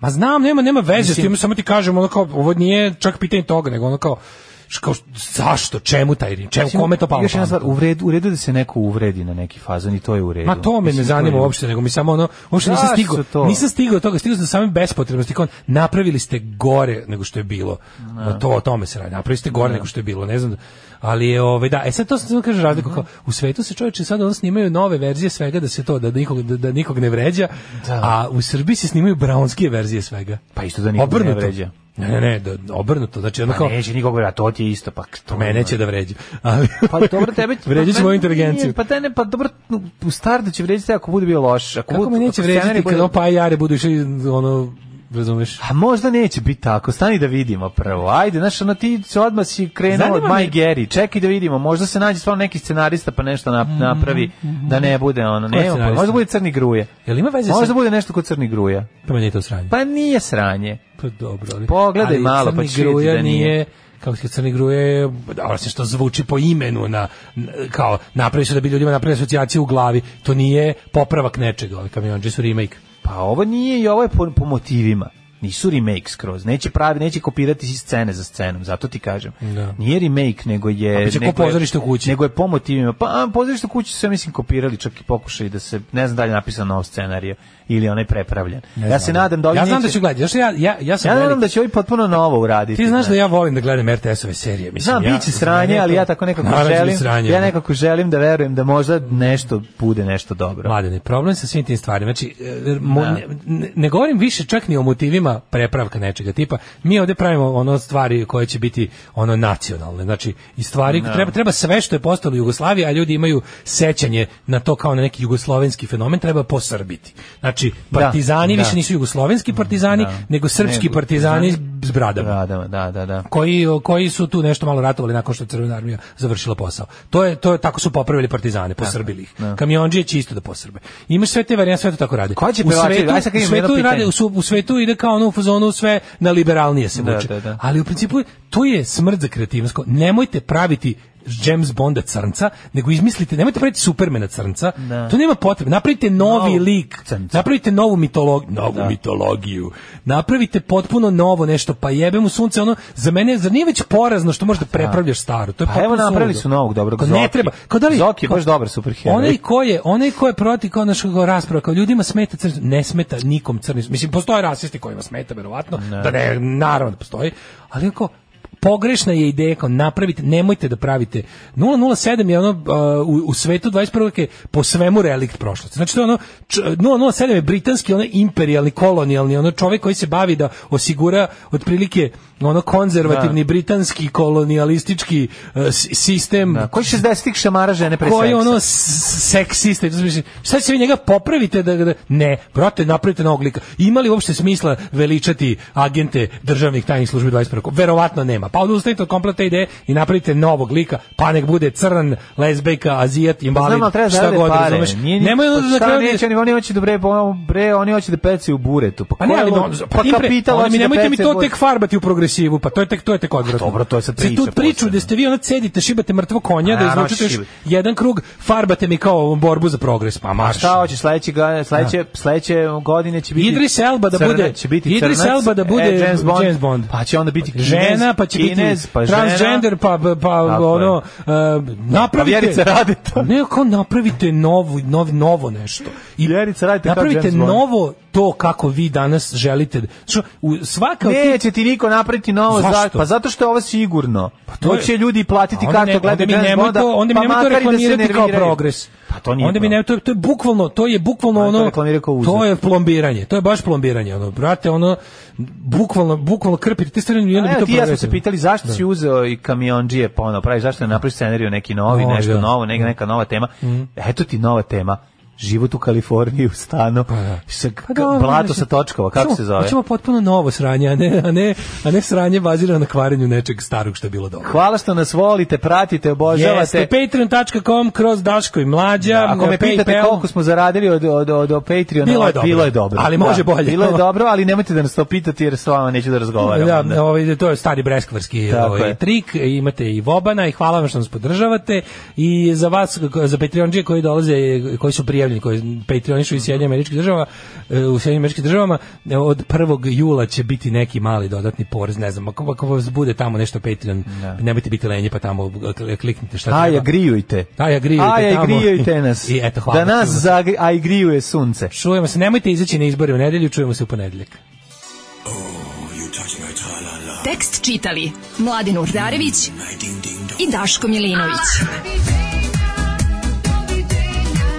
Ma znam, nema nema veze s
Mislim-
tim, samo ti kažem, ono kao ovo nije čak pitanje toga, nego ono kao š- kao zašto, čemu taj rim, čemu,
Mislim,
kome to palo
Još jedna
pamet?
stvar, u redu, u redu je da se neko uvredi na neki fazon i to je u redu.
Ma to me
Mislim,
ne
je u
zanima
redu.
uopšte, nego mi samo ono, uopšte nisam
Zašto
stigao,
to?
nisam stigao do toga, stigao sam do same bespotrebnosti, kao napravili ste gore nego što je bilo.
Da.
To o tome se radi, napravili ste gore
Da.
nego što je bilo, ne znam. Ali je ovaj da, e sad to sam samo kažem razliku kao u svetu se čoveče sad ono snimaju nove verzije svega da se to da nikog da, da nikog ne vređa, a u Srbiji se snimaju braunske verzije svega.
Pa isto da nikog ne
Obrnuto.
vređa.
Ne, ne, ne, da, obrnuto. Znači, ono
Pa
kao,
neće nikog vređa, to ti je isto, pa to
mene će da vređa. Ali,
Pa dobro tebe će...
Vređat će
pa
moju
meni-
inteligenciju.
Pa te ne, pa dobro, u startu će vređati ako bude bio loš. Ako
Kako
bude-
me neće
ako scenarij
vređati
bude-
kad opa i jare budu išli, ono, razumeš?
A možda neće biti tako, stani da vidimo prvo. Ajde, znaš, ono ti se odmah si krenuo
Zanima
od My
me-
Gary, čekaj da vidimo, možda se nađe stvarno neki scenarista pa nešto nap- napravi, da ne bude ono,
Koji
nema, pojma.
Mm-hmm, scenarista?
možda bude Crni Gruje.
Jel ima veze sa-
Možda bude nešto kod Crni Gruja.
Pa meni je to sranje.
Pa nije sranje.
Pa dobro, ali...
Pogledaj
ali
malo,
Crni
pa ćeš vidjeti
Gruja
da nije.
Kako se Crni Gruja je, da, osim što zvuči po imenu, na, na- kao, napravi se da bi ljudima napravili asocijaciju u glavi, to nije popravak nečega, ovi kamionđe su remake.
Pa ovo nije i ovo je po, po motivima. Nisu remake skroz. Neće pravi, neće kopirati si scene za scenom, zato ti kažem.
Da.
Nije remake, nego je
A biće ko
nego je-
pozorište u kući.
Nego je po motivima. Pa a, pozorište u kući su ja mislim kopirali, čak i pokušali da se ne znam da li je napisan nov scenarijo ili onaj prepravljen.
Ne
ja
znam.
se nadam da ovi
Ja znam
neće-
da ću gledati, još ja, ja, ja sam
Ja nadam
veliki-
da će ovi potpuno novo uraditi.
Ti znaš da ja volim da gledam RTS-ove serije, mislim.
Znam,
ja,
bit će sranje, ali ja tako nekako
Naravno da će
želim,
biti sranje.
ja nekako želim da verujem da možda nešto bude nešto dobro.
Mladene, problem sa svim tim stvarima. Znači, e, mo-
Da.
ne, ne- ne govorim više čak ni o motivima prepravka nečega tipa. Mi ovdje pravimo ono stvari koje će biti ono nacionalne. Znači, i stvari
Da.
treba treba sve što je postalo Jugoslavija, a ljudi imaju sećanje na to kao na neki jugoslovenski fenomen, treba posrbiti. Znači,
Da,
partizani
da.
više nisu jugoslovenski partizani,
Da.
nego srpski
Nego-
partizani s bradama
Radama, da, da, da.
koji koji su tu nešto malo ratovali nakon što je Crvena armija završila posao. To je to je tako su popravili partizane, posrbili ih.
da.
Kamiondžije će isto da posrbe. Imaš sve te varijante, sve to tako radi.
Ko će
u
pevači?
svetu,
Aj, sad kad
u
imam
svetu
jedno
rade,
pitanje.
u, su- u svetu ide kao ono u fazonu sve na liberalnije se
Da,
vuče.
da, da.
Ali u principu to je smrt za kreativnost. Kao, Nemojte praviti James Bonda crnca, nego izmislite, nemojte praviti Supermana crnca.
Da.
To nema potrebe. Napravite novi
Novog
lik.
crnca.
Napravite novu mitologiju, novu
Da.
mitologiju. Napravite potpuno novo nešto, pa jebem u sunce ono. Za mene zar nije već porazno što možda prepravljaš staro. To je
Pa evo
potpuno
napravili
suludo.
su novog dobrog
Kao Ne
Zoki.
treba. Kao da li
Zoki je
kao-
baš dobar superheroj.
Onaj ko je, onaj ko je protiv kao našeg rasprava, kao ljudima smeta crni, ne smeta nikom crni. Mislim postoje rasisti kojima smeta verovatno, da ne, naravno da postoji, ali ako pogrešna je ideja kao napravite, nemojte da pravite 007 je ono uh, u, u svetu 21. veka je po svemu relikt prošlosti. Znači to je ono č- 007 je britanski ono imperijalni kolonijalni ono čovjek koji se bavi da osigura otprilike ono konzervativni britanski kolonijalistički uh, s- sistem
Da, koji 60-ih šamara žene pre
koji je
seksa?
ono s- seksista i to mislim, sad se vi njega popravite da, da ne, brate, napravite novog lika ima li uopšte smisla veličati agente državnih tajnih službi 21. verovatno nema, pa odustanite od kompletne ideje i napravite novog lika, pa nek bude crn lezbejka, azijat, invalid
Pa Znam, ali treba
šta
zarade
god,
pare.
razumeš
Nije,
nemoj ono
pa
da
šta
kraju-
neće, oni, oni hoće da bre, bo- bre, oni hoće da pecaju u buretu. Pa,
Pa ne,
ko je
ali
lud?
on, pa, tim pre-
kapital
onda
hoće
mi
da
nemojte mi
peca
to
u
tek
buretu.
farbati u progresivu, pa to je tek to je tek odvratno.
A dobro, to je sad
Sad
priča
tu priču
posebna.
da ste vi ona cedite, šibate mrtvo konja,
A,
da
naravno,
izvučete još
šibi.
jedan krug, farbate mi kao borbu za progres, pa
A
marš.
šta hoće sledeće ga- sledeće sledeće godine će biti
Idris Elba da
crnac,
bude-
će biti
Idris
crnac,
Elba da bude
e, James Bond,
James Bond.
pa će onda biti kinez,
žena, pa će
kinez,
biti
pa žena.
transgender, pa, pa
Tako
ono, e, napravite...
Pa Vjerica Radeta.
Ne, kao napravite novo, novo, novo nešto. I
Vjerica Radeta kao
Napravite
James Bond.
novo to kako vi danas želite. Što, u, svaka od tih-
Neće ti niko napraviti novo
Zašto?
za- pa zato što je ovo sigurno. Pa
to
to,
je-
će ljudi platiti
A onda ne-
kartu gledati
onda mi
James
nemoj
Bonda,
to- onda mi
pa
nemoj to
makar i da se
reklamirati kao
nerviraju.
progres.
Pa to nije
Onda mi
problem.
ne, to, je- to je bukvalno, to je bukvalno
Ali to
ono,
reklamiraju kao uzor.
to je plombiranje, to je baš plombiranje, ono, brate, ono, bukvalno, bukvalno krpite, te stvari, i onda
A,
bi
evo,
to
ti i ja smo se
progresivno.
pitali zašto
Da.
si uzeo i pa ono, kamiondžije ponovo praviš, zašto ne napraviš scenariju neki novi,
Novi,
nešto
da. Mm.
novo, neka, neka nova tema. Eto ti nova tema. život u Kaliforniji u stanu, sa,
Pa dobro,
blato
mislim,
sa točkova, kako
hoćemo-
se zove?
Hoćemo potpuno novo sranje, a ne, a ne, a ne sranje bazirano na kvarenju nečeg starog što je bilo dobro.
Hvala što nas volite, pratite, obožavate.
Jeste, patreon.com kroz Daško i Mlađa.
Ako me pitate
PayPal.
koliko smo zaradili od, od, od, od Patreona,
Bilo je dobro.
bilo je dobro.
Ali može
Da,
bolje.
Bilo je dobro, ali nemojte da nas to pitate jer s vama neću da razgovaram.
Da,
onda.
ovaj, to je stari breskvarski
Tako
ovaj,
je.
trik, imate i Vobana i hvala vam što nas podržavate i za vas, za Patreonđe koji dolaze, koji su prijavljeni, koji Patreonišu iz Sjedinja američkih država, e, u Sjedinjim američkih državama, e, od 1. jula će biti neki mali dodatni porez, ne znam, ako, ako vas bude tamo nešto Patreon, nemojte biti lenji pa tamo kl- kliknite šta
Aja, grijujte.
Aja, grijujte
Aja,
tamo.
grijujte nas.
I eto, hvala.
Da nas zagri, a i grijuje sunce.
Čujemo se, nemojte izaći na izbore u nedelju, čujemo se u ponedeljak.
Tekst čitali Mladin Urdarević i Daško Milinović.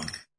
10.